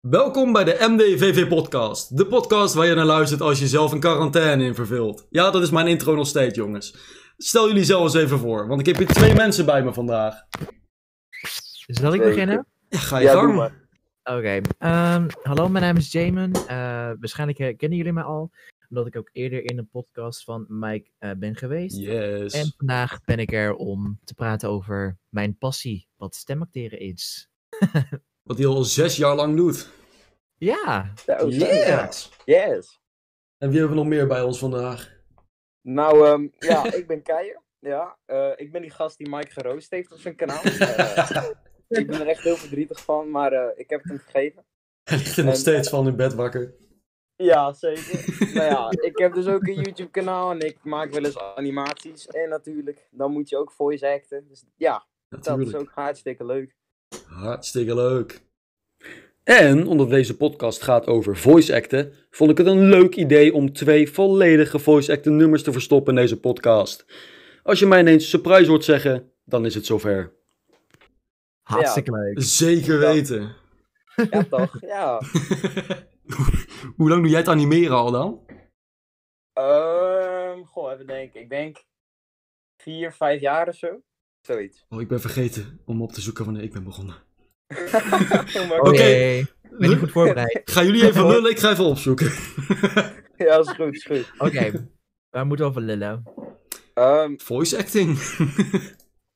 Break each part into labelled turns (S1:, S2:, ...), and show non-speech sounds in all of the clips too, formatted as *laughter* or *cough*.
S1: Welkom bij de MDVV Podcast. De podcast waar je naar luistert als je zelf een quarantaine in vervult. Ja, dat is mijn intro nog steeds, jongens. Stel jullie zelf eens even voor, want ik heb hier twee mensen bij me vandaag.
S2: Dus Zal ik
S3: Zeker.
S2: beginnen?
S1: Ja, ga je
S3: Ja, doe
S1: gang.
S3: maar.
S2: Oké. ehm, hallo, mijn naam is Jamin. Eh, waarschijnlijk eh, kennen jullie mij al, omdat ik ook eerder in een podcast van Mike eh, ben geweest. En
S1: Yes.
S2: vandaag ben ik er om te praten over mijn passie, wat stemacteren is.
S1: Wat hij al zes jaar lang doet.
S2: Ja,
S3: Zo, zeker.
S1: Yes.
S3: Yes.
S1: En wie hebben we nog meer bij ons
S3: *laughs*
S1: vandaag?
S3: Nou, ehm, ja, ik ben Keijer. Ja, eh, ik ben die gast die Mike geroost heeft op zijn kanaal. Eh, ik ben er echt heel verdrietig van, maar eh, ik heb het hem gegeven.
S1: Hij ligt er nog
S3: En-
S1: steeds van in bed wakker.
S3: Ja, zeker. *laughs* nou ja, ik heb dus ook een YouTube kanaal en ik maak wel eens animaties. En natuurlijk, dan moet je ook voice acten. Dus ja, dat is
S1: Natuurlijk.
S3: ook hartstikke leuk.
S1: Hartstikke leuk. En omdat deze podcast gaat over voice acten, vond ik het een leuk idee om twee volledige voice acten nummers te verstoppen in deze podcast. Als je mij ineens surprise hoort zeggen, dan is het zover.
S2: hartstikke leuk.
S1: Zeker
S3: Ja.
S1: weten.
S3: Ja, toch? Ja.
S1: *laughs* Hoe lang doe jij het animeren al dan?
S3: Ehm goh, even denken. Ik denk vier, vijf jaar of zo. Zoiets.
S1: Oh, ik ben vergeten om op te zoeken wanneer ik ben begonnen.
S3: Oké.
S2: Oké,
S1: Oké.
S2: ik ben niet goed voorbereid.
S1: Ga jullie *laughs* even lullen, ik ga even opzoeken.
S3: *laughs* Ja, is goed, is goed.
S2: Oké, waar moeten we over lullen?
S3: Ehm,
S1: Voice acting.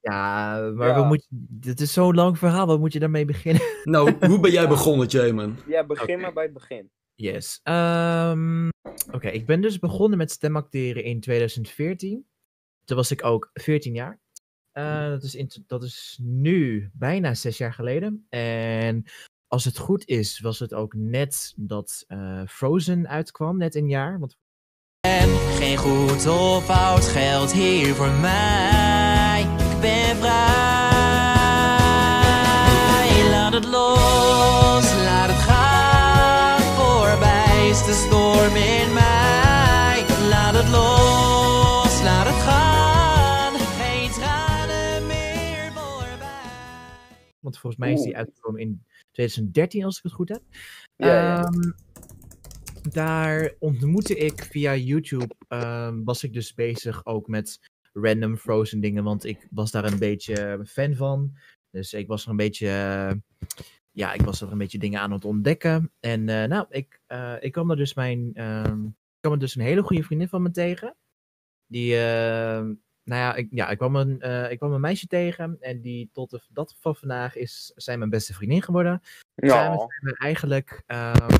S2: Ja, maar
S3: Ja.
S2: we moeten... Dit is zo'n lang verhaal, wat moet je daarmee beginnen?
S1: nou, hoe ben jij begonnen, Jamin?
S3: Ja, begin
S2: Oké.
S3: maar bij het begin.
S2: Yes. ehm, Oké, ik ben dus begonnen met stemacteren in 2014. Toen was ik ook 14 jaar. Eh, dat, is in, dat is nu bijna zes jaar geleden. En als het goed is, was het ook net dat eh, Frozen uitkwam, net een jaar. Want...
S4: En geen goed of fout geldt hier voor mij. Ik ben vrij. Laat het los, laat het gaan. Voorbij is de storm in mij. Laat het los, laat het gaan. Geen tranen meer voorbij.
S2: Want volgens mij is die
S3: Oeh.
S2: uitgekomen in 2013, als ik het goed heb.
S3: Ja, ja.
S2: Ehm, daar ontmoette ik via YouTube, ehm, was ik dus bezig ook met random Frozen dingen, want ik was daar een beetje ehm, fan van. Dus ik was er een beetje, eh, ja, ik was er een beetje dingen aan het ontdekken. En eh, nou, ik, eh, ik kwam er dus mijn, ehm, ik kwam er dus een hele goede vriendin van me tegen. Die, eh, nou ja, ik, ja ik, kwam een, eh, ik kwam een meisje tegen en die tot de, dat van vandaag is, zijn mijn beste vriendin geworden. Samen
S3: Ja.
S2: zijn we eigenlijk ehm,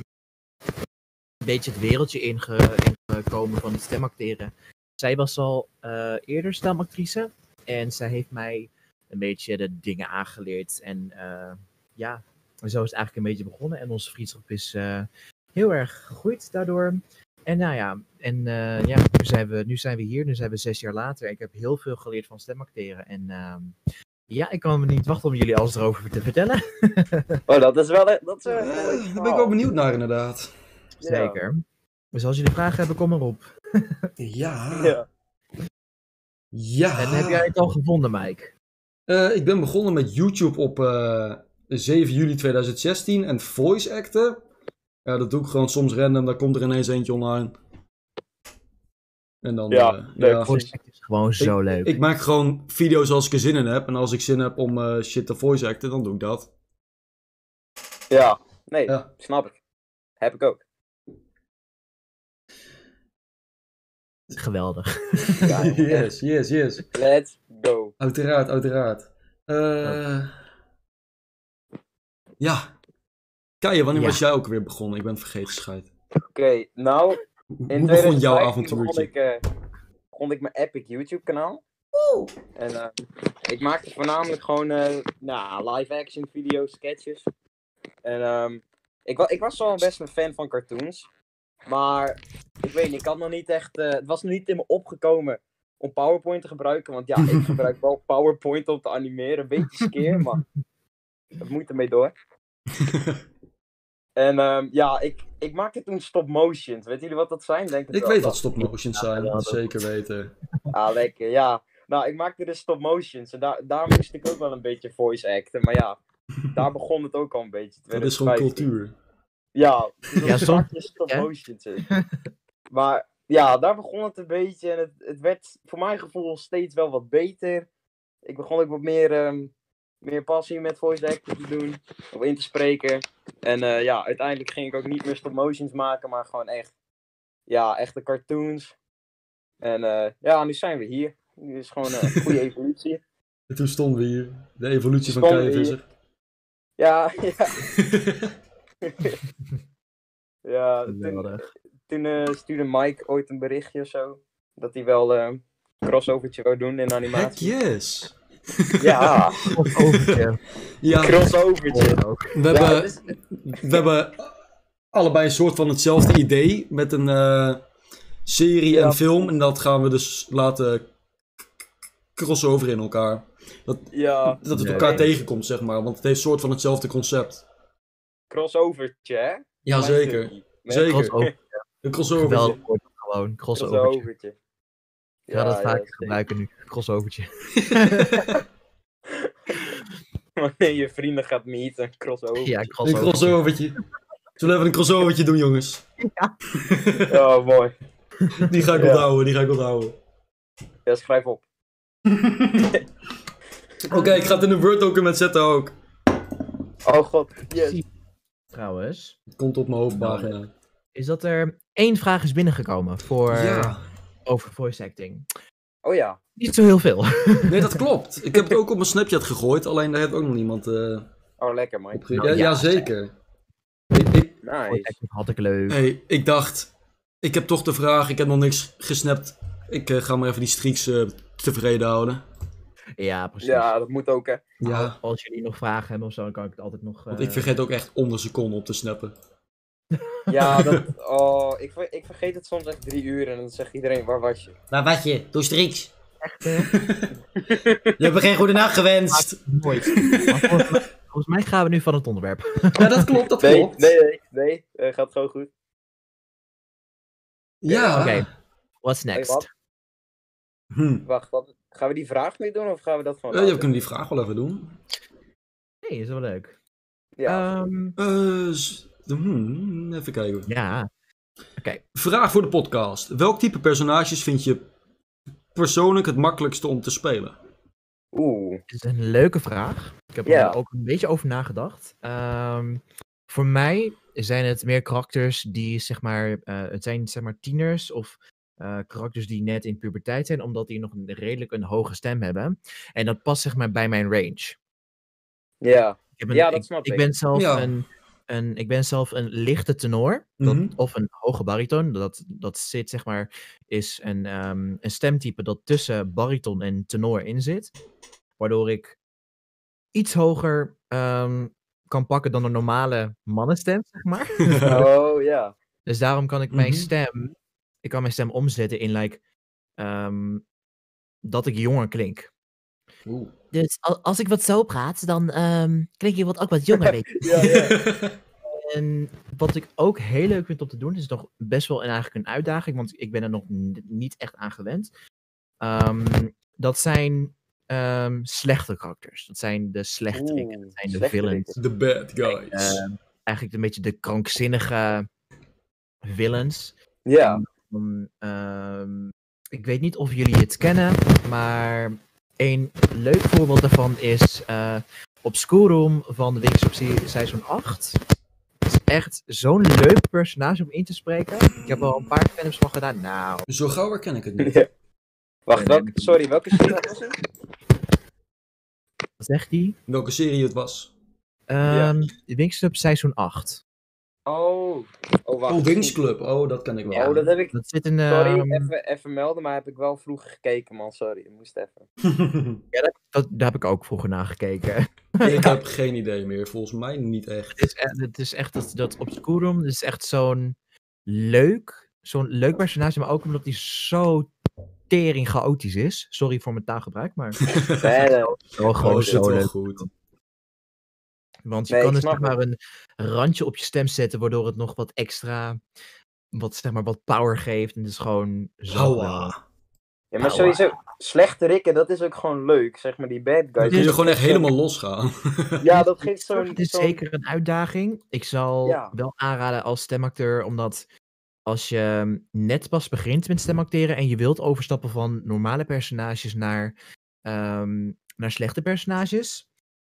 S2: een beetje het wereldje inge- ingekomen van het stemacteren. Zij was al eh, eerder stemactrice en zij heeft mij een beetje de dingen aangeleerd. En eh, ja, zo is het eigenlijk een beetje begonnen. En onze vriendschap is eh, heel erg gegroeid daardoor. En nou ja, en eh, ja, nu zijn, we, nu zijn we hier, nu zijn we zes jaar later. Ik heb heel veel geleerd van stemacteren. En ehm, ja, ik kan me niet wachten om jullie alles erover te vertellen.
S3: Oh, dat is wel... e- Dat is wel echt een
S1: Eh,
S3: leuk
S1: Daar ben ik
S3: verhaal.
S1: wel benieuwd naar, inderdaad.
S3: Ja.
S2: Zeker. Dus als jullie vragen hebben, kom maar op.
S1: Ja. Ja.
S3: Ja.
S2: En heb jij het al gevonden, Mike?
S1: Eh, ik ben begonnen met YouTube op eh 7 juli 2016 en voice acten. Ja, dat doe ik gewoon soms random, daar komt er ineens eentje online. En dan.
S3: Ja,
S1: eh,
S3: leuk.
S1: ja.
S2: Voice act is gewoon zo leuk.
S1: Ik maak gewoon video's als ik er zin in heb. En als ik zin heb om eh, shit te voice acten, dan doe ik dat.
S3: Ja. Nee,
S1: Ja.
S3: snap ik. Heb ik
S1: *laughs*
S3: ook.
S2: Geweldig.
S3: *laughs* Ja, joh.
S1: yes, yes, yes.
S3: Let's go.
S1: Uiteraard, uiteraard. Eh, Ja. Kaya, wanneer
S2: Ja.
S1: was jij ook weer begonnen? Ik ben het vergeten, scheid.
S3: Oké, nou...
S1: Hoe
S3: In
S1: hoe begon jouw
S3: 2015
S1: avontuurtje?
S3: Begon ik, eh, begon ik mijn epic YouTube kanaal. En eh, ik maakte voornamelijk gewoon eh, nou, live action video's, sketches. En ehm, ik, wa- ik was al best een fan van cartoons. Maar ik weet niet, ik had nog niet echt. eh, het was nog niet in me opgekomen om PowerPoint te gebruiken. Want ja, ik
S1: *laughs*
S3: gebruik wel PowerPoint om te animeren. Een beetje skeer, maar het moet ermee
S1: *laughs*
S3: door. En ehm, ja, ik, ik maakte toen stop motions. Weet jullie wat dat zijn? Denk het
S1: Ik
S3: wel.
S1: weet wat stop motions zijn,
S2: Ja, dat-
S1: zeker weten.
S3: Ah, lekker, ja. Nou, ik maakte dus stop motions en daar, daar
S1: *laughs*
S3: moest ik ook wel een beetje voice acten. Maar ja, daar begon het ook al een beetje.
S1: Dat is gewoon
S3: 2015.
S1: cultuur.
S3: Ja, dus
S2: Ja,
S3: ja
S2: som-
S3: stop
S2: ja.
S3: motion zit. *laughs* maar ja, daar begon het een beetje. En het, het werd voor mijn gevoel steeds wel wat beter. Ik begon ook wat meer, ehm, meer passie met voice acting te doen. Of in te spreken. En eh, ja, uiteindelijk ging ik ook niet meer stop motions maken. Maar gewoon echt, ja, echte cartoons. En eh, ja, nu zijn we hier. Dit is gewoon eh, een
S2: *laughs*
S3: goede evolutie.
S1: En toen stonden we hier. De evolutie van
S3: Stonden
S1: Kaya
S3: we hier.
S1: Visser.
S3: Ja,
S2: *laughs*
S3: ja. *laughs* ja toen-
S2: Geweldig.
S3: toen eh, stuurde Mike ooit een berichtje of zo. Dat hij wel eh, een crossovertje wou doen in
S1: Heck
S3: animatie.
S1: yes!
S3: Ja,
S2: Of overtje.
S1: *laughs* Ja,
S3: crossovertje.
S2: ook.
S1: we
S3: Ja, dus-
S1: hebben,
S3: het is-
S1: we hebben allebei een soort van hetzelfde idee. Met een eh, serie
S3: Ja.
S1: en film. En dat gaan we dus laten crossover in elkaar.
S3: ja,
S1: Dat het
S2: Ja,
S1: elkaar
S2: ja.
S1: tegenkomt, zeg maar. Want het heeft soort van hetzelfde concept.
S3: crossovertje, hè?
S1: Jazeker.
S3: Met
S1: Zeker.
S2: Crossover.
S1: Een crossover.
S2: Geweldig woord gewoon. Crossovertje.
S3: Crossovertje.
S2: Ik ga dat vaak
S3: zeker.
S2: gebruiken nu. Crossovertje.
S3: Wanneer *laughs* je vrienden gaat meeten, crossover.
S2: *laughs* Ja,
S1: Een
S2: crossovertje.
S1: crossovertje. Zullen we even een crossovertje doen, jongens?
S3: Oh, mooi.
S1: Die ga ik
S3: Ja.
S1: onthouden, die ga ik onthouden.
S3: Ja, schrijf op.
S1: Oké, ik ga het in een Word-document zetten ook.
S3: Oh god, yes.
S2: Trouwens,
S1: Het komt op mijn hoofdpagina.
S2: is dat er één vraag is binnengekomen voor,
S1: Ja,
S2: over voice acting.
S3: Oh ja.
S2: Niet zo heel veel.
S1: nee, dat klopt. Ik heb het ook op mijn Snapchat gegooid, alleen daar heeft ook nog niemand eh
S3: Oh, lekker, Mike.
S1: op ge-
S2: Nou,
S1: ja,
S2: ja,
S1: Jazeker. Ik, ik,
S2: Voice
S3: Nice.
S2: acting had ik leuk.
S1: hey, ik dacht, ik heb toch de vraag, ik heb nog niks gesnapt. Ik eh, ga maar even die streaks eh, tevreden houden.
S2: Ja, precies.
S3: Ja, dat moet ook, hè.
S1: Ja,
S2: Als jullie nog vragen hebben of zo, dan kan ik het altijd nog...
S1: want
S2: eh,
S1: ik vergeet ook echt onder seconde op te snappen. *laughs*
S3: Ja, dat... Oh, ik, ver- ik vergeet het soms echt drie uur en dan zegt iedereen, waar was je?
S1: Waar was je? Doe streaks. *laughs* Je hebt geen goede nacht gewenst.
S2: Nooit. *laughs* Maar volgens- Volgens mij gaan we nu van het onderwerp.
S1: Ja, dat klopt, dat
S3: Nee,
S1: klopt.
S3: nee, nee, nee. eh, gaat gewoon goed.
S1: Ja.
S2: Oké. What's
S3: Hey,
S2: next?
S3: wat?
S1: Hm.
S3: Wacht, wat, gaan we die vraag nu doen of gaan we dat van?
S1: Eh, ja, we kunnen die vraag wel even doen.
S2: Nee, is wel leuk.
S3: ja.
S2: Ehm,
S1: Eh, s- hmm, even kijken.
S2: ja.
S1: Vraag voor de podcast. Welk type personages vind je persoonlijk het makkelijkste om te spelen?
S3: Oeh.
S2: dit is een leuke vraag. Ik heb
S3: Ja.
S2: er ook een beetje over nagedacht. Ehm, voor mij zijn het meer karakters die, zeg maar, eh, het zijn zeg maar tieners of eh, karakters die net in puberteit zijn, omdat die nog een, redelijk een hoge stem hebben. En dat past, zeg maar, bij mijn range.
S3: Ja.
S2: Ik heb een-
S3: Ja, dat
S2: ik-
S3: snap
S2: ik.
S3: ik.
S2: ben zelf
S1: Ja.
S2: een, een, ik ben zelf een lichte tenor. dat-
S1: Mhm.
S2: Of een hoge bariton. Dat, dat zit, zeg maar, is een, ehm, een stemtype dat tussen bariton en tenor in zit. Waardoor ik iets hoger ehm, kan pakken dan een normale mannenstem, zeg maar. *laughs*
S1: *laughs*
S3: Oh ja.
S2: Dus daarom kan ik mijn
S1: Mhm.
S2: stem. Ik kan mijn stem omzetten in like. ehm, dat ik jonger klink.
S1: Oeh.
S5: Dus al- als ik wat zo praat, dan ehm klink je wat ook wat
S2: *laughs*
S5: jonger, weet je.
S3: Ja, ja.
S2: En wat ik ook heel leuk vind om te doen, is nog best wel een, eigenlijk een uitdaging, want ik ben er nog n- niet echt aan gewend. Ehm, dat zijn ehm, slechte karakters. Dat zijn de slechteriken.
S3: Oeh,
S2: Dat zijn de
S3: slechteriken.
S2: villains.
S1: *laughs* The bad guys.
S3: Eh,
S2: Ehm, eigenlijk een beetje de krankzinnige villains.
S3: ja.
S2: Van, ehm, ik weet niet of jullie het kennen, maar een leuk voorbeeld daarvan is eh Obscurum van Wings op Se- seizoen 8. Het is echt zo'n leuk personage om in te spreken. Ik heb er al een paar fandoms van gedaan. Nou,
S1: Zo gauw herken ik het
S3: *laughs*
S2: eh,
S1: niet.
S3: Wacht, welke, sorry, welke serie was het?
S2: wat zegt hij?
S1: Welke serie het was.
S3: Ja.
S2: Ehm Wings op seizoen 8.
S3: Oh. Oh, wacht.
S1: Oh, Wings Club. Oh, dat ken ik wel.
S3: Oh, dat *laughs* heb ik.
S2: Dat zit een.
S3: Sorry,
S2: ehm,
S3: even, even melden, maar heb ik wel vroeg gekeken, man. Sorry, ik moest even.
S2: dat, daar heb ik ook vroeger naar gekeken.
S1: ik heb geen idee meer. Volgens mij niet echt.
S2: Het is echt, het is echt dat, dat Obscurum is echt zo'n leuk, zo'n leuk personage, maar ook omdat hij zo tering chaotisch is. Sorry voor mijn taalgebruik,
S3: *laughs*
S2: maar
S3: Verder.
S2: wel gewoon
S1: Oh, zit
S2: zo
S1: wel
S2: leuk.
S1: goed.
S2: Want je
S3: Nee,
S2: kan
S3: ik
S2: dus zeg
S3: snap
S2: maar een randje op je stem zetten, waardoor het nog wat extra, wat zeg maar wat power geeft. En het is gewoon zo.
S1: Hawa.
S2: geweldig.
S3: Ja, maar sowieso,
S2: eh,
S3: slechte rikken, dat is ook gewoon leuk. Zeg maar, die bad
S6: Dan
S3: guys.
S6: kun je gewoon echt helemaal losgaan.
S3: *laughs* Ja, dat geeft
S2: *laughs*
S3: zo'n...
S2: Het is
S3: zo'n-
S2: zeker een uitdaging. Ik zal
S3: Ja.
S2: wel aanraden als stemacteur, omdat als je mm, net pas begint met stemacteren en je wilt overstappen van normale personages naar, ehm, naar slechte personages,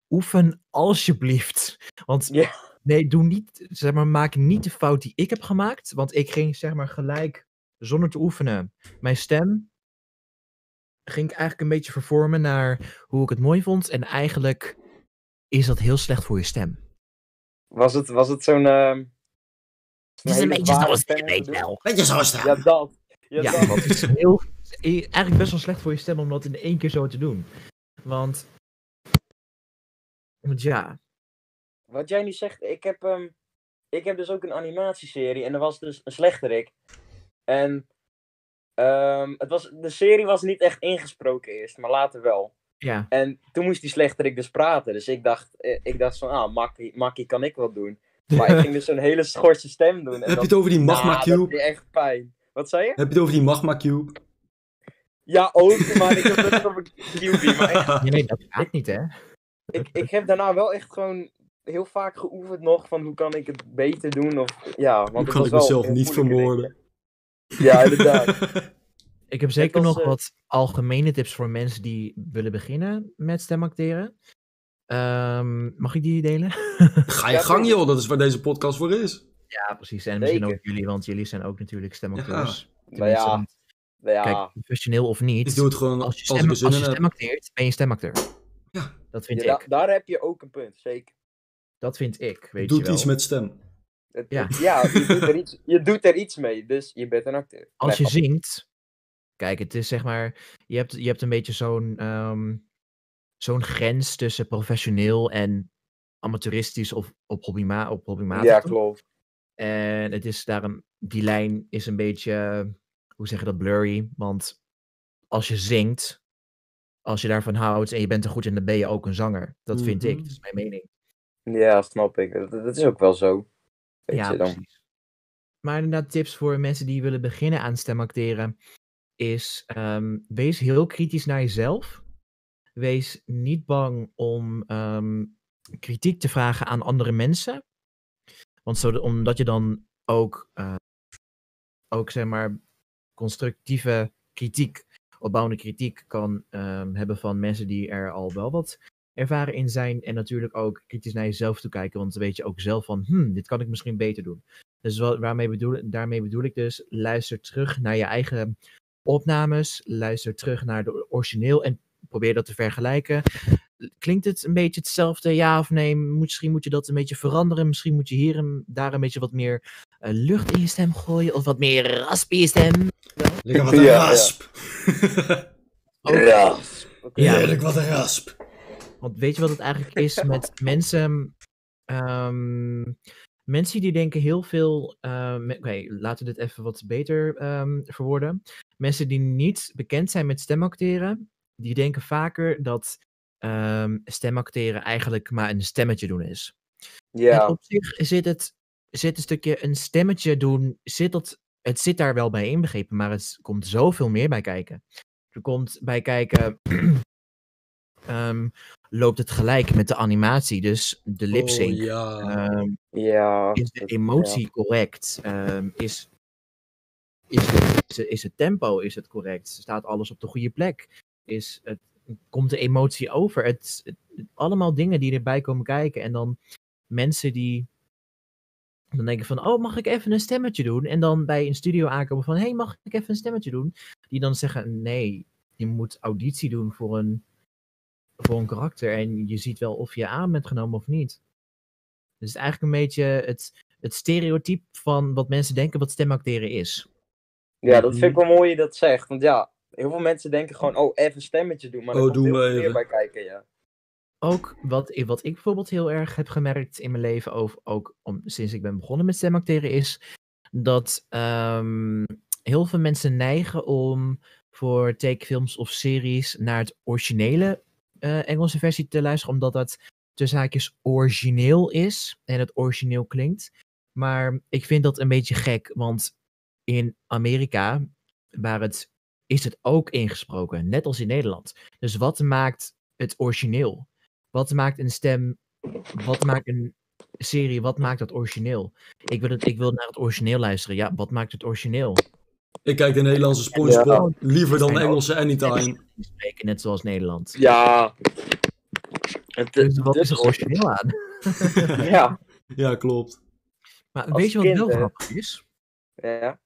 S2: oefen alsjeblieft. Want
S3: Ja.
S2: nee, doe niet, zeg maar, maak niet de fout die ik heb gemaakt, want ik ging zeg maar gelijk zonder te oefenen mijn stem. Ging ik eigenlijk een beetje vervormen naar hoe ik het mooi vond. En eigenlijk is dat heel slecht voor je stem.
S3: Was het, was het zo'n... ehm, zo'n
S7: Het is een
S3: hele
S7: beetje
S3: zware
S7: zoals
S3: pen
S7: je weet
S3: gedoe?
S7: wel.
S6: Weet je, zo is het.
S3: Ja, dat. Ja,
S2: Ja,
S3: dat.
S2: *laughs* want het is heel, i- eigenlijk best wel slecht voor je stem om dat in één keer zo te doen. Want, want ja,
S3: Wat jij nu zegt, ik heb, ehm, ik heb dus ook een animatieserie en er was dus een slechterik. En ehm, het was, de serie was niet echt ingesproken eerst, maar later wel.
S2: ja,
S3: En toen moest die slechterik dus praten. Dus ik dacht, eh, ik dacht van, ah, makkie, makkie kan ik wel doen. Maar ik ging dus zo'n hele schorse stem doen. En
S6: Heb je
S3: dat,
S6: het over die magma
S3: Ah, dat
S6: cube?
S3: deed echt pijn. Wat zei je?
S6: Heb je het over die magma cube?
S3: Ja, ook, maar ik heb het net op een QB. Maar
S1: *laughs*
S3: ik,
S2: Ja, nee, dat gaat niet hè.
S3: ik, ik heb daarna wel echt gewoon heel vaak geoefend nog van hoe kan ik het beter doen. Of, ja, want
S6: Hoe
S3: het
S6: kan
S3: was
S6: ik
S3: wel
S6: mezelf
S3: heel
S6: niet
S3: moeilijk, denk ik.
S6: vermoorden?
S3: Ja,
S2: *laughs*
S3: inderdaad.
S2: Ik heb zeker
S3: was,
S2: nog
S3: eh,
S2: wat algemene tips voor mensen die willen beginnen met stemacteren. Ehm, mag ik die delen?
S6: Ga je gang joh, dat is waar deze podcast voor is.
S2: Ja, precies. En misschien ook
S3: Zeker.
S2: jullie, want jullie zijn ook natuurlijk stemacteurs.
S3: Nou ja,
S2: Tenminste,
S3: nou ja.
S2: Kijk, professioneel of niet.
S6: Ik doe het gewoon
S2: als je,
S6: als,
S2: stem,
S6: ik er
S2: als
S6: zin
S2: je
S6: in heb.
S2: stemacteert, ben je stemacteur.
S6: Ja.
S2: Dat vind
S3: Ja, da-
S2: ik.
S3: daar heb je ook een punt, zeker.
S2: Dat vind ik, weet je
S6: Doet
S2: wel.
S6: iets met stem.
S3: Het-
S2: Ja.
S3: het- ja je, doet er iets, je doet er iets mee, dus je bent een acteur.
S2: Als je
S3: Nee,
S2: zingt... Kijk, het is zeg maar... Je hebt, je hebt een beetje zo'n... ehm, zo'n grens tussen professioneel en amateuristisch of op, hobbyma op hobbymatig.
S3: Ja,
S2: toch?
S3: klopt.
S2: En het is daarom... Die lijn is een beetje... eh, Hoe zeg je dat? Blurry. Want als je zingt... Als je daarvan houdt en je bent er goed in, dan ben je ook een zanger. Dat vind ik.
S6: Mhm.
S2: Dat is mijn mening.
S3: Ja, snap ik. Dat, dat is ook wel zo. Weet
S2: ja,
S3: je dan.
S2: precies. Maar inderdaad, tips voor mensen die willen beginnen aan stemacteren is: ehm, wees heel kritisch naar jezelf. Wees niet bang om ehm, kritiek te vragen aan andere mensen. Want zo, omdat je dan ook, eh, ook zeg maar, constructieve kritiek, opbouwende kritiek kan ehm, hebben van mensen die er al wel wat ervaren in zijn. En natuurlijk ook kritisch naar jezelf toe kijken. Want dan weet je ook zelf van, hmm, dit kan ik misschien beter doen. Dus wa- waarmee bedoel, daarmee bedoel ik dus, luister terug naar je eigen opnames. Luister terug naar de origineel en probeer dat te vergelijken. Klinkt het een beetje hetzelfde, ja of nee? Misschien moet je dat een beetje veranderen. Misschien moet je hier en daar een beetje wat meer eh, lucht in je stem gooien. Of wat meer rasp in je stem.
S6: Lekker wat een
S3: *laughs* Ja, ja.
S6: rasp.
S3: Ja.
S2: *laughs*
S3: Oké.
S2: Ja.
S6: Heerlijk wat een rasp.
S2: Want weet je wat het eigenlijk is met mensen? ehm, mensen die denken heel veel. ehm, me- Oké, laten we dit even wat beter ehm, verwoorden. Mensen die niet bekend zijn met stemacteren, die denken vaker dat ehm, stemacteren eigenlijk maar een stemmetje doen is. En
S3: Ja,
S2: op zich zit het zit een stukje een stemmetje doen, zit dat, het zit daar wel bij inbegrepen, maar het komt zoveel meer bij kijken. Er komt bij kijken, *clears throat* ehm, loopt het gelijk met de animatie, dus de lip
S6: Oh,
S2: sync.
S6: ja.
S2: ehm,
S3: ja.
S2: is de
S3: dat-
S2: emotie correct? Ehm, is, is, de- is, de- is het tempo is het correct? Staat alles op de goede plek? Is het, komt de emotie over? Het, het- allemaal dingen die erbij komen kijken. En dan mensen die dan denken van, oh, mag ik even een stemmetje doen? En dan bij een studio aankomen van, hey, mag ik even een stemmetje doen? Die dan zeggen, nee, je moet auditie doen voor een, voor een karakter. En je ziet wel of je aan bent genomen of niet. Dus het is eigenlijk een beetje het, het stereotype van wat mensen denken wat stemacteren is.
S3: Ja, dat vind ik wel mooi dat je dat zegt. Want ja, heel veel mensen denken gewoon, oh, even een stemmetje doen. Maar er
S6: Oh,
S3: komt
S6: doen
S3: heel
S6: we
S3: veel meer
S6: even.
S3: bij kijken, ja.
S2: Ook wat, i- wat ik bijvoorbeeld heel erg heb gemerkt in mijn leven, over, ook om, sinds ik ben begonnen met stemacteren, is dat ehm, heel veel mensen neigen om voor takefilms of series naar het originele eh, Engelse versie te luisteren, omdat dat tussen haakjes origineel is en het origineel klinkt. Maar ik vind dat een beetje gek, want in Amerika, waar het is het ook ingesproken, net als in Nederland. Dus wat maakt het origineel? Wat maakt een stem, wat maakt een serie, wat maakt dat origineel? Ik wil, het, ik wil naar het origineel luisteren. Ja, wat maakt het origineel?
S1: Ik kijk de Nederlandse SpongeBob liever dan de Engelse Anytime.
S2: Spreken net zoals Nederland.
S3: Ja. Het,
S2: Dus wat
S3: dit
S2: is er origineel aan? *laughs*
S3: Ja.
S1: Ja, klopt.
S2: Maar
S3: Als
S2: weet je wat
S3: kind,
S2: wel
S3: hè?
S2: grappig is?
S3: ja.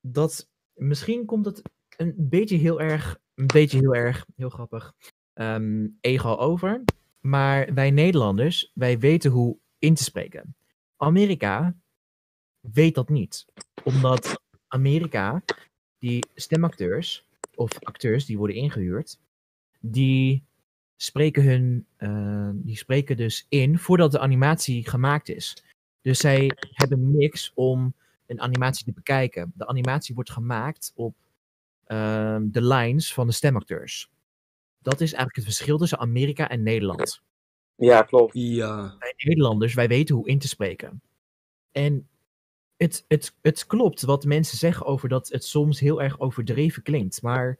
S2: dat misschien komt het een beetje heel erg, een beetje heel erg, heel grappig, ehm, ego over. Maar wij Nederlanders, wij weten hoe in te spreken. Amerika weet dat niet. Omdat Amerika, die stemacteurs of acteurs die worden ingehuurd, die spreken hun, eh, die spreken dus in voordat de animatie gemaakt is. Dus zij hebben niks om een animatie te bekijken. De animatie wordt gemaakt op ehm, de lines van de stemacteurs. Dat is eigenlijk het verschil tussen Amerika en Nederland.
S3: ja, klopt.
S1: Ja. *laughs*
S2: Wij Nederlanders, wij weten hoe in te spreken. En het, het, het klopt wat mensen zeggen over dat het soms heel erg overdreven klinkt. Maar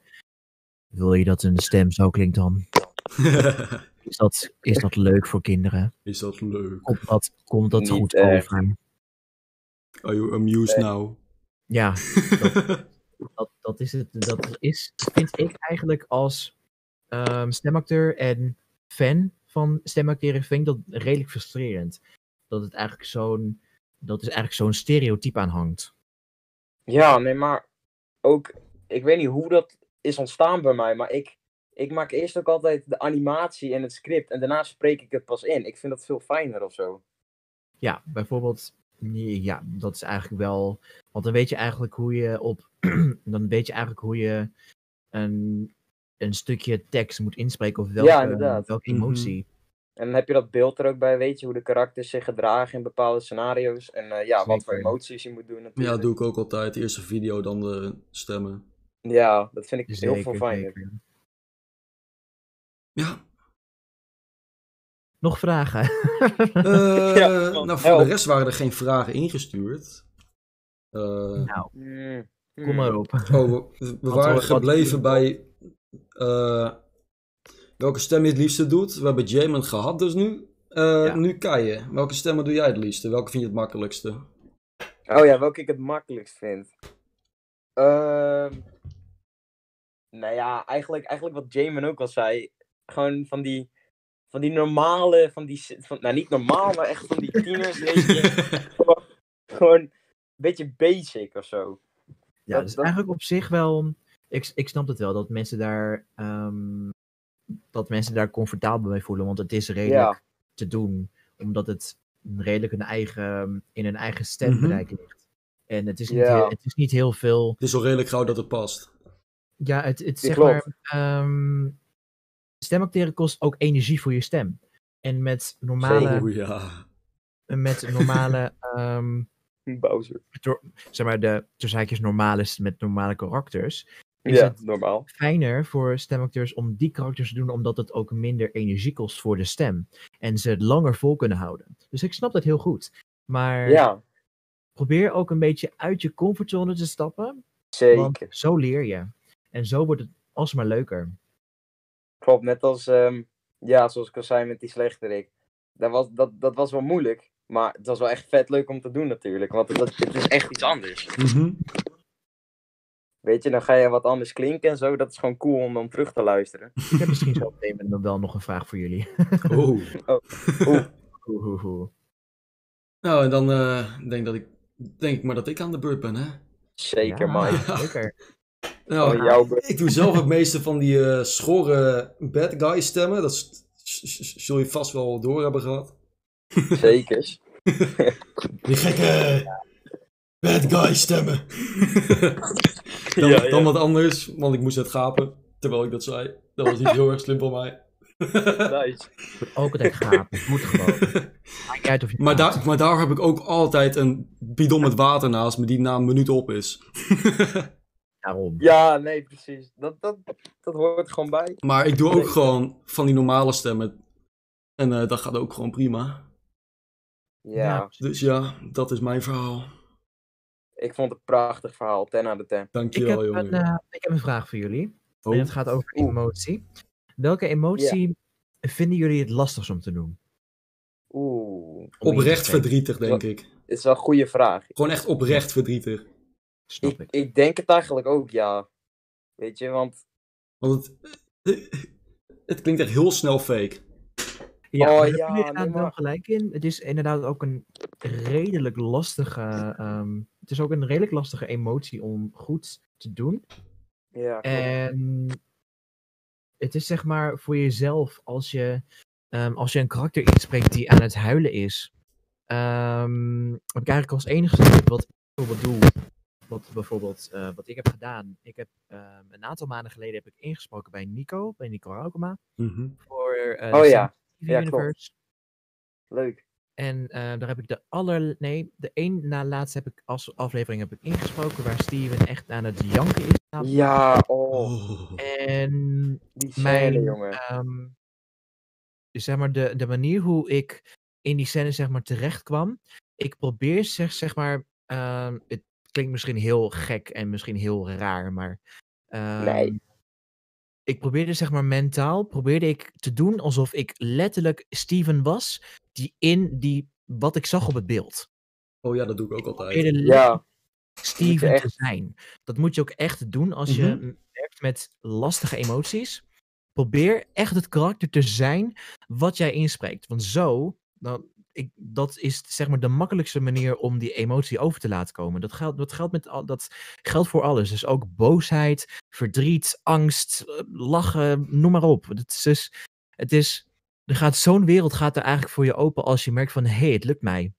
S2: wil je dat een stem zo klinkt dan? Is dat, is dat leuk voor kinderen?
S1: is dat leuk?
S2: Komt dat, komt dat
S3: Niet
S2: goed
S3: echt.
S2: over?
S1: Are you amused now? *laughs*
S2: Ja, dat, dat is het. Dat is, vind ik eigenlijk als ehm, stemacteur en fan van stemacteren, vind ik dat redelijk frustrerend. Dat het eigenlijk zo'n, dat is eigenlijk zo'n stereotype aan hangt.
S3: Ja, nee, maar ook, ik weet niet hoe dat is ontstaan bij mij, maar ik, ik maak eerst ook altijd de animatie en het script en daarna spreek ik het pas in. Ik vind dat veel fijner of zo.
S2: Ja, bijvoorbeeld, nee, ja, dat is eigenlijk wel, want dan weet je eigenlijk hoe je op, *clears throat* dan weet je eigenlijk hoe je een, een stukje tekst moet inspreken of welke,
S3: inderdaad.
S2: welke
S1: Mhm.
S2: emotie.
S3: En dan heb je dat beeld er ook bij, weet je hoe de karakters zich gedragen in bepaalde scenario's en eh, ja, wat voor
S2: Zeker.
S3: emoties je moet doen
S1: Ja,
S3: natuurlijk.
S1: dat doe ik ook altijd. Eerst de video, dan de stemmen.
S3: Ja, dat vind ik heel veel
S2: Zeker,
S3: fijner.
S2: zeker.
S3: *laughs*
S1: Ja.
S2: Nog vragen?
S1: eh,
S3: Ja, man,
S1: nou, voor de
S3: help.
S1: rest waren er geen vragen ingestuurd. Eh,
S2: nou,
S3: Mm,
S2: kom maar op.
S1: oh, we- we, waren
S2: wat-
S1: gebleven bij eh, welke stem je het liefste doet. We hebben Jamin gehad dus nu. Eh, Nu Keijen. Welke stemmen doe jij het liefste? Welke vind je het makkelijkste?
S3: Oh ja, welke ik het makkelijkst vind. Ehm nou ja, eigenlijk, eigenlijk wat Jamin ook al zei. Gewoon van die, van die normale, van die, si- van, nou niet normaal, maar echt
S2: *laughs*
S3: van die tieners. weet je. Gewoon een beetje basic of zo.
S2: Ja,
S3: Dat-
S2: dus
S3: dat-
S2: eigenlijk op zich wel. Ik, ik snap het wel dat mensen daar. ehm, dat mensen daar comfortabel mee voelen. Want het is redelijk
S3: Ja.
S2: te doen. Omdat het redelijk een eigen, in een eigen stembereik ligt. En het is, niet
S3: Mhm. Ja.
S2: heel, het is niet heel
S1: *laughs*
S2: veel.
S1: Het is al redelijk gauw dat het past.
S2: Ja, het, het
S3: Ja,
S2: zeg maar. ehm, stemacteren kost ook energie voor je stem. En met normale.
S1: Oh ja.
S2: Met normale ehm,
S3: *laughs* Bowser.
S2: zeg maar de. Tussen haakjes normale. s- Met normale karakters. Is
S3: Ja,
S2: het-
S3: normaal.
S2: fijner voor stemacteurs om die karakters te doen, omdat het ook minder energie kost voor de stem. En ze het langer vol kunnen houden. Dus ik snap dat heel goed. Maar
S3: Ja,
S2: probeer ook een beetje uit je comfortzone te stappen. Want
S3: zeker.
S2: zo leer je. En zo wordt het alsmaar leuker.
S3: Klopt, net als, ehm, ja, zoals ik al zei met die slechterik. Dat was, dat, dat was wel moeilijk, maar het was wel echt vet leuk om te doen natuurlijk. Want het, het is echt iets anders.
S1: Mhm.
S3: Weet je, dan ga je wat anders klinken en zo. Dat is gewoon cool om dan terug te *laughs* luisteren.
S2: Ik heb misschien zo meteen dan wel nog een vraag voor jullie.
S1: Oh.
S2: Oeh.
S1: Nou, en dan eh, denk, dat ik, denk ik maar dat ik aan de beurt ben, hè?
S3: Zeker,
S2: Ja, *laughs*
S3: Mike.
S2: Zeker.
S1: Nou,
S3: Oh, jouw beurt.
S1: ik doe zelf het meeste van die eh, schorre bad guy stemmen. Dat s- s- s- zul je vast wel door hebben gehad.
S3: Zeker.
S1: Die gekke bad guy
S3: *laughs*
S1: stemmen. dan,
S3: Ja, ja.
S1: dan wat anders, want ik moest net gapen terwijl ik dat zei. Dat
S3: *laughs*
S1: was niet heel erg slim van mij.
S3: Nice.
S2: Ook altijd gaaf. Het moet gewoon.
S3: *laughs*
S2: Maakt niet uit of je
S1: maar,
S2: praat.
S1: daar, maar daar heb ik ook altijd een bidon met water naast me die na een minuut op
S3: *laughs*
S1: is.
S2: daarom.
S3: Ja, nee, precies. Dat, dat, dat hoort gewoon bij.
S1: Maar ik doe ook gewoon van die normale stemmen. En eh, dat gaat ook gewoon prima.
S3: Ja.
S1: Dus ja, dat is mijn verhaal.
S3: Ik vond het een prachtig verhaal. 10 out of 10.
S2: Ik
S6: Dankjewel,
S2: heb, een,
S6: jongen.
S2: eh, ik heb een vraag voor jullie.
S6: Oh.
S2: En het gaat over
S3: Oeh.
S2: emotie. Welke emotie vinden jullie het lastigst om te noemen?
S3: Oeh.
S2: Om in te
S6: Oprecht
S2: spreken?
S6: verdrietig, denk ik.
S3: Dit is wel een goede vraag.
S6: Gewoon echt oprecht verdrietig.
S2: Snap
S3: Ik,
S2: ik.
S3: ik denk het eigenlijk ook, ja. Weet je, want...
S6: Want het,
S1: *laughs*
S6: het klinkt echt heel snel fake.
S2: Ja,
S3: Oh
S2: daar heb
S3: ja,
S2: je inderdaad
S3: nee,
S2: wel
S3: maar-
S2: gelijk in. Het is inderdaad ook een redelijk lastige. ehm, het is ook een redelijk lastige emotie om goed te doen.
S3: Ja, klopt.
S2: Eh, En het is zeg maar voor jezelf, als je, ehm, als je een karakter inspreekt die aan het huilen is, ehm, heb ik eigenlijk als enige gezien wat ik bijvoorbeeld doe. Wat, bijvoorbeeld, eh, wat ik heb gedaan. Ik heb, ehm, een aantal maanden geleden heb ik ingesproken bij Nico, bij Nico Raukema, voor eh,
S3: Oh
S2: de
S3: ja,
S2: Steven
S3: ja, klopt.
S2: Universe.
S3: leuk.
S2: En eh, daar heb ik de aller... Nee, de één na laatste heb ik als aflevering heb ik ingesproken waar Steven echt aan het janken is.
S3: Ja, oh.
S6: Oh.
S2: En
S3: Die
S2: mijn,
S3: scène, jongen.
S2: ehm, dus zeg maar, de, de manier hoe ik in die scène zeg maar, terecht kwam. Ik probeer zeg, zeg maar. ehm, het klinkt misschien heel gek en misschien heel raar, maar.
S3: Nee.
S2: ehm, Ik probeerde zeg maar mentaal probeerde ik te doen alsof ik letterlijk Steven was die in die wat ik zag op het beeld.
S6: Oh ja, dat doe ik ook
S2: Ik
S6: altijd.
S2: probeerde
S3: Ja.
S2: Steven
S3: echt-
S2: te zijn. Dat moet je ook echt doen als je m- werkt met lastige emoties. Probeer echt het karakter te zijn wat jij inspreekt. Want zo, nou, ik, dat is zeg maar de makkelijkste manier om die emotie over te laten komen. Dat geldt, dat geldt, met al, dat geldt voor alles. Dus ook boosheid, verdriet, angst, eh, lachen, noem maar op. Het is, dus- het is, er gaat zo'n wereld gaat er eigenlijk voor je open als je merkt van, hé, hey, het lukt mij.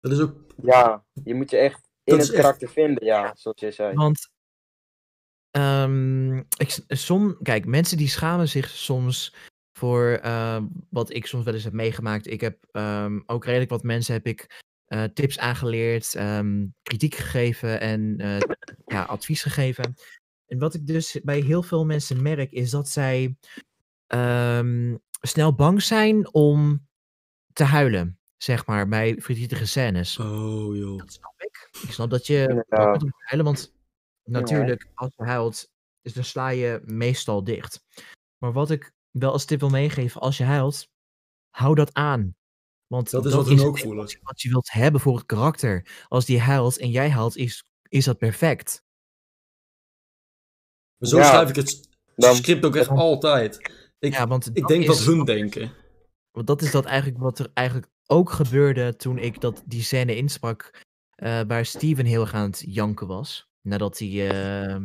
S6: Dat is ook...
S3: Ja, je moet je echt in
S6: Dat is
S3: het
S6: echt-
S3: karakter vinden, ja, zoals je zei.
S2: Want ehm, ik, s- som, kijk, mensen die schamen zich soms voor ehm, wat ik soms wel eens heb meegemaakt. Ik heb ehm, ook redelijk wat mensen heb ik eh, tips aangeleerd, ehm, kritiek gegeven en eh, ja, advies gegeven. En wat ik dus bij heel veel mensen merk, is dat zij ehm, snel bang zijn om te huilen, zeg maar, bij verdrietige scènes.
S6: Oh joh.
S2: Dat snap ik. Ik snap dat je bang
S3: Inderdaad.
S2: bent om te huilen, want natuurlijk, als je huilt, dus dan sla je meestal dicht. Maar wat ik wel als tip wil meegeven, als je huilt, hou dat aan. Want
S6: Dat is wat hun ook
S2: het
S6: voelen.
S2: emotie Wat je wilt hebben voor het karakter. Als die huilt en jij huilt, is, is dat perfect.
S6: Maar zo
S3: Ja.
S6: schrijf ik het
S3: Dan-
S6: script ook echt
S3: dan-
S6: altijd. Ik,
S2: Ja, want
S6: ik denk
S2: is,
S6: wat hun denken.
S2: Want dat is dat eigenlijk wat er eigenlijk ook gebeurde toen ik dat, die scène insprak. eh, waar Steven heel erg aan het janken was. Nadat hij, eh,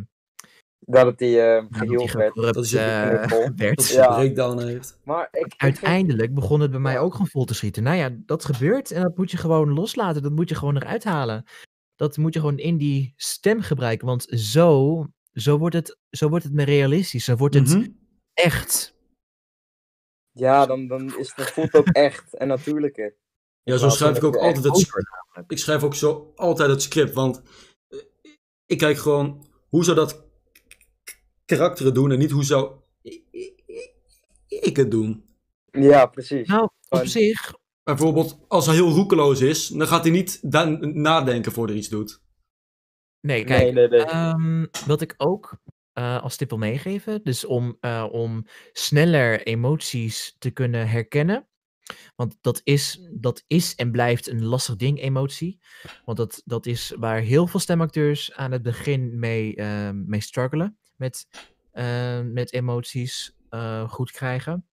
S3: Dat het die eh
S2: nadat hij
S3: geheeld werd.
S6: *laughs*
S2: gecorrupt,
S6: Dat is ook een
S2: eh,
S3: knuffel.
S2: werd.
S6: Dat ze
S3: Ja.
S6: breakdown heeft.
S3: *laughs* Maar ik, ik vind-
S2: Uiteindelijk begon het bij mij
S3: Ja.
S2: ook gewoon vol te schieten. Nou ja, dat gebeurt en dat moet je gewoon loslaten. Dat moet je gewoon eruit halen. Dat moet je gewoon in die stem gebruiken. Want zo, zo, wordt, het, zo wordt het meer realistisch. Zo wordt het
S6: Mhm.
S2: echt.
S3: ja, dan, dan is het, voelt het ook echt en natuurlijker.
S6: Ja, zo
S3: plaats
S6: schrijf ik
S3: van
S6: ook
S3: dat je
S6: altijd het
S2: over-
S6: ik schrijf ook zo altijd het script, want eh, ik kijk gewoon hoe zou dat k- karakteren doen en niet hoe zou i- i- i- ik het doen.
S3: Ja, precies.
S2: Nou, op
S3: Gewoon-
S2: zich,
S6: Bijvoorbeeld, als hij heel roekeloos is, dan gaat hij niet da- nadenken voor hij iets doet. *laughs*
S2: nee, kijk.
S3: nee, nee, nee.
S2: Ehm, wat ik ook eh, als tip wil meegeven, dus om, eh, om sneller emoties te kunnen herkennen. Want dat is, dat is en blijft een lastig ding, emotie. Want dat, dat is waar heel veel stemacteurs aan het begin mee, ehm, mee struggelen. Met, ehm, met emoties eh, goed krijgen.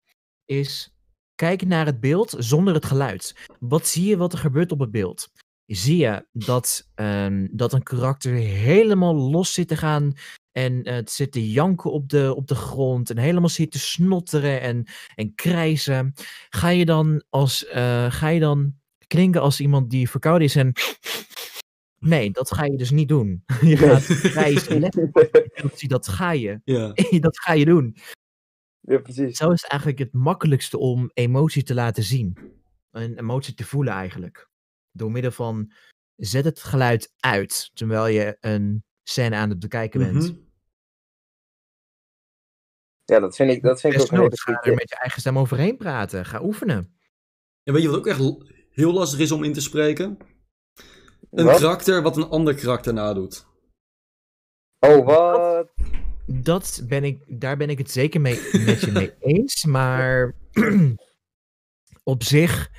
S2: Is kijk naar het beeld zonder het geluid. Wat zie je wat er gebeurt op het beeld? zie je dat, ehm, dat een karakter helemaal los zit te gaan. En eh, het zit te janken op de, op de grond. En helemaal zit te snotteren en, en krijzen. Ga je, dan als, eh, ga je dan klinken als iemand die verkouden is en... Nee, dat ga je dus niet doen. *laughs* Je gaat krijzen. Letterlijk, emotie, dat ga je. *laughs*
S6: Ja.
S2: Dat ga je doen.
S3: *laughs* Ja, precies.
S2: Zo is het eigenlijk het makkelijkste om emotie te laten zien. Een emotie te voelen eigenlijk. Door middel van zet het geluid uit terwijl je een scène aan het bekijken bent.
S6: Mhm.
S3: Ja, dat vind ik, dat vind ik ook een hele
S2: Desnoods
S3: goede
S2: ga er
S3: tip.
S2: met je eigen stem overheen praten. Ga oefenen.
S6: En weet je wat ook echt l- heel lastig is om in te spreken? Een
S3: Wat?
S6: karakter wat een ander karakter nadoet.
S3: Oh, wat?
S2: Dat ben ik, daar ben ik het zeker
S3: *laughs*
S2: mee, met je mee eens. Maar *clears throat* op zich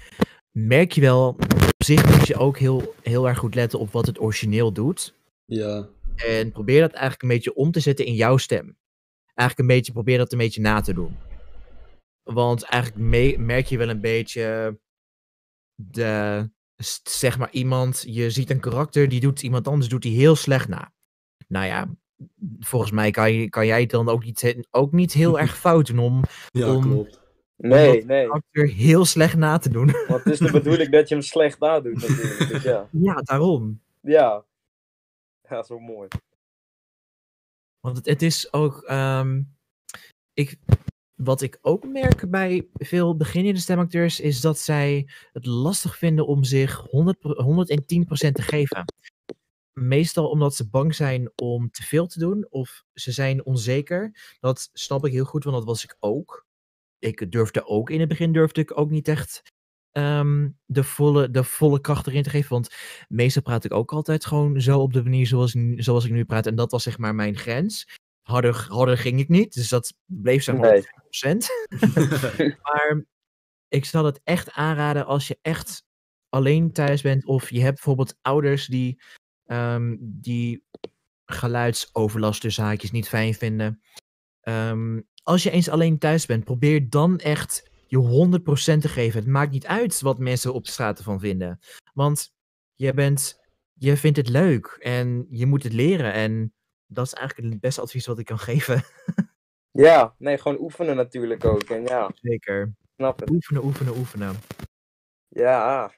S2: merk je wel, op zich moet je ook heel, heel erg goed letten op wat het origineel doet.
S6: Ja.
S2: En probeer dat eigenlijk een beetje om te zetten in jouw stem. Eigenlijk een beetje, probeer dat een beetje na te doen. Want eigenlijk me- merk je wel een beetje de, s- zeg maar iemand, je ziet een karakter, die doet iemand anders, doet die heel slecht na. Nou ja, volgens mij kan, je, kan jij het dan ook niet, he- ook niet *laughs* heel erg fout doen om
S6: Ja,
S2: Om-
S6: klopt.
S2: *laughs*
S3: Nee, nee.
S2: karakter heel slecht na te doen.
S3: Want het is de bedoeling dat je hem slecht nadoet natuurlijk. Dus ja.
S2: ja, daarom.
S3: Ja. Ja, zo mooi.
S2: Want het, het is ook. ehm, ik, wat ik ook merk bij veel beginnende stemacteurs is dat zij het lastig vinden om zich 100, pro- 110% te geven. Meestal omdat ze bang zijn om te veel te doen of ze zijn onzeker. Dat snap ik heel goed, want dat was ik ook. Ik durfde ook in het begin durfde ik ook niet echt ehm, de, volle, de volle kracht erin te geven. Want meestal praat ik ook altijd gewoon zo op de manier zoals, ik nu- zoals ik nu praat. En dat was zeg maar mijn grens. Harder, harder ging ik niet, dus dat bleef zeg maar op
S3: Nee.
S2: 20%. Maar ik zou dat echt aanraden als je echt alleen thuis bent. Of je hebt bijvoorbeeld ouders die, ehm, die geluidsoverlast dus haakjes niet fijn vinden. Ehm, als je eens alleen thuis bent, probeer dan echt je 100% te geven. Het maakt niet uit wat mensen op straat ervan vinden. Want je bent, je vindt het leuk en je moet het leren. En dat is eigenlijk het beste advies wat ik kan *laughs* geven.
S3: Ja, nee, gewoon oefenen natuurlijk ook. En ja,
S2: Zeker.
S3: snap het.
S2: Oefenen, oefenen, oefenen.
S3: Ja,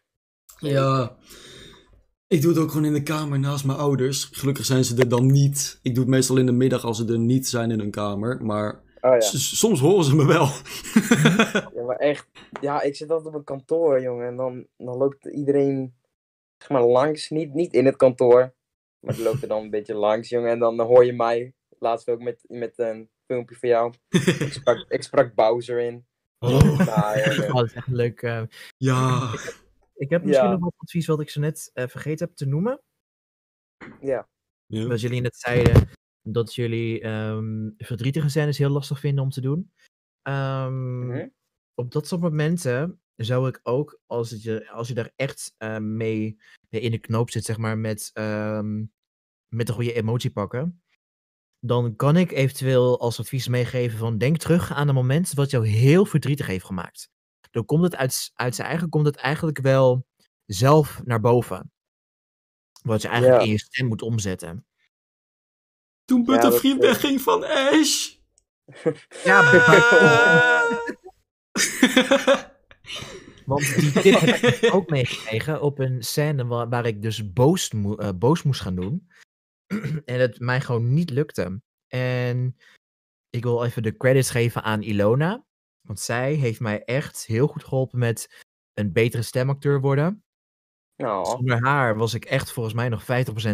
S6: Ja. Ik doe het ook gewoon in de kamer naast mijn ouders. Gelukkig zijn ze er dan niet. Ik doe het meestal in de middag als ze er niet zijn in hun kamer. Maar
S3: oh ja.
S6: s- soms horen ze me wel.
S3: ja, maar echt. Ja, ik zit altijd op een kantoor, jongen. En dan, dan loopt iedereen zeg maar, langs. Niet, niet in het kantoor, maar die loopt er dan een beetje langs, jongen. En dan hoor je mij. Laatst ook met, met een filmpje van jou. Ik sprak, ik sprak Bowser in.
S6: Oh,
S3: Nou,
S2: *laughs*
S3: jongen.
S2: Oh, dat is echt een leuk. eh,
S6: *laughs* ja.
S2: ik heb misschien
S3: Ja.
S2: nog wat advies wat ik zo net eh, vergeten heb te noemen.
S6: Ja.
S2: Wat jullie net zeiden, dat jullie ehm, verdrietige scènes heel lastig vinden om te doen. Ehm,
S3: Mhm.
S2: Op dat soort momenten zou ik ook, als het je, als je daar echt eh, mee mee in de knoop zit, zeg maar, met, ehm, met een goede emotie pakken. Dan kan ik eventueel als advies meegeven van denk terug aan een moment wat jou heel verdrietig heeft gemaakt. Dan komt het uit, s- uit zijn eigen, komt het eigenlijk wel zelf naar boven. Wat je eigenlijk
S3: Ja.
S2: in je stem moet omzetten.
S6: Toen
S3: Butter dat-
S6: vriend
S3: Vriend
S6: wegging van Ash. Ah.
S2: Ja,
S1: *laughs*
S2: want die tip heb ik ook meegekregen op een scène waar, waar ik dus boos, moe- eh, boos moest gaan doen. *clears throat* en het mij gewoon niet lukte. En ik wil even de credits geven aan Ilona. Want zij heeft mij echt heel goed geholpen met een betere stemacteur worden.
S3: Nou,
S2: Zonder haar was ik echt volgens mij nog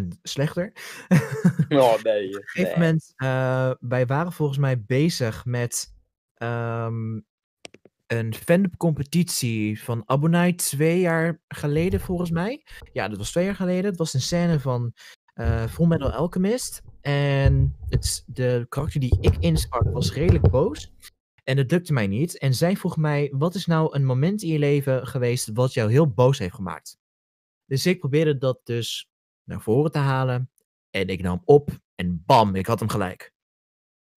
S2: 50% slechter. *laughs*
S3: oh, nee.
S2: Op een gegeven
S3: nee.
S2: moment, eh, wij waren volgens mij bezig met ehm, een fan-up competitie van Abonai twee jaar geleden volgens mij. Ja, dat was twee jaar geleden. Het was een scène van eh Full Metal Alchemist. En het, s- de karakter die ik insprak was redelijk boos. En het lukte mij niet. En zij vroeg mij, wat is nou een moment in je leven geweest wat jou heel boos heeft gemaakt? Dus ik probeerde dat dus naar voren te halen. En ik nam op en bam, ik had hem gelijk.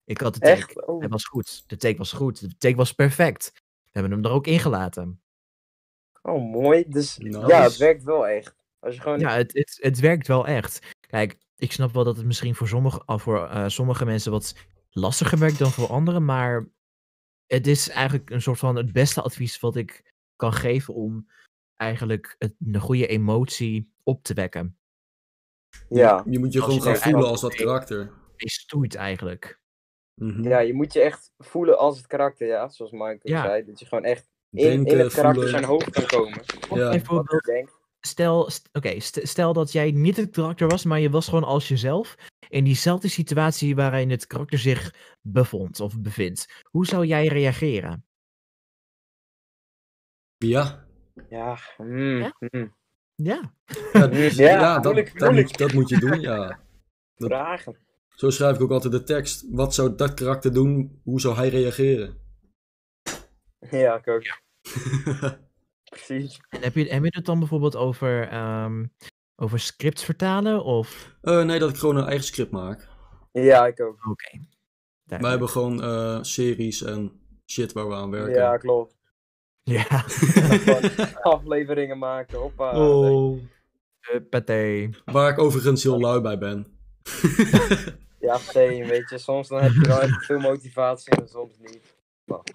S2: Ik had het
S3: Echt? Oh,
S2: hij was goed. De take was goed. De take was perfect. We hebben hem er ook ingelaten.
S3: oh, mooi. Dus
S6: Nice.
S3: ja, het werkt wel echt. Als je gewoon...
S2: Ja, het, het, het werkt wel echt. Kijk, ik snap wel dat het misschien voor sommige, ah, voor, eh, sommige mensen wat lastiger werkt dan voor anderen. Maar het is eigenlijk een soort van het beste advies wat ik kan geven om eigenlijk het, een goede emotie op te wekken.
S3: Ja.
S6: *laughs* Je moet je
S2: Als
S6: gewoon
S2: je
S6: gaan
S2: er
S6: voelen
S2: echt-
S6: als dat karakter.
S2: Hij stoeit eigenlijk.
S6: Mhm.
S3: ja, je moet je echt voelen als het karakter, ja. Zoals Michael
S2: Ja.
S3: zei. Dat je gewoon echt in, in
S6: Denken,
S3: het karakter
S6: voelen.
S3: zijn hoofd kan komen.
S6: Ja.
S3: Wat
S2: Bijvoorbeeld
S3: ik denk.
S2: stel, st- oké, st- stel dat jij niet het karakter was, maar je was gewoon als jezelf. In diezelfde situatie waarin het karakter zich bevond of bevindt. Hoe zou jij reageren?
S6: Ja.
S3: Ja, mm,
S7: Ja?
S3: mm.
S2: Ja.
S6: Ja,
S1: Ja, dus-
S3: Ja,
S1: ja, dat, dat,
S3: moeilijk, moeilijk.
S1: moet, dat moet je doen, ja. Dat-
S3: Vragen. *laughs*
S1: Zo schrijf ik ook altijd de tekst. Wat zou dat karakter doen? Hoe zou hij reageren?
S3: *laughs* Ja, ik ook. Precies.
S2: En heb je, heb je het dan bijvoorbeeld over, ehm, over scripts vertalen? Of...
S1: Eh, nee, dat ik gewoon een eigen script maak.
S3: Ja, ik ook.
S2: Oké.
S1: Wij
S2: duidelijk.
S1: hebben gewoon eh, series en shit waar we aan werken.
S3: Ja, klopt.
S2: Ja,
S1: *laughs*
S3: Gewoon *laughs* afleveringen maken. Hoppa.
S1: oh.
S2: eh,
S3: *laughs*
S2: paté.
S1: Waar ik overigens heel lui bij ben.
S3: Ja, same, weet je. Soms dan heb je wel echt veel motivatie en soms niet.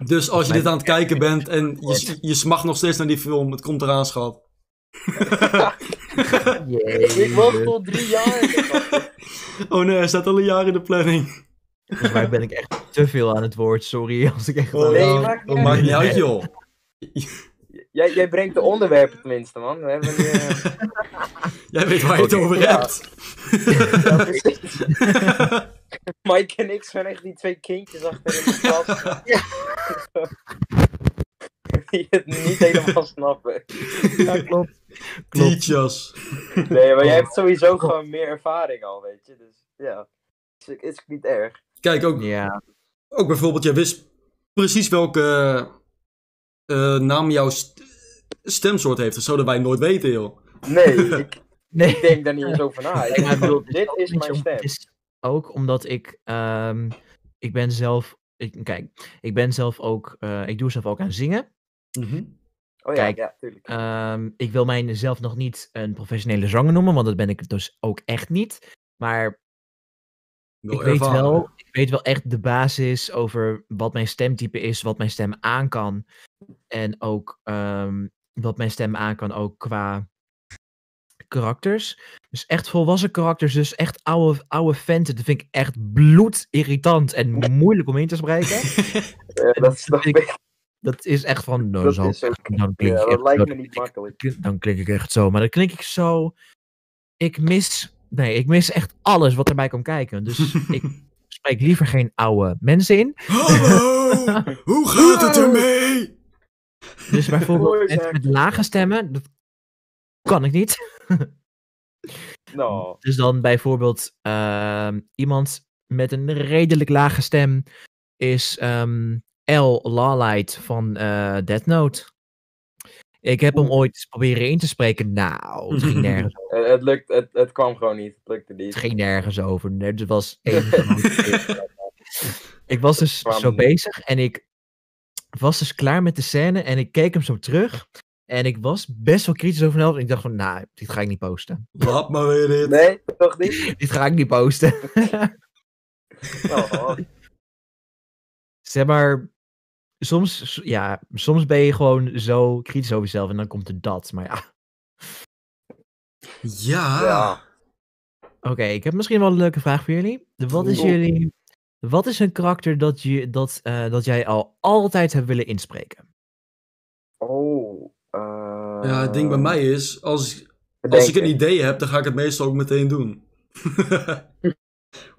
S1: Dus als je dit aan het
S3: *laughs*
S1: kijken bent en je, je smacht nog steeds naar die film, het komt eraan, schat.
S3: Ik wacht tot drie jaar.
S1: oh nee, hij staat al een jaar in de planning.
S2: Volgens mij ben ik echt te veel aan het woord. Sorry *laughs* als ik echt...
S1: Oh,
S3: *laughs* Nee,
S1: nou,
S3: maakt niet
S1: oh,
S3: uit.
S1: maakt niet uit, joh.
S3: *laughs* Jij, jij brengt de onderwerpen tenminste, man. We hebben nu... eh,
S1: Jij weet waar je het over
S3: ja.
S1: hebt.
S3: ja, precies. *laughs* Mike en ik zijn echt die twee kindjes achter in de klas. *laughs* Die het niet helemaal snappen.
S2: Ja, klopt. Klopt.
S1: Teachers.
S3: Nee, maar jij hebt sowieso gewoon meer ervaring al, weet je. Dus ja, is, is niet erg.
S1: Kijk, ook,
S2: Ja,
S1: ook bijvoorbeeld, jij wist precies welke eh, naam jouw st- stemsoort heeft. Dat zouden wij nooit weten, joh.
S2: *laughs*
S3: Nee, ik,
S2: nee.
S3: ik denk daar niet eens over na. Ik
S2: Ja, ik *laughs* bedoel,
S3: denk, dit is
S2: Weet je,
S3: mijn
S2: om-
S3: stem.
S2: het is ook omdat ik, ehm, ik ben zelf, ik, kijk, ik ben zelf ook, eh, ik doe zelf ook aan zingen.
S3: Oh ja,
S2: Kijk.
S3: ja, tuurlijk.
S2: Ehm, ik wil mijzelf nog niet een professionele zanger noemen, want dat ben ik dus ook echt niet. Maar ik weet,
S1: ervaren.
S2: wel, ik weet wel echt de basis over wat mijn stemtype is, wat mijn stem aan kan. En ook ehm, wat mijn stem aan kan ook qua karakters. Dus echt volwassen karakters, dus echt oude, oude venten. Dat vind ik echt bloedirritant en moeilijk om in te spreken.
S3: Ja, *laughs* Eh, dat snap
S2: ik-
S3: ik.
S2: Dat is echt van, nou,
S3: *laughs* Dat
S2: zo-
S3: is ook-
S2: dan klink
S3: Ja,
S2: ik
S3: dat
S2: echt
S3: lijkt
S2: zo,
S3: me niet makkelijk.
S2: klink- dan klink ik echt zo. Maar dan klink ik zo. Ik mis. Nee, ik mis echt alles wat erbij komt kijken.
S3: *laughs*
S2: Dus ik spreek liever geen oude mensen in.
S1: *laughs* Hallo! Hoe gaat het ermee?
S2: Dus
S3: Mooi
S2: bijvoorbeeld mensen
S3: zeg.
S2: met lage stemmen, dat kan ik niet.
S3: Nou,
S2: Dus dan bijvoorbeeld ehm, iemand met een redelijk lage stem is ehm L. Lalight van eh Death Note. Ik heb hem ooit proberen in te spreken. Nou, het ging nergens
S3: het, eh, het lukt, het, het kwam gewoon niet. Het lukte niet.
S2: Het ging nergens over. Nee, Het was één grote- Ik was dus
S3: kwam
S2: zo
S3: niet.
S2: bezig en ik was dus klaar met de scène en ik keek hem zo terug. En ik was best wel kritisch over mezelf. En ik dacht van, nou, dit ga ik niet posten. *laughs*
S1: Laat maar weer dit.
S3: Nee, toch niet?
S2: Dit ga ik niet posten. *laughs*
S3: Nou,
S2: zeg maar, soms, s- ja, soms ben je gewoon zo kritisch over jezelf en dan komt er dat. Maar ja, *laughs*
S1: Ja.
S3: ja.
S2: oké, ik heb misschien wel een leuke vraag voor jullie. Wat is
S3: Oeh.
S2: jullie, wat is een karakter dat, je, dat, eh, dat jij al altijd hebt willen inspreken?
S3: Oh. eh,
S1: Ja, het ding bij mij is, als, als
S3: bedenken.
S1: ik een idee heb, dan ga ik het meestal ook meteen doen. *laughs*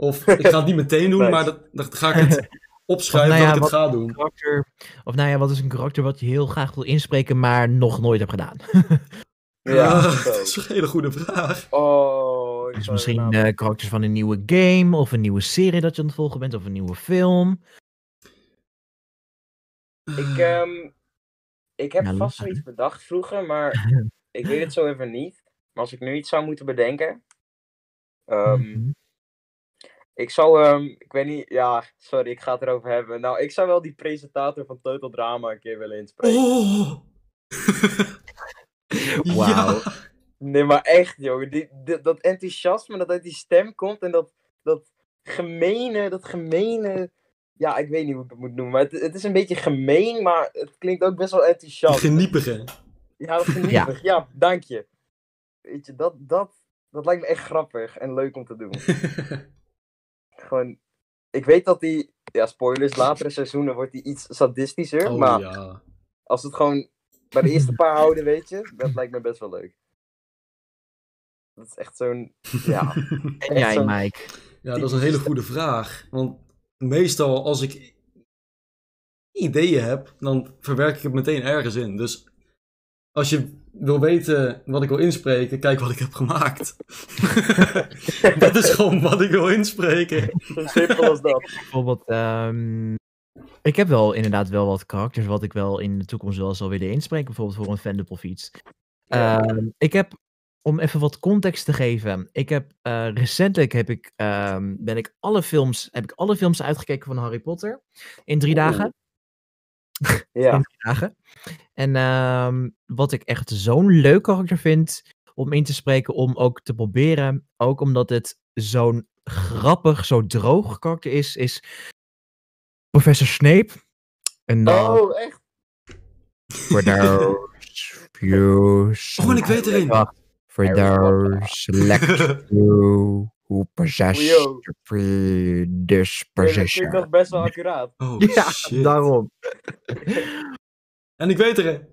S1: of ik ga het niet meteen doen,
S3: Nice.
S1: maar dat, dan ga ik
S2: *laughs*
S1: het opschrijven
S2: Of nou
S1: dat ik
S2: ja,
S1: het ga doen.
S2: karakter. Of nou ja, wat is een karakter wat je heel graag wil inspreken, maar nog nooit hebt gedaan?
S1: *laughs*
S3: Ja,
S1: Ah,
S3: zo.
S1: dat is een hele goede vraag.
S3: Oh. ik
S2: Dus
S3: zou
S2: misschien
S3: inderdaad-
S2: eh, karakters van een nieuwe game, of een nieuwe serie dat je aan het volgen bent, of een nieuwe film.
S3: Ik, ehm, ik heb
S2: eh, Ja,
S3: vast
S2: laat.
S3: zoiets bedacht vroeger, maar
S2: *laughs*
S3: ik weet het zo even niet. Maar als ik nu iets zou moeten bedenken. ehm,
S2: Mhm.
S3: Ik zou, ehm, ik weet niet, ja, sorry, ik ga het erover hebben. Nou, ik zou wel die presentator van Total Drama een keer willen inspreken.
S1: Oh!
S6: *laughs*
S2: Wauw.
S1: Ja.
S3: Nee, maar echt, jongen. Die, dat- dat enthousiasme dat uit die stem komt en dat, dat gemene, dat gemene. Ja, ik weet niet hoe ik dat moet noemen, maar het, het is een beetje gemeen, maar het klinkt ook best wel
S1: *laughs*
S3: enthousiast.
S1: Geniepige.
S3: Ja, dat geniepig. Ja. dank je. Weet je, dat, dat, dat lijkt me echt grappig en leuk om te
S1: *laughs*
S3: doen. Gewoon, ik weet dat die, ja, spoilers, latere seizoenen wordt die iets sadistischer,
S1: Oh
S3: maar
S1: ja.
S3: als we het gewoon bij de eerste paar houden, weet je, dat lijkt me best wel leuk. Dat is echt zo'n, ja.
S2: En jij,
S3: zo'n-
S2: Mike.
S1: Ja, dat is een hele goede vraag. Want meestal als ik ideeën heb, dan verwerk ik het meteen ergens in. Dus als je
S6: wil weten wat ik wil inspreken, kijk wat ik heb gemaakt. *laughs* dat is gewoon wat ik wil inspreken.
S3: Zo simpel
S2: *laughs*
S3: als dat.
S2: Bijvoorbeeld, ehm, ik heb wel inderdaad wel wat karakters wat ik wel in de toekomst wel zou willen inspreken. Bijvoorbeeld voor een fandubbel fiets. Ehm, ik heb, om even wat context te geven. Ik heb, eh, recentelijk heb ik, ehm, ben ik alle films, heb ik alle films uitgekeken van Harry Potter. In drie dagen.
S3: Ja.
S2: in drie dagen. En ehm, wat ik echt zo'n leuk karakter vind om in te spreken, om ook te proberen, ook omdat het zo'n grappig, zo droog karakter is, is Professor Snape. En dan
S3: Oh, echt?
S2: *laughs* for those you
S6: Oh, en ik weet erin.
S2: Wacht, for those
S6: *laughs*
S2: like you who possess
S3: Yo.
S2: the
S3: Nee, dat klinkt
S2: predisposition.
S3: toch best wel accuraat.
S6: Oh
S2: *laughs*
S6: *laughs*
S2: Ja,
S6: shit.
S2: daarom.
S6: En ik weet er een.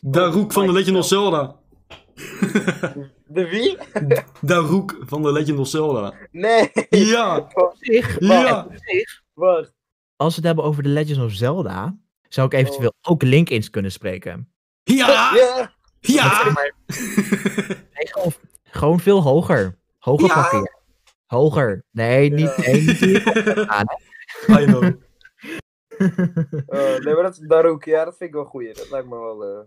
S6: Daroek van de Legend of Zelda.
S3: De wie?
S6: Daroek van de Legend of Zelda.
S3: Nee, *laughs*
S6: Ja, ja.
S3: wacht.
S2: als we het hebben over The Legends of Zelda, zou ik eventueel
S6: Oh.
S2: ook Link eens kunnen spreken.
S1: Ah!
S6: Ja,
S3: *laughs*
S6: ja.
S3: Ja. *laughs*
S2: Nee, gewoon, gewoon veel hoger. Hoger
S6: Ja.
S2: pakken. ja. Hoger. Nee, niet.
S3: Ja.
S1: *laughs*
S2: Nee, niet hier.
S6: I know.
S3: Eh, nee, maar dat is Darouk. Ja, dat vind ik wel goed. Dat lijkt me wel, eh,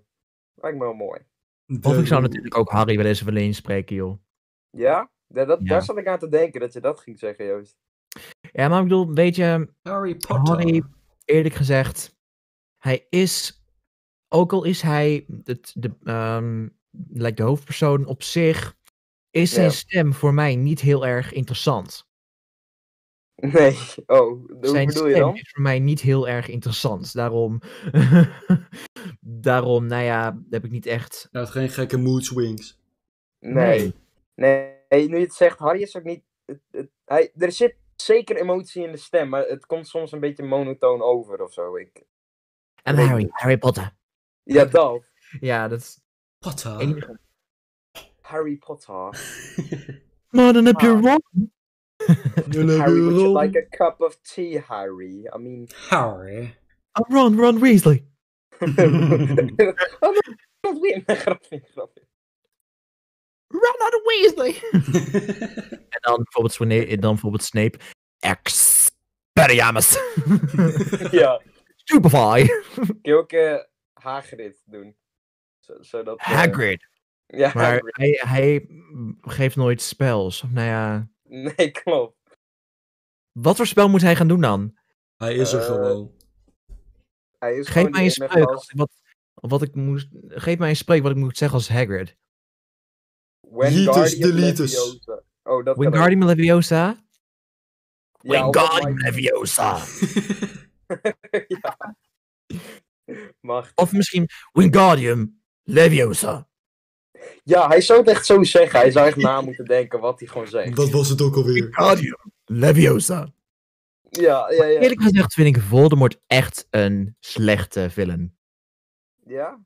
S3: lijkt me wel mooi.
S2: Of ik zou
S6: Daroek.
S2: natuurlijk ook Harry wel eens willen inspreken, joh.
S3: Ja? Ja, dat,
S2: Ja.
S3: Daar zat ik aan te denken dat je dat ging zeggen, Joost. *laughs*
S2: Ja, maar ik bedoel, weet je,
S6: Harry Potter. Nou,
S2: Harry, eerlijk gezegd, hij is, ook al is hij het, de, ehm, like de hoofdpersoon op zich, is zijn
S3: Ja.
S2: stem voor mij niet heel erg interessant.
S3: Nee. Oh, hoe
S2: zijn
S3: bedoel
S2: stem
S3: je dan?
S2: is voor mij niet heel erg interessant. Daarom, *laughs* daarom, nou ja, heb ik niet echt.
S6: Hij heeft geen gekke mood swings.
S3: Nee. Nee, nee, nu je het zegt, Harry is ook niet... het- het- hij, er zit zeker emotie in de stem, maar het komt soms een beetje monotoon over of zo. Ik,
S2: En
S3: Nee.
S2: Harry, Harry Potter.
S3: ja, dat.
S2: Ja, dat is
S6: Potter.
S1: Ah.
S2: het enige.
S3: Harry Potter.
S2: Maar dan heb
S3: je Maar- *laughs*
S2: Ron.
S3: Ah. Harry, would you like a cup of tea, Harry? I
S2: *laughs*
S3: mean...
S6: Harry.
S2: Oh, Ron, Ron Weasley.
S3: Oh, dat is weer een grapje, grapje.
S2: Ron out of Weasley. *laughs* En dan bijvoorbeeld, Swane- dan bijvoorbeeld Snape. Ex. *laughs* Periamus.
S3: Ja.
S2: Stupefy.
S3: *laughs* Kun je ook eh, Hagrid doen? Zo- zodat, eh,
S2: Hagrid.
S3: Ja,
S2: Maar
S3: Hagrid.
S2: hij, hij mm, geeft nooit spels. Nou ja.
S3: Nee, klopt.
S2: Wat voor spel moet hij gaan doen dan?
S6: Hij is er
S3: Eh,
S6: gewoon.
S3: Hij is
S2: Geef
S3: gewoon
S2: mij
S3: die
S2: een
S3: ene
S2: spreuk
S3: gast.
S2: als- wat, wat ik moest. Geef mij een spreuk wat ik moet zeggen als Hagrid.
S3: Wingardium
S6: Letus de Letus.
S3: Leviosa. Oh, dat kan ook.
S2: Wingardium Leviosa.
S3: Ja, of
S2: Wingardium
S3: Mike-
S2: Leviosa.
S3: Mag.
S2: Of misschien Wingardium Leviosa.
S3: Ja, hij zou het echt zo zeggen. Hij zou echt
S6: *laughs*
S3: na moeten denken wat hij gewoon
S6: *laughs*
S3: zegt.
S6: Dat was het ook
S2: *laughs*
S6: alweer.
S2: Wingardium Leviosa.
S3: Ja, ja, ja.
S2: Eerlijk gezegd vind ik Voldemort echt een slechte villain.
S3: Ja?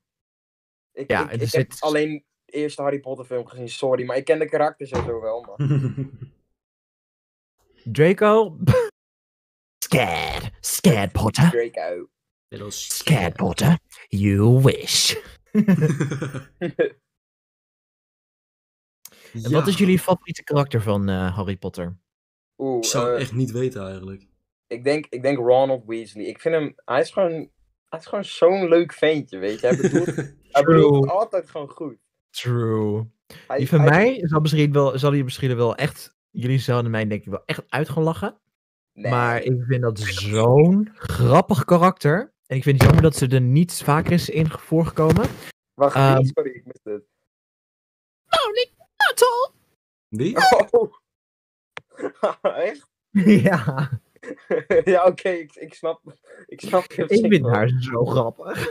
S3: Ik,
S2: Ja,
S3: ik,
S2: er
S3: ik heb
S2: zit-
S3: alleen de eerste Harry Potter film gezien, sorry. Maar ik ken de karakters en zo wel,
S2: Hm.
S3: man.
S2: Draco. Scared. Scared Potter.
S3: Draco.
S6: Little s- *laughs*
S2: Scared Potter. You wish. En wat is
S6: Ja,
S2: jullie favoriete karakter van eh, Harry Potter?
S3: Oeh,
S6: Ik zou het
S3: eh,
S6: echt niet weten eigenlijk.
S3: ik, denk, ik denk Ronald Weasley. Ik vind hem... Hij is gewoon... Hij is gewoon zo'n leuk ventje, weet je. Hij
S6: *laughs*
S3: bedoelt, hij bedoelt het altijd gewoon goed.
S2: True.
S3: Hij,
S2: Die van
S3: hij-
S2: mij zal misschien wel, zal je misschien wel echt, jullie zouden mij denk ik wel echt uit gaan lachen.
S3: Nee.
S2: Maar ik vind dat zo'n grappig karakter. En ik vind het jammer dat ze er niet vaker is in voorgekomen.
S3: Wacht,
S2: ehm,
S3: wie? *laughs* sorry, ik miste het.
S6: Wie?
S3: Oh. *laughs* Echt? *laughs*
S2: *laughs* Ja,
S3: ja, oké, ik, ik snap. Ik snap je
S2: ik
S3: vind
S2: vind haar zo grappig.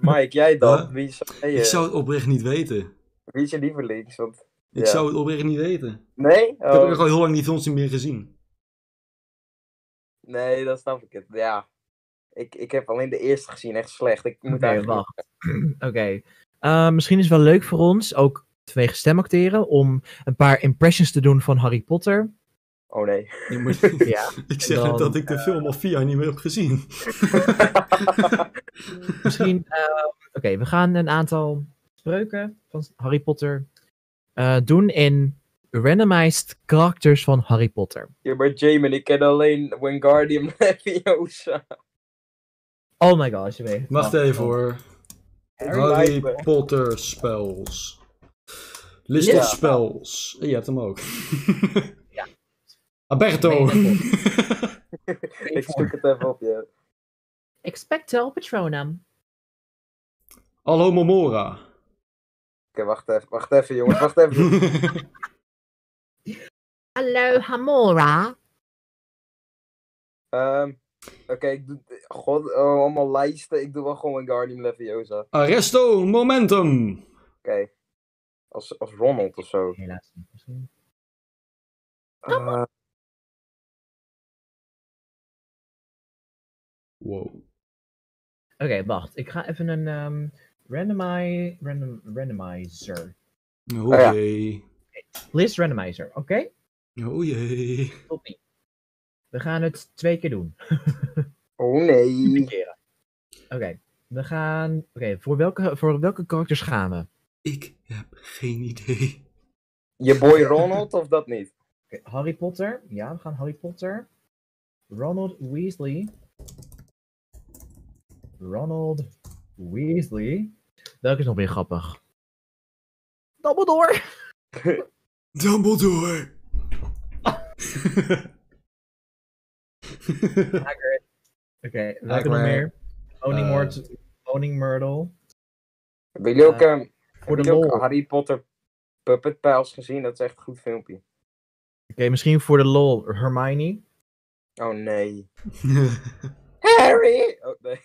S3: Mike, jij dan?
S6: Huh?
S3: Wie, zou jij,
S6: Ik
S3: eh,
S6: zou het oprecht niet weten.
S3: wie is je lievelings? Want...
S6: Ik
S3: Ja.
S6: zou het oprecht niet weten.
S3: Nee?
S6: Ik heb
S3: Oh,
S6: ook al heel lang die films niet meer gezien.
S3: Nee, dan snap ik het. Ja. Ik, ik heb alleen de eerste gezien, echt slecht. Ik moet
S2: Oké,
S3: eigenlijk...
S2: wacht. *clears throat* Oké. Eh, misschien is het wel leuk voor ons, ook vanwege stemacteren, om een paar impressions te doen van Harry Potter.
S3: Oh nee.
S2: Je
S1: *laughs*
S2: moet, ja,
S1: Ik zeg
S2: Dan,
S1: net dat ik de film al vier jaar niet meer heb gezien.
S2: misschien. ehm, Oké, we gaan een aantal spreuken van Harry Potter eh, doen in randomized characters van Harry Potter.
S3: Ja, maar Jamin, ik ken alleen Wingardium *laughs* Leviosa.
S2: Oh my god, je weet.
S1: Wacht
S2: Nou,
S1: even hoor. Harry
S3: Lijpen.
S1: Potter spells. List
S3: Ja.
S1: of spells. Je hebt hem *laughs* ook.
S2: Ja.
S1: Alberto!
S2: Nee,
S1: *laughs*
S3: Ik zoek het even op, ja.
S8: Expecto Patronum.
S1: Hallo Momora. *laughs*
S3: Oké, wacht even, wacht even jongens, wacht
S6: *laughs*
S3: even.
S8: Hallo Hamora.
S3: Ehm, Oké, ik doe... God, oh, allemaal lijsten. Ik doe wel gewoon Wingardium Leviosa. Oké,
S1: Arresto momentum!
S3: als, als Ronald of zo.
S2: Helaas niet. misschien.
S3: Eh,
S1: Wow.
S2: Oké, wacht. Ik ga even een ehm randomi random, randomizer.
S1: Oh
S3: Ah, ja.
S1: jee.
S2: List randomizer, oké?
S1: Oh jee.
S2: Tot niet. We gaan het twee keer doen.
S3: oh nee.
S2: Keren. Oké, we gaan. Oké, voor, welke, voor welke karakters gaan we?
S1: Ik heb geen idee.
S3: Je boy Ronald of dat *laughs* niet?
S2: Oké, Harry Potter. Ja, we gaan Harry Potter. Ronald Weasley. Ronald Weasley. Welke is nog weer grappig? Dumbledore.
S1: Dumbledore!
S2: Hagrid. Oké, welke nog
S1: Hagrid.
S2: meer? Owning,
S1: Eh.
S2: Murt- Owning Myrtle.
S3: Hebben jullie ook,
S2: Eh,
S3: ehm,
S2: Voor de
S3: hebben jullie ook
S2: lol. Oké,
S3: Harry Potter Puppet Pals gezien? Dat is echt een goed filmpje.
S2: misschien voor de lol. Hermione.
S3: Oh nee. Harry! Oh nee.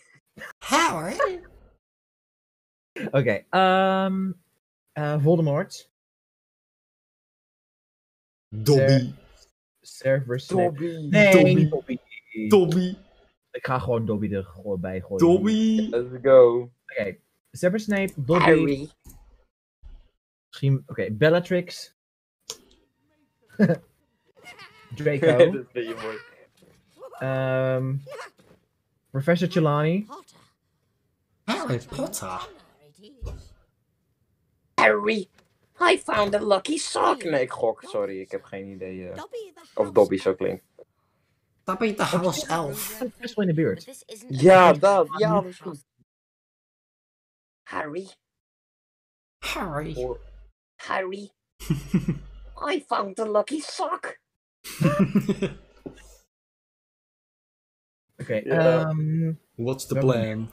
S2: Oké, ehm, eh, Voldemort.
S1: Dobby.
S2: Cerberus. Snape.
S3: Dobby.
S2: Nee,
S1: Dobby.
S2: niet Dobby.
S1: Dobby.
S2: Ik ga gewoon Dobby er gewoon bij gooien.
S1: Dobby.
S3: Let's go.
S2: Oké, Severus Snape, Dobby.
S3: Harry.
S2: Misschien, oké, Bellatrix.
S3: *laughs*
S2: Draco.
S3: dat ben je mooi.
S2: ehm, Professor Trelawney.
S1: Harry Potter.
S3: Harry. I found a lucky sock. Nee, ik gok. Sorry, ik heb geen idee. eh, of Dobby zo klinkt.
S1: Dobby de house elf.
S2: Dat is Best wel in de buurt.
S3: Ja, dat. Ja, dat is goed. Harry.
S1: Harry.
S3: Harry. I found a lucky sock.
S2: Oké,
S3: Ja.
S2: ehm, oké,
S1: *laughs* What's the plan?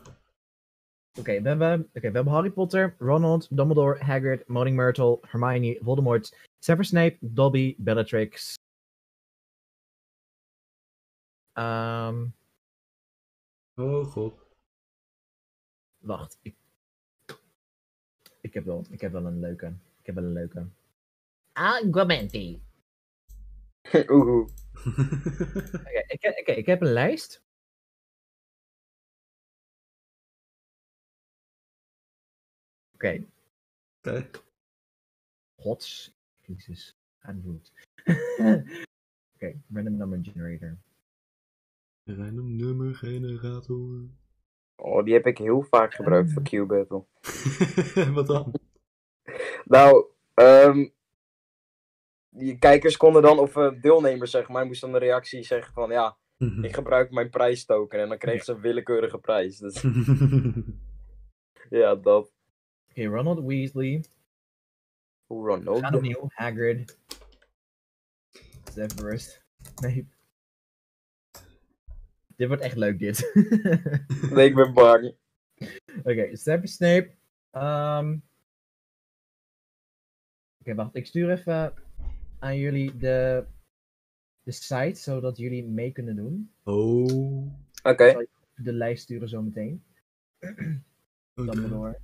S2: we, hebben, oké, we hebben Harry Potter, Ronald, Dumbledore, Hagrid, Moaning Myrtle, Hermione, Voldemort, Severus Snape, Dobby, Bellatrix. Ehm,
S1: Oh god. *laughs*
S2: wacht. Ik, ik, heb wel, ik heb wel een leuke. Ik heb wel een leuke.
S8: Aguamenti.
S3: *laughs* Oeh.
S2: Oké, ik, heb- oké, ik heb een lijst. Oké,
S1: Oké.
S2: gods. Jezus, ga niet *laughs* goed. Oké, random number generator.
S1: Random nummer generator. *laughs*
S3: Oh, die heb ik heel vaak gebruikt voor Q-Battle.
S1: Wat dan? *laughs*
S3: Nou, ehm die kijkers konden dan, of eh, deelnemers zeg maar, moesten dan de reactie zeggen van ja, ik gebruik mijn prijstoken. En dan kregen ze een willekeurige prijs. Dus ja, dat.
S2: Oké, Ronald Weasley. We gaan
S3: Ronald.
S2: opnieuw. Hagrid. Severus. Nee. Dit wordt echt leuk, dit. *laughs*
S3: Nee, ik ben bang.
S2: Oké, Severus Snape. Ehm, Oké, wacht. Ik stuur even aan jullie de, de site, zodat jullie mee kunnen doen.
S1: oh.
S3: Oké.
S2: De lijst sturen zometeen.
S1: Dumbledore.
S2: Dumbledore.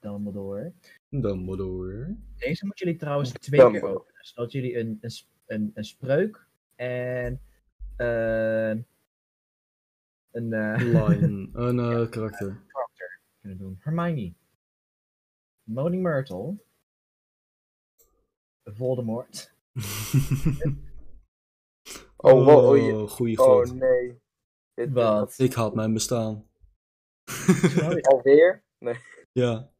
S2: Dumbledore.
S1: Dumbledore.
S2: Deze moeten jullie trouwens twee keer
S3: Dumbledore.
S2: openen, zodat jullie een, een, s- een, een spreuk en eh, een *laughs* eh,
S1: *laughs* Line. Een eh, karakter.
S2: character kunnen doen. Hermione. Moaning Myrtle. Voldemort.
S3: Oh, wow, oh, je-
S1: goeie
S3: oh
S1: god.
S3: nee. Dit
S2: Wat?
S1: Ik haat mijn bestaan.
S3: alweer? Nee.
S1: *laughs* Ja.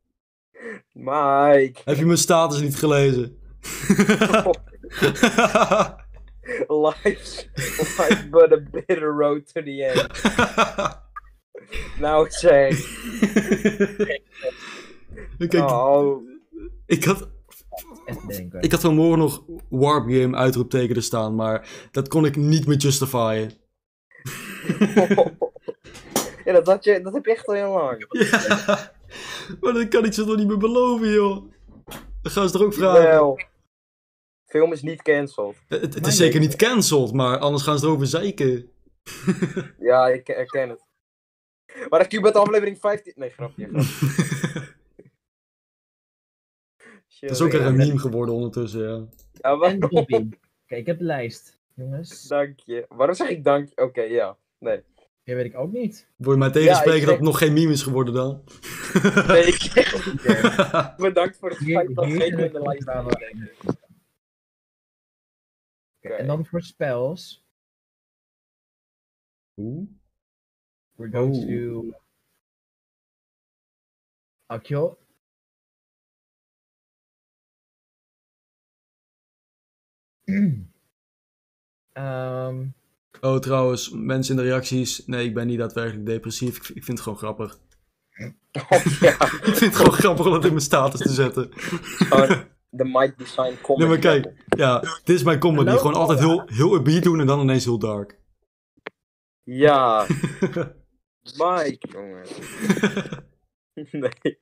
S3: Mike, *laughs*
S1: Heb je mijn status niet gelezen?
S3: life's, life's but a bitter road to the end. Nou, zeg.
S1: Kijk,
S3: Oh,
S1: ik had...
S2: Echt denken.
S1: Ik had vanmorgen nog Warp Game uitroepteken er staan, maar dat kon ik niet meer justifyen.
S3: *laughs* ja, dat, had je, dat heb je echt al heel lang.
S1: Ja, maar dan kan ik ze toch niet meer beloven, joh. Dan gaan ze toch ook vragen.
S3: Wel. Film is niet cancelled.
S1: Het, het
S2: Mijn
S1: is zeker
S2: leven.
S1: niet cancelled, maar anders gaan ze erover zeiken.
S3: Ja, ik herken het. Maar dat Cubert aflevering 15... Nee, grapje. grapje.
S1: Dat is ook
S3: Shit.
S1: echt een meme geworden ondertussen, ja.
S3: Ja,
S2: En
S3: waarom?
S2: Bobby. Kijk, ik heb de lijst. Jongens,
S3: Dank je. Waarom zeg ik dank je? Oké, ja.
S2: dat weet ik ook niet.
S1: Wil je mij tegenspreken
S3: Ja, ik
S1: dat
S3: denk-
S1: het nog geen meme is geworden dan? *laughs*
S3: Nee, ik zeg bedankt voor het
S2: Hier-
S3: feit dat
S2: hier
S3: geen
S2: zijn
S3: in de
S2: het
S3: lijst
S2: wel.
S3: staan. Oké. *laughs*
S2: En dan voor spells.
S1: Oeh.
S2: We're going
S1: Oh.
S2: to... Akio. *clears throat* Um, Ehm,
S1: Oh, trouwens, mensen in de reacties. Nee, ik ben niet daadwerkelijk depressief. Ik, ik vind het gewoon grappig. *laughs*
S3: Oh, ja.
S1: Ik vind het gewoon grappig om dat in mijn status te zetten.
S3: *laughs* Oh, de mic design comment.
S1: Nee, maar kijk. Ja, dit is mijn comedy.
S2: Hallo?
S1: Gewoon altijd heel, heel upbeat doen en dan ineens heel dark. *laughs*
S3: Ja, Mike, jongen. *laughs* Nee.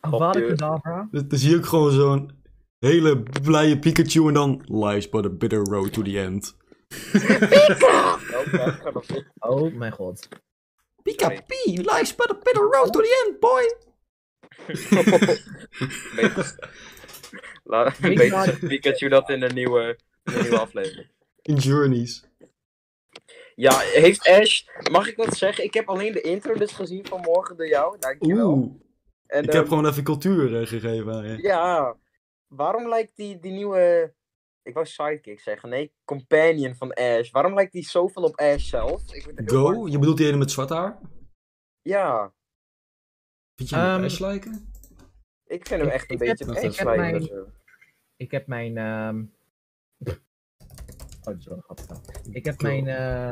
S2: Avada Kedavra.
S1: Dus Dan zie ik gewoon zo'n hele blije Pikachu en dan... Lies but a bitter road to the end.
S3: Oké, ik ga nog even-
S2: Oh mijn god.
S3: Pika
S1: Pie, lies but a bitter road to the end, boy.
S3: *laughs* Beter- Laat- Beter zegt Pikachu dat in de nieuwe, in de nieuwe aflevering.
S1: In Journeys.
S3: Ja, heeft Ash... Mag ik wat zeggen? Ik heb alleen de intro dus gezien vanmorgen door jou. Dankjewel.
S1: Oeh,
S3: en,
S1: ik heb
S3: ehm,
S1: gewoon even cultuur eh, gegeven aan je.
S3: *laughs* Ja, waarom lijkt die, die nieuwe... Ik wou sidekick zeggen. Nee, companion van Ash. Waarom lijkt die zoveel op Ash zelf? Ik word er heel bang
S1: Go,
S3: van.
S1: je bedoelt die ene met zwart haar?
S3: Ja,
S1: Vind je hem
S2: Ehm,
S1: um, Ash lijken?
S3: ik vind hem
S2: Ik-
S3: echt een
S2: ik heb-
S3: beetje op
S1: ik
S3: Ash
S1: heb
S3: lijken.
S2: mijn-
S3: of zo.
S2: Ik heb mijn. ehm, Oh, dat is wel een grappig verhaal. Ik heb mijn. eh,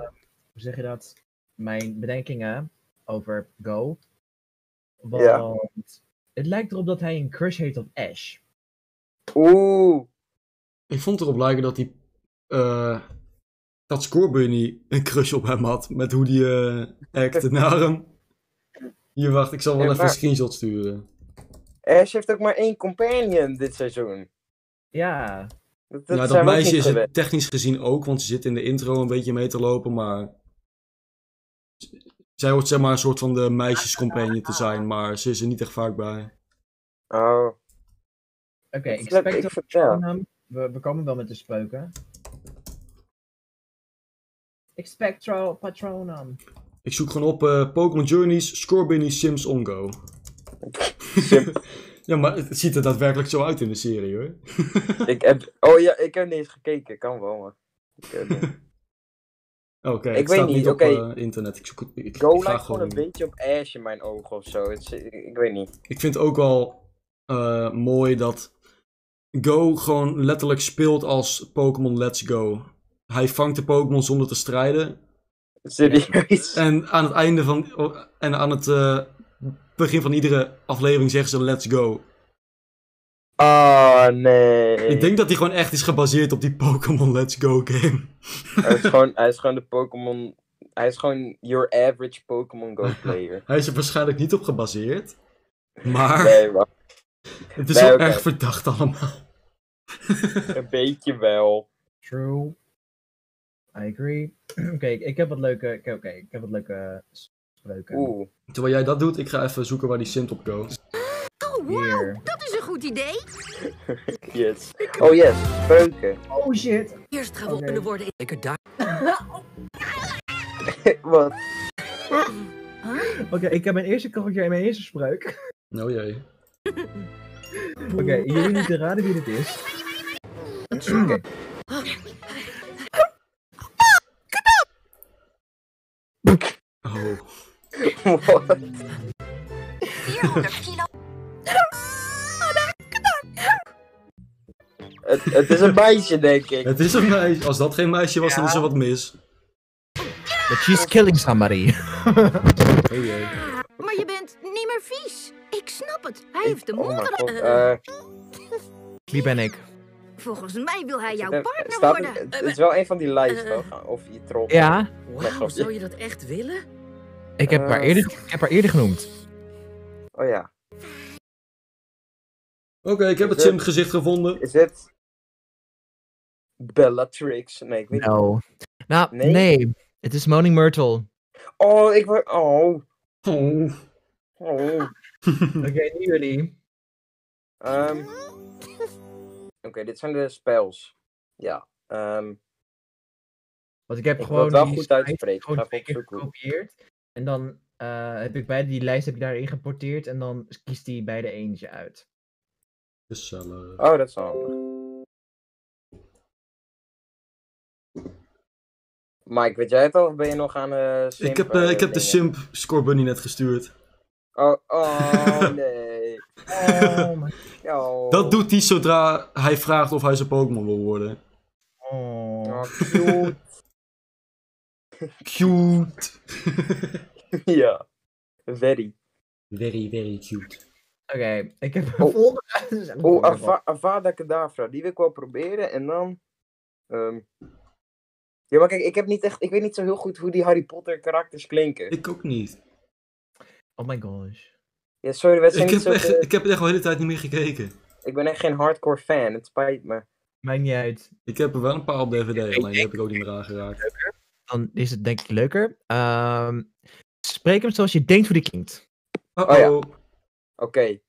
S2: Hoe zeg je dat? Mijn bedenkingen over Go. Want
S3: Ja.
S2: het lijkt erop dat hij een crush heeft op Ash.
S3: Oeh.
S1: Ik vond erop lijken dat die... eh, dat Scorbunny een crush op hem had. Met hoe die eh
S3: *laughs*
S1: acte naar hem. Hier, wacht, ik zal wel
S3: Ja,
S1: even een
S3: maar-
S1: screenshot sturen.
S3: Ash heeft ook maar één companion dit seizoen.
S2: Ja,
S3: Dat, dat,
S1: Dat ja,
S3: zijn
S1: dat
S3: we ook
S1: meisje
S3: niet
S1: is het
S3: gewend.
S1: technisch gezien ook, want ze zit in de intro een beetje mee te lopen, maar... Z- Zij hoort zeg maar een soort van de meisjescompagnie te zijn, maar ze is er niet echt vaak bij.
S3: Oh.
S2: oké.
S3: Ik-
S2: ik
S3: ik-
S2: spek
S3: ik-
S2: dat
S3: ja.
S2: van hem. We, we komen wel met de speuken. Expectro Patronum.
S1: Ik zoek gewoon op eh, Pokémon Journeys, Scorbunny, Sims, Ongo. *laughs* ja, maar het, het ziet er daadwerkelijk zo uit in de serie hoor.
S2: eh,
S3: Ik heb... Oh ja, ik heb niet eens gekeken. Kan wel, maar... Ik, eh,
S1: *laughs* Oké,
S3: Ik
S1: het
S3: weet
S1: staat
S3: niet,
S1: niet, op
S3: oké.
S1: eh, internet. Ik, zoek, het- ik, ik,
S3: Go
S1: ga
S3: lijkt gewoon een
S1: gewoon-
S3: beetje op Ash in mijn ogen of zo. Het is- ik, ik weet niet.
S1: ik vind ook wel eh, mooi dat Go gewoon letterlijk speelt als Pokémon Let's Go. Hij vangt de Pokémon zonder te strijden.
S3: Serieus.
S1: En aan het einde van. oh, En aan het eh, begin van iedere aflevering zeggen ze Let's Go.
S3: *laughs* Ah, nee.
S1: Ik denk dat die gewoon echt is gebaseerd op die Pokémon Let's Go game. *laughs*
S3: hij, is gewoon, hij is gewoon de Pokémon... Hij is gewoon your average Pokémon Go player.
S1: *laughs* Hij is er waarschijnlijk niet op gebaseerd. Maar
S3: Nee, maar
S1: het is
S3: nee,
S1: wel
S3: oké.
S1: erg verdacht allemaal. *laughs*
S3: een beetje wel.
S2: True. I agree. *clears throat* Oké, ik- ik heb wat leuke. ik- Oké, ik heb wat leuke s- spreuken.
S3: Oeh.
S1: Terwijl jij dat doet, ik ga even zoeken waar die Sint op go.
S9: Oh, wow,
S2: Hier.
S9: dat is een goed idee.
S3: Yes. Oh yes, spreuken.
S2: Oh shit!
S9: Eerst
S3: Oh,
S9: gewonnen
S2: Oké.
S9: worden. Lekker daar.
S3: Wat?
S2: Oké, ik heb mijn eerste korreltje en mijn eerste spreuk.
S1: Nou jee.
S2: Oké, jullie moeten
S9: Oh.
S2: raden wie dit is. Oké.
S1: Oh.
S3: What?
S9: 400 kilo. Oh,
S3: het, het is een meisje, denk ik.
S1: Het is een meisje. Als dat geen meisje was, dan is er wat mis.
S2: But she's killing somebody.
S1: Oh jee.
S9: Maar je bent niet meer vies. Ik snap het. Hij heeft de
S3: Oh mijn
S9: mond.
S3: god.
S9: eh,
S3: eh,
S2: Wie ben ik?
S9: volgens mij wil hij jouw
S3: eh,
S9: partner
S3: staat-
S9: worden.
S3: het,
S9: Eh,
S3: het is oh wel een van die lijst,
S9: eh,
S3: toch? Of je troll.
S2: Ja,
S9: Wauw, zou je dat echt willen?
S2: ik heb, haar
S3: Eh.
S2: eerder, ik heb haar eerder genoemd.
S3: Oh ja.
S1: Oké, ik heb het
S3: Eh.
S1: simgezicht gevonden.
S3: Is het... Bellatrix? Nee, ik weet niet.
S2: Nou, nou
S3: Nee?
S2: nee. Het is Moaning Myrtle.
S3: Oh, ik word... Oh.
S1: Oh.
S3: Oh.
S2: Oké, nu jullie.
S3: Ehm, Oké, dit zijn de spells. Ja. ehm,
S2: Want ik heb
S3: Ik wil
S2: gewoon
S3: het wel
S2: die
S3: goed
S2: site
S3: uitspreken,
S2: gewoon
S3: ga ik
S2: twee keer
S3: opzoeken.
S2: gekopieerd. En dan eh, heb ik beide die lijst heb ik daarin geporteerd en dan kiest hij beide eentje uit.
S1: *laughs* Gezellig.
S3: oh, dat is wel handig. Mike, weet jij het al? Of ben je nog aan eh simp,
S1: Ik heb, eh,
S3: eh,
S1: ik heb de
S3: dingen?
S1: simp score bunny net gestuurd.
S3: Oh, oh
S1: *laughs*
S3: *laughs* nee.
S2: Oh, my
S3: Oh.
S1: Dat doet hij zodra hij vraagt of hij zijn Pokémon wil worden.
S3: Oh, cute.
S1: *laughs*
S3: *laughs*
S1: Cute.
S3: ja. Very.
S1: Very, very cute.
S2: Oké, ik heb een
S3: Oh.
S2: volgende. *laughs*
S3: Oh, Ava Avada Kedavra. Die wil ik wel proberen. En dan... ehm, Ja, maar kijk, ik, heb niet echt, ik weet niet zo heel goed hoe die Harry Potter karakters klinken.
S1: Ik ook niet.
S2: Oh my gosh.
S3: Ja, sorry, we zijn
S1: Ik
S3: niet
S1: heb,
S3: zo...
S1: echt,
S3: ge-
S1: ik heb er echt al de hele tijd niet meer gekeken.
S3: Ik ben echt geen hardcore fan, het spijt me.
S2: Maakt niet uit.
S1: Ik heb er wel een paar op DVD, alleen die heb ik ook niet meer aangeraakt.
S2: Dan is het denk ik leuker. Ehm, spreek hem zoals je denkt hoe die klinkt.
S1: Oh,
S3: Oh ja.
S1: oh.
S3: Oké.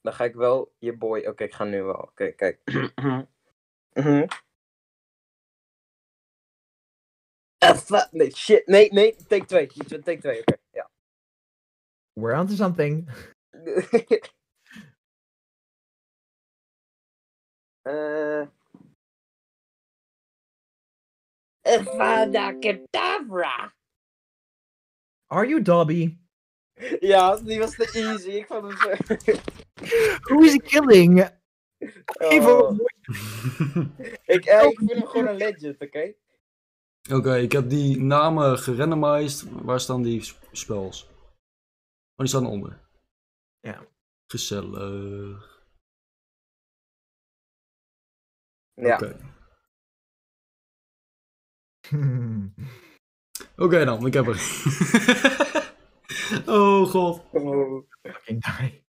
S3: Dan ga ik wel je boy. Oké, ik ga nu wel. Oké, kijk. Mhm. Ah, fuck, Nee, shit. Nee, nee. Take 2. Take 2. Oké, ja. *laughs*
S2: We're on to something.
S3: Eh,
S9: Avada Kedavra.
S2: Are you Dobby?
S3: ja, die was te easy. Ik vond hem zo.
S2: Who is killing?
S3: *laughs* Oh, ik, eh, ik vind hem gewoon een legend, oké?
S1: Oké, ik heb die namen gerandomized. Waar staan die sp- spells? Oh, die staan onder.
S2: Ja.
S1: Gezellig.
S3: Ja.
S1: Oké. Oké dan, ik heb er. *laughs* oh god.
S3: Oh.
S2: Fucking die.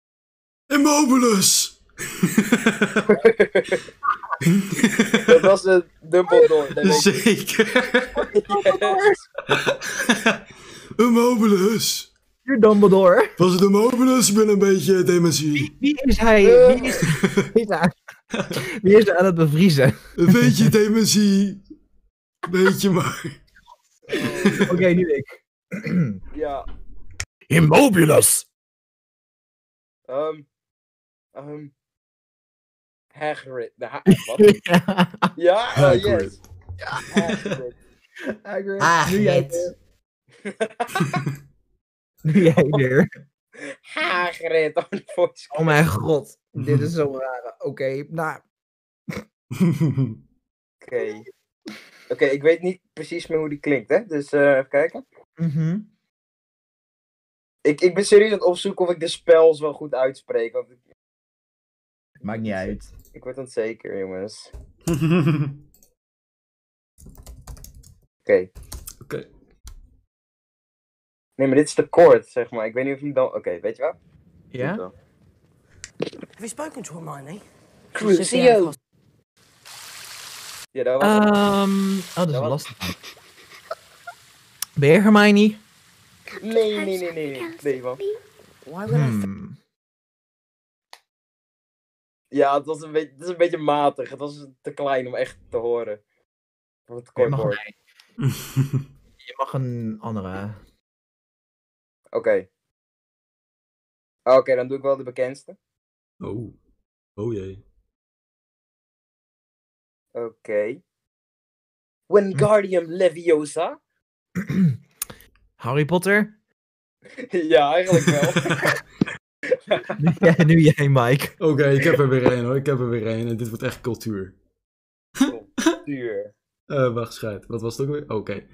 S1: Immobilus!
S3: *laughs* Dat was een dubbeldoor.
S1: *laughs* Dus
S3: dat weet ik.
S1: Zeker.
S3: Yes.
S1: Immobilus!
S2: You're Dumbledore.
S1: Was het Immobilus? Ik ben een beetje dementie.
S2: Wie is hij? Wie is, wie is hij aan, wie is hij aan het bevriezen?
S1: Een beetje dementie. Beetje *laughs* maar.
S2: Oké, *laughs* nu ik.
S3: Ja.
S2: Immobulus!
S3: Ehm ehm Hagrid. De
S2: *laughs*
S3: ha wat?
S2: Ja,
S3: Ja, oh, yes.
S1: Hagrid.
S3: Hagrid.
S2: Hagrid. Nu
S10: Hagrid.
S2: jij weer. Nu jij weer.
S3: Hagrid *laughs* on the voice.
S2: Oh mijn god. Dit is zo raar. Oké, nou.
S3: Oké. Oké, ik weet niet precies meer hoe die klinkt, hè? Dus eh, even kijken.
S2: mhm.
S3: Ik, ik ben serieus aan het opzoeken of ik de spels wel goed uitspreek. Want ik,
S2: Maakt niet uit.
S3: ik word onzeker, jongens. Oké.
S1: Oké.
S3: Nee, maar dit is te kort, zeg maar. Ik weet niet of jullie dan. Oké, weet je wat?
S2: Ja?
S3: Goed dan.
S11: Have you spoken to Hermione?
S3: Crucio. Ja, dat was. het.
S2: Ehm, oh, dat is
S3: Ja, wat-
S2: lastig. Ben je Hermione?
S3: Nee, nee, nee, nee. nee. Nee, man.
S9: Why would I
S2: Hmm.
S3: Ja, het, was een beetje, het is een beetje matig. Het was te klein om echt te horen. Of het
S2: Je
S3: kort
S2: mag,
S3: wordt.
S2: een, je mag een andere.
S3: Oké. Oké, dan doe ik wel de bekendste.
S1: oh. Oh jee.
S3: Oké. Wingardium Leviosa.
S2: *clears throat*
S3: *laughs*
S2: Harry Potter? *laughs*
S3: ja, eigenlijk wel.
S2: Nu jij, nu jij, Mike.
S1: *laughs* Oké, ik heb er weer één hoor. Ik heb er weer één. En dit wordt echt cultuur.
S3: Duur.
S1: Eh wacht, schijt. Wat was het ook weer? Oké.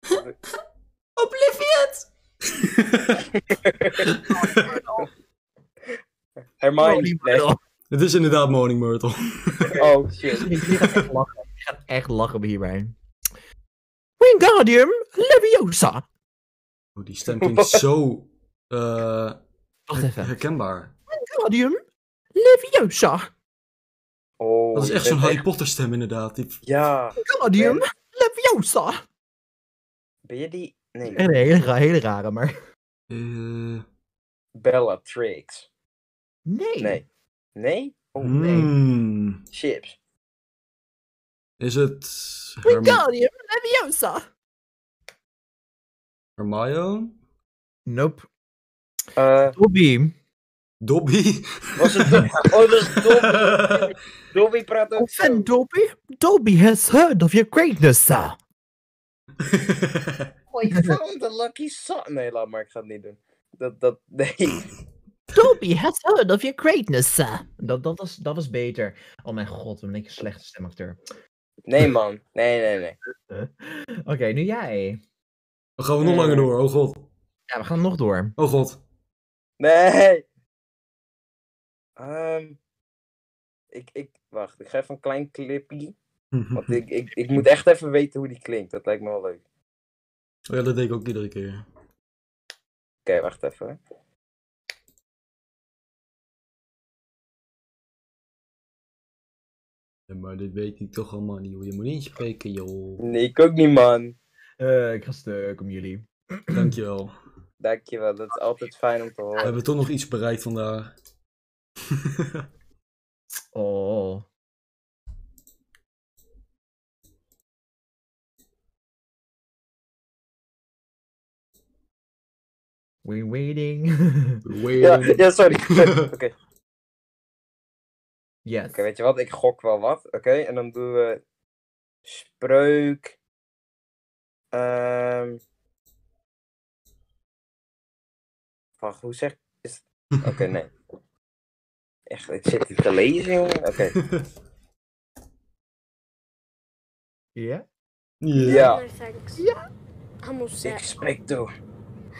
S3: *laughs* Hermione.
S2: Myrtle.
S1: *laughs* Het is inderdaad Morning Myrtle.
S3: Oh, shit.
S2: Ik ga echt lachen. Ik ga echt lachen hierbij. Wingardium Leviosa.
S1: Oh, die stem
S3: *laughs*
S1: klinkt zo eh,
S2: Wacht even.
S1: herkenbaar.
S2: Wingardium Leviosa.
S3: Oh,
S1: Dat is
S3: je
S1: echt
S3: bent
S1: zo'n Harry Potter stem inderdaad. Die...
S3: Ja.
S2: Wingardium Leviosa.
S3: Ben je die? Nee.
S2: Echt een hele, ra- hele rare, maar...
S1: eh,
S3: Bellatrix.
S2: Nee.
S3: Nee. Nee? Oh, nee.
S1: hmm.
S3: Chips.
S1: Is het Herm
S12: Wingardium Leviosa.
S1: Hermione?
S2: Nope.
S3: Eh,
S2: Dobby.
S1: Dobby?
S3: was het... Oh, dat is Dobby.
S1: *laughs*
S3: Dobby praat ook zo.
S2: And Dobby? Dobby has heard of your greatness, sir.
S3: Oh, ik *laughs* found the lucky son. Nee, laat maar. Ik ga het niet doen. Dat, dat, *laughs* nee.
S12: Toby has heard of your greatness, sir.
S2: Dat, dat, was, dat was beter. Oh mijn god, wat ben ik een slechte stemacteur.
S3: Nee, man. Nee, nee, nee.
S2: Oké, nu jij.
S1: We gaan nog
S2: Eh.
S1: langer door. Oh god.
S2: Ja, we gaan nog door.
S1: Oh god.
S3: Nee! Ehm ik, ik, wacht, ik ga even een klein clipje.
S2: Mhm.
S3: Want ik, ik, ik moet echt even weten hoe die klinkt. Dat lijkt me wel leuk. Oké,
S1: Oh Ja, dat deed ik ook iedere keer.
S3: wacht even.
S1: Ja, maar dit weet ik toch allemaal niet hoe je moet inspreken, joh.
S3: Nee, ik ook niet, man.
S2: Eh, ik ga stuk om jullie.
S1: Dankjewel.
S3: Dankjewel, dat is altijd fijn om te
S1: We
S3: horen.
S1: hebben toch nog iets bereikt vandaag.
S2: Oh. We're waiting.
S3: *laughs*
S2: *laughs*
S3: Ja,
S1: Waiting.
S3: ja sorry. *laughs* Oké, oké,
S2: yes.
S3: weet je wat? Ik gok wel wat. Oké, en dan doen we spreuk. Ehm Wacht, hoe zeg is... Oké, nee. Echt, ik zit hier te lezen, jongen. Oké.
S2: Ja?
S1: *laughs* Ja.
S3: Ja.
S9: No, thanks. Ja. Almost
S3: Ik
S9: set.
S3: spreek door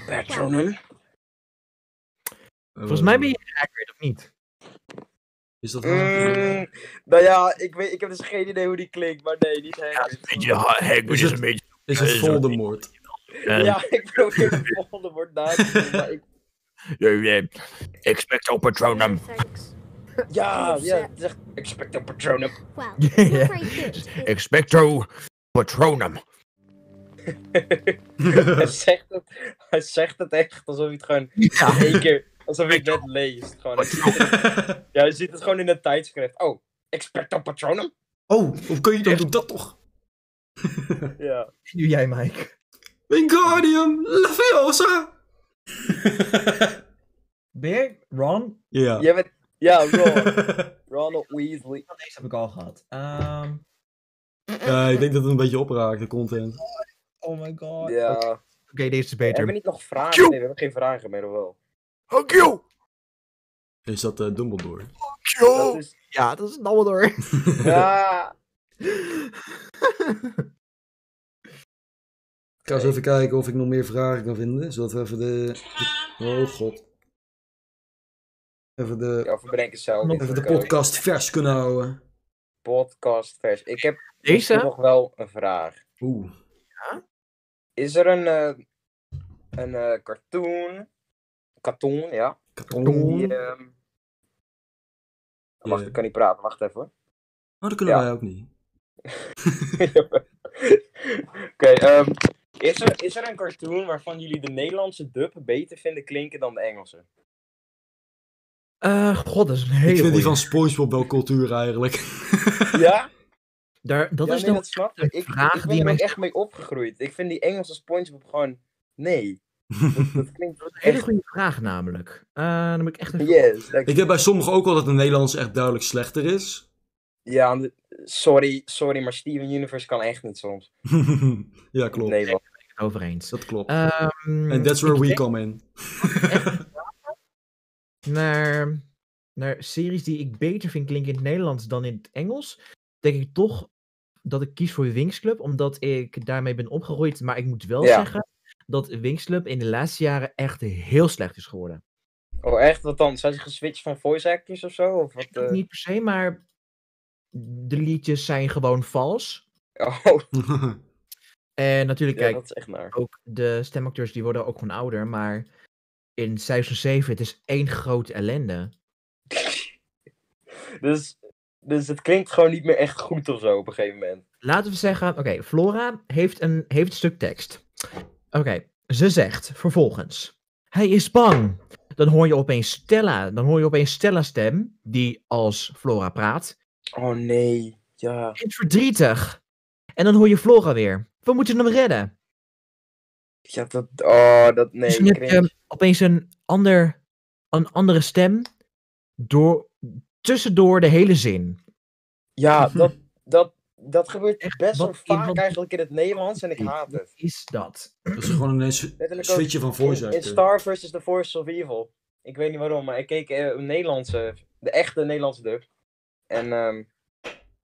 S3: Patronum.
S1: Eh, Oh.
S2: Volgens mij ben je accurate of niet?
S1: Is dat
S3: Mm, nou ja, ik, weet, ik heb dus geen idee hoe die klinkt, maar nee, niet helemaal.
S2: eh.
S1: Is het, is het Voldemort?
S3: Ja, ik probeer de volgende woord na te doen, maar ik...
S2: Expecto *laughs* Patronum.
S9: No, thanks.
S3: Ja,
S9: Offset.
S3: ja, het is echt Expecto Patronum.
S9: Well,
S2: *laughs* Yeah.
S9: not very good. is it?
S2: Expecto Patronum.
S1: *laughs*
S3: hij, zegt het, hij zegt het echt alsof hij het gewoon in één keer... Alsof hij het net leest. Gewoon, hij ziet het- ja, je ziet het gewoon in het tijdschrift. Oh, Expecto Patronum?
S1: oh, hoe kun je dan doe dat toch?
S3: Ja.
S2: Nu jij, Mike.
S1: Wingardium *laughs* Leviosa!
S2: Ben jij Ron?
S1: Ja.
S3: Jij bent... Ja, Ron. Ronald Weasley.
S2: Deze heb ik al gehad. Ehm,
S1: *laughs* Ja, ik denk dat het een beetje opraakt, de content.
S2: oh my god.
S3: Ja.
S2: Oké, deze is
S3: Hebben we
S2: beter.
S3: niet nog vragen? Nee, we hebben geen vragen meer, of wel?
S1: Is dat eh, Dumbledore? Oh!
S3: Dat is...
S2: Ja, dat is Dumbledore.
S3: Ja.
S1: Ik ga eens even kijken of ik nog meer vragen kan vinden, zodat we even de... Oh god. Even de,
S3: Ja, verbrenken zelf.
S1: even de podcast vers kunnen houden.
S3: podcast vers. Ik heb
S2: Deze?
S3: nog wel een vraag.
S1: Oeh.
S3: Is er een, eh, een eh, cartoon, cartoon, ja,
S1: Katon.
S3: die, ehm,
S1: Ja.
S3: Wacht, ik kan niet praten, wacht even hoor. *laughs*
S1: Oh, dat kunnen
S3: Ja.
S1: wij ook niet.
S3: Oké, ehm, is, er, is er een cartoon waarvan jullie de Nederlandse dub beter vinden klinken dan de Engelse?
S2: Eh, god, dat is een
S1: ik
S2: hele
S1: vind die van
S2: goeie.
S1: Spongebob wel cultuur eigenlijk. *laughs*
S3: Ja?
S2: Daar, Dat
S3: ja,
S2: is
S3: nee,
S2: nog
S3: dat snap ik. Ik,
S2: vraag
S3: ik ben
S2: die
S3: er
S2: mij-
S3: ook echt mee opgegroeid. Ik vind die Engelse SpongeBob gewoon,
S2: *laughs*
S3: nee. Dat, dat klinkt
S2: een hele
S3: echt,
S2: goede vraag namelijk. Eh, dan moet ik echt even...
S3: yes. dank je.
S1: ik heb bij sommigen ook wel dat het Nederlands echt duidelijk slechter is. *laughs*
S3: Ja, en de- sorry, sorry, maar Steven Universe kan echt niet soms.
S1: ja, klopt.
S3: Nee, man.
S2: het over eens.
S13: Dat klopt.
S2: Ehm,
S13: And that's where
S2: ik
S13: we
S2: denk
S1: *laughs*
S13: come in.
S2: naar, naar series die ik beter vind klinken in het Nederlands dan in het Engels, denk ik toch dat ik kies voor Wings Club, omdat ik daarmee ben opgegroeid. Maar ik moet wel
S3: Ja.
S2: zeggen dat Wings Club in de laatste jaren echt heel slecht is geworden.
S3: Oh, echt? Wat dan? Zijn ze geswitcht van voice actors of zo? Of wat, eh?
S2: Niet per se, maar de liedjes zijn gewoon vals.
S3: *laughs* Oh,
S2: En natuurlijk,
S3: ja,
S2: kijk,
S3: dat is echt naar.
S2: ook de stemacteurs die worden ook gewoon ouder, maar in seizoen 7 het is één grote ellende.
S3: Dus, dus het klinkt gewoon niet meer echt goed of zo op een gegeven moment.
S2: Laten we zeggen, oké, Flora heeft een, heeft een stuk tekst. Oké, ze zegt vervolgens, hij is bang. Dan hoor je opeens Stella, dan hoor je opeens Stella's stem, die als Flora praat.
S3: Oh nee, ja.
S2: Hij is verdrietig. En dan hoor je Flora weer. We moeten hem redden.
S3: Ja, dat... Oh, dat... Nee,
S2: Dus dan heb je
S3: cringe.
S2: opeens een, ander, een andere stem door, tussendoor de hele zin. *laughs*
S3: Ja, dat, dat, dat gebeurt
S2: Echt,
S3: best wel
S2: wat in-
S3: vaak
S2: wat-
S3: eigenlijk in het Nederlands en ik haat het.
S2: Is dat?
S13: Dat is gewoon ineens
S3: Letterlijk ook
S13: switchen van voice
S3: in,
S1: eh.
S3: in Star
S13: actor.
S3: vs. The Force of Evil. Ik weet niet waarom, maar ik keek eh, een Nederlandse, de echte Nederlandse dub. En ehm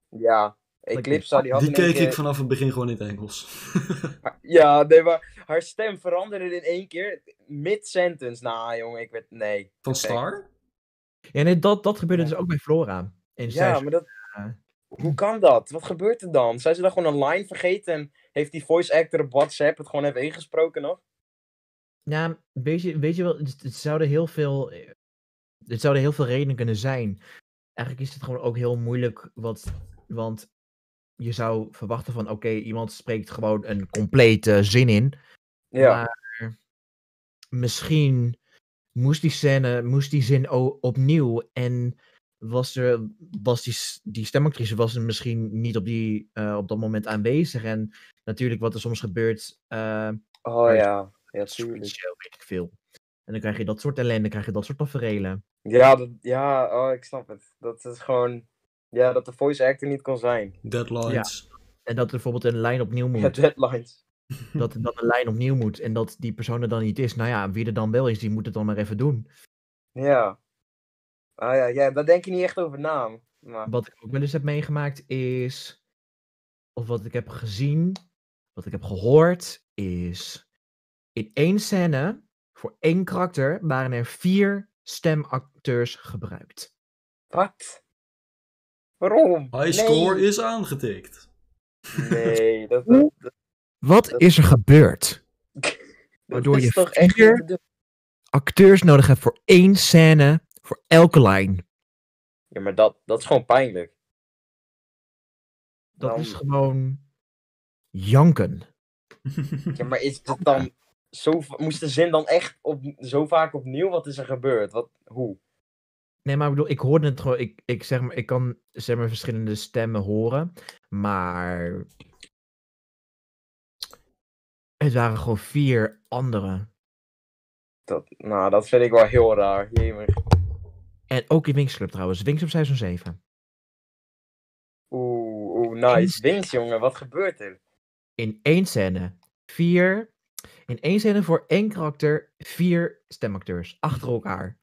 S3: ja, Eclipse die had
S13: Die
S3: in één
S13: keek
S3: keer-
S13: ik vanaf het begin gewoon in het
S1: *laughs*
S13: Engels.
S3: Ja, nee, maar haar stem veranderde in één keer mid-sentence. Nou, jongen, ik weet... Nee.
S13: Van Star?
S2: Ja, nee, dat, dat gebeurde
S3: Ja.
S2: dus ook bij Flora. In
S3: Ja,
S2: seizoen-
S3: maar dat... Hoe kan dat? Wat gebeurt er dan? Zijn ze dan gewoon een line vergeten en heeft die voice actor op WhatsApp het gewoon even ingesproken nog?
S2: ja, weet, je, weet je wel, het, het zouden heel veel, eh, het zouden heel veel redenen kunnen zijn. Eigenlijk is het gewoon ook heel moeilijk, wat, want je zou verwachten van, oké, iemand spreekt gewoon een complete zin in.
S3: Ja.
S2: Maar misschien moest die scène, moest die zin o- opnieuw. En was, er, was die, s- die stemactrice was er misschien niet op, die, eh, op dat moment aanwezig. En natuurlijk wat er soms gebeurt, eh
S3: Oh ja. Ja, tuurlijk.
S2: switchen, weet ik veel. En dan krijg je dat soort ellende, krijg je dat soort taferelen.
S3: Ja, dat, ja oh, ik snap het. Dat is gewoon. Ja, dat de voice actor niet kon zijn.
S13: Deadlines.
S2: En dat er bijvoorbeeld een lijn opnieuw
S3: Ja, dus-
S2: moet.
S3: deadlines.
S2: dat er dan een lijn opnieuw moet. En dat die persoon er dan niet is. Nou ja, wie er dan wel is, die moet het dan maar even doen.
S3: Ja. Ah ja, ja, daar denk je niet echt over na. Maar...
S2: Wat ik ook wel eens heb meegemaakt is. Of wat ik heb gezien, wat ik heb gehoord, is. In één scène, voor één karakter, waren er vier stemacteurs gebruikt.
S3: Wat? Waarom?
S13: High score is aangetikt.
S3: Nee, dat, dat, dat-
S2: Wat
S3: Dat-
S2: is er gebeurd?
S3: dat
S2: Waardoor
S3: is
S2: je
S3: toch echt niet
S2: vier-
S3: te doen.
S2: Acteurs nodig hebt voor één scène, voor elke lijn.
S3: Ja, maar dat, dat is gewoon pijnlijk.
S2: Dat
S3: Dan-
S2: is gewoon. janken.
S3: Ja, maar is het dan. Zo, va- moest de zin dan echt op, zo vaak opnieuw? Wat is er gebeurd? Wat, hoe?
S2: Nee, maar ik bedoel, ik hoorde het gewoon. Ik, ik, zeg maar, ik kan zeg maar, verschillende stemmen horen. Maar. Het waren gewoon vier andere.
S3: Dat, nou, dat vind ik wel heel raar. Jemig.
S2: En ook in Winx Club trouwens. Winx Club seizoen 7.
S3: Oeh, oeh, nice. Wins, jongen, wat gebeurt er?
S2: In één scène. Vier. In één scène voor één karakter. Vier stemacteurs. Achter elkaar.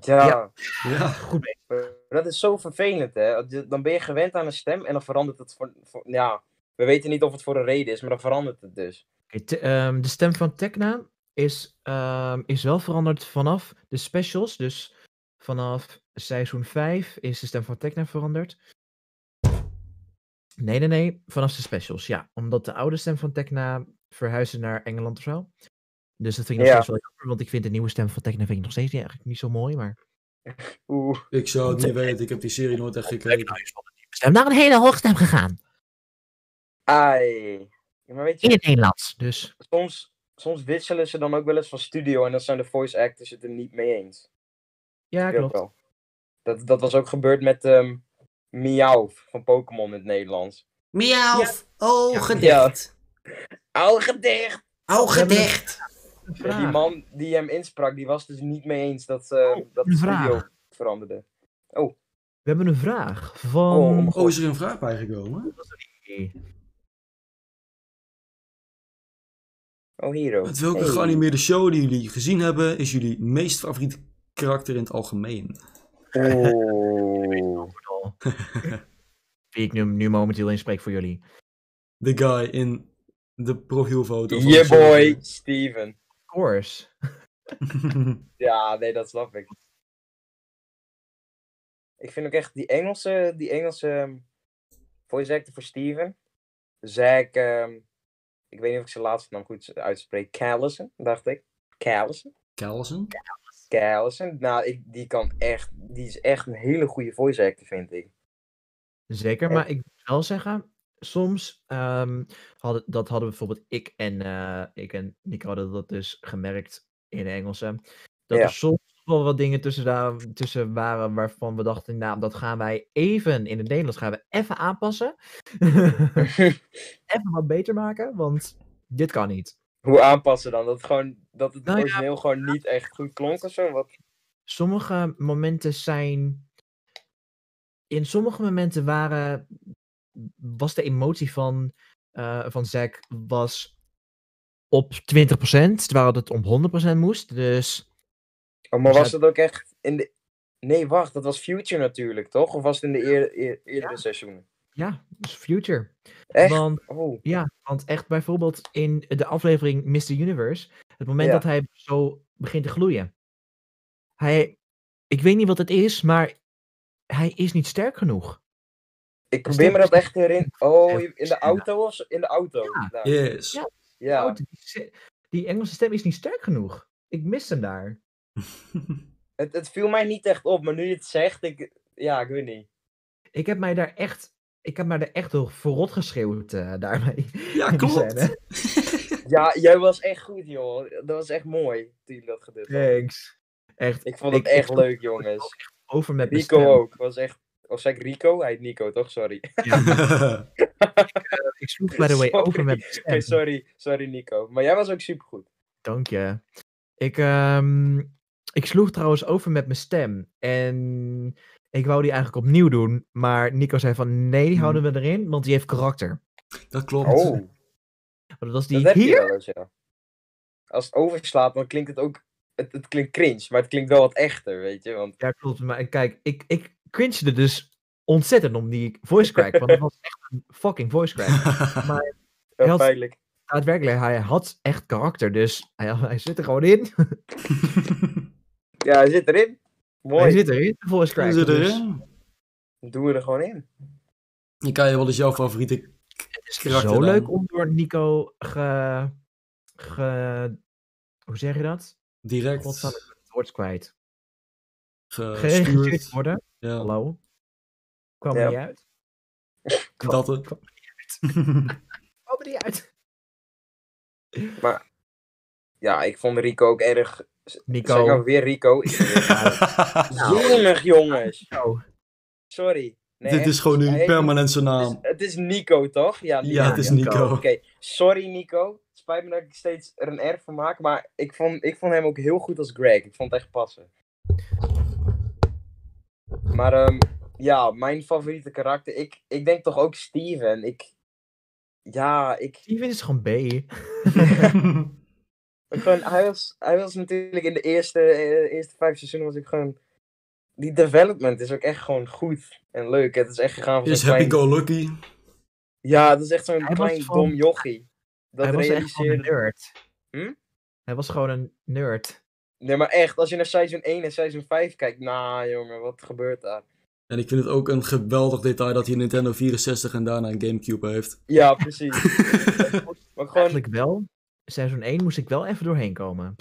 S3: Ja,
S2: Ja.
S13: ja.
S2: Goed bezig.
S3: eh, dat is zo vervelend, hè. D- Dan ben je gewend aan een stem en dan verandert het voor, voor- Ja, we weten niet of het voor een reden is, maar dan verandert het dus.
S2: Oké, te- ehm, de stem van Tekna is, ehm, is wel veranderd vanaf de specials. Dus vanaf seizoen 5 is de stem van Tekna veranderd. Nee, nee, nee. Vanaf de specials, ja. Omdat de oude stem van Tekna verhuisde naar Engeland of zo. Dus dat vind ik nog
S3: Ja.
S2: steeds wel jammer. Want ik vind de nieuwe stem van Tekna vind ik nog steeds niet, eigenlijk niet zo mooi. Maar
S3: Oeh,
S13: Ik zou het niet weten, ik heb die serie nooit echt gekeken.
S7: We zijn naar een hele hoogstem gegaan.
S3: ai. Ja, maar weet
S7: In
S3: je,
S7: het Nederlands.
S2: dus
S3: soms, soms wisselen ze dan ook wel eens van studio en dan zijn de voice actors het er niet mee eens.
S2: ja,
S3: Heel
S2: klopt.
S3: wel. Dat, dat was ook gebeurd met ehm Miauw van Pokémon in het Nederlands.
S4: Miauw, oh
S3: gedicht. Au, gedicht!
S4: oh
S2: gedicht.
S3: Ja, die man die hem insprak, die was dus niet mee eens dat, eh dat de
S2: Oh, een
S3: studio
S2: vraag.
S3: veranderde.
S2: We hebben een vraag
S3: Oh, oh mijn
S2: van...
S3: god.
S13: Oh, is er een vraag bijgekomen?
S3: Oh,
S2: *laughs*
S3: Hero.
S13: Uit welke
S3: Hey.
S13: geanimeerde show die jullie gezien hebben, is jullie meest favoriete karakter in het algemeen?
S3: Oh.
S2: Die ik nu, nu momenteel inspreek voor jullie.
S13: The guy in de profielfoto. van
S3: Yeah
S13: de show.
S3: boy, Steven.
S2: Of course.
S13: *laughs*
S3: Ja, nee, dat snap ik. Ik vind ook echt die Engelse, die Engelse ehm, voice actor voor Steven. Zack, ehm, ik weet niet of ik zijn laatste naam goed uitspreek. Callison, dacht ik. Callison?
S13: Callison?
S3: Callison. Nou, ik, die kan echt, die is echt een hele goede voice actor, vind ik.
S2: Zeker, maar ik moet wel zeggen, soms ehm, hadden, dat hadden bijvoorbeeld ik en, eh, ik en Nico hadden dat dus gemerkt in de Engelse. Dat
S3: Ja.
S2: er soms wel wat dingen tussen, daar, tussen waren waarvan we dachten, nou, dat gaan wij even in het Nederlands gaan we even aanpassen. *laughs* even wat beter maken, want dit kan niet.
S3: *laughs* Hoe aanpassen dan? Dat, het gewoon, dat het
S2: Nou ja,
S3: origineel gewoon niet echt goed klonk of zo? Wat?
S2: Sommige momenten zijn. In sommige momenten waren. was de emotie van. eh van Zack was. op 20%, terwijl het om 100% moest. Dus.
S3: Oh, maar
S2: Dus
S3: was
S2: dat-
S3: dat ook echt in de... Nee, wacht, dat was Future natuurlijk, toch? Of was het in de eer, eer- eerdere seizoenen?
S2: ja, dat is future.
S3: Echt?
S2: Want,
S3: Oh.
S2: ja, want echt bijvoorbeeld in de aflevering Mr. Universe. het moment
S3: Ja.
S2: dat hij zo begint te gloeien. Hij. ik weet niet wat het is, maar. hij is niet sterk genoeg.
S3: Ik
S2: Dus
S3: probeer me
S2: dat
S3: dat echt herinneren. Oh,
S2: Ja,
S3: in
S2: ja.
S3: de auto of zo? In de auto. daar. Ja.
S13: Yes.
S2: Ja.
S3: Ja.
S2: Oh, die, se- die Engelse stem is niet sterk genoeg. Ik mis hem daar.
S3: Het, het viel mij niet echt op, maar nu je het zegt, ik... Ja, ik weet niet.
S2: Ik heb mij daar echt, ik heb mij daar echt door verrot geschreeuwd eh, *laughs* daarmee.
S13: *laughs* Ja,
S3: Ah,
S2: Die
S13: klopt.
S2: scène.
S3: Ja, jij was echt goed, joh. Dat was echt mooi, toen je dat gedaan had.
S2: Thanks. Echt.
S3: Ik vond het
S2: ik
S3: echt
S2: vond het
S3: leuk, jongens.
S2: Over met mijn
S3: Rico
S2: stem.
S3: ook. Was echt... Of zei ik Rico? Hij heet Nico, toch? Sorry.
S2: Ik
S3: *laughs*
S2: sloeg by the way
S3: Sorry.
S2: over met mijn stem.
S3: Nee, *laughs* sorry. Sorry, Nico. Maar jij was ook supergoed.
S2: Dank je. Ik, ehm, ik sloeg trouwens over met mijn stem. En ik wou die eigenlijk opnieuw doen. Maar Nico zei van nee, die houden
S3: Hmm.
S2: we erin, want die heeft karakter.
S13: *laughs* Dat klopt. *laughs*
S3: Oh,
S2: Dat was die
S3: dat heb
S2: hier.
S3: je wel eens, ja. Als het overslaat, dan klinkt het ook... Het, het klinkt cringe, maar het klinkt wel wat echter, weet je. Want
S2: Ja, klopt. Maar kijk, ik, ik cringede dus ontzettend om die voice crack. Want dat was echt een fucking voice crack.
S3: wel
S2: Heel-
S3: pijnlijk.
S2: Daadwerkelijk, hij had echt karakter. Dus hij, hij zit er gewoon in. *laughs*
S3: Ja, hij zit erin. Mooi.
S2: Hij zit erin, de voice crack.
S13: Hoe zit
S2: dus
S13: erin?
S3: Doen we er gewoon in.
S13: Je kan je wel eens jouw favoriete
S2: het is
S13: karakter
S2: zo
S13: dan.
S2: leuk om door Nico ge... ge hoe zeg je dat?
S13: direct
S2: Godsamme, ik ben het woord kwijt. Geregisseerd
S3: Eh,
S2: *laughs*
S13: gestuurd
S2: worden.
S13: Ja,
S2: Hallo? Kwam
S3: Ja.
S2: er niet uit?
S13: dat het. *laughs*
S2: Kwam er niet
S3: *laughs*
S2: uit.
S3: Ja, ik vond Rico ook erg... Nico. Zeg
S2: Nico.
S3: nou weer Rico. Ik ben weer-
S13: *laughs*
S3: Jemig, jongens.
S2: Nico.
S3: Sorry. Nee,
S13: Dit
S3: echt.
S13: is gewoon
S3: Hij
S13: nu
S3: heet-
S13: permanent zijn
S3: Het is,
S13: naam.
S3: het is Nico, toch? Ja,
S13: Ja, het is Nico.
S3: Oké, sorry Nico. Het spijt me dat ik steeds er een R van maak, maar ik vond, ik vond hem ook heel goed als Greg. Ik vond het echt passen. Maar ehm, ja, mijn favoriete karakter, ik, ik denk toch ook Steven. Ik, ja, ik,
S2: Steven is gewoon B.
S3: ik gewoon, hij, was, hij was natuurlijk in de eerste, eh, eerste vijf seizoenen was ik gewoon... Die development is ook echt gewoon goed en leuk. Het is echt gegaan van
S13: Is
S3: zo'n klein-
S13: happy go lucky.
S3: Ja, dat is echt zo'n
S2: Hij was
S3: klein
S2: gewoon-
S3: dom jochie. Dat
S2: hij was echt gewoon een
S3: realiseerde...
S2: nerd.
S3: Hm?
S2: Hij was gewoon een nerd.
S3: Nee, maar echt, als je naar seizoen 1 en seizoen 5 kijkt, nou jongen, wat gebeurt daar?
S13: En ik vind het ook een geweldig detail dat hij een Nintendo 64 en daarna een Gamecube heeft.
S3: *laughs* Ja, precies. maar gewoon,
S2: Eigenlijk wel. Seizoen 1 moest ik wel even doorheen komen.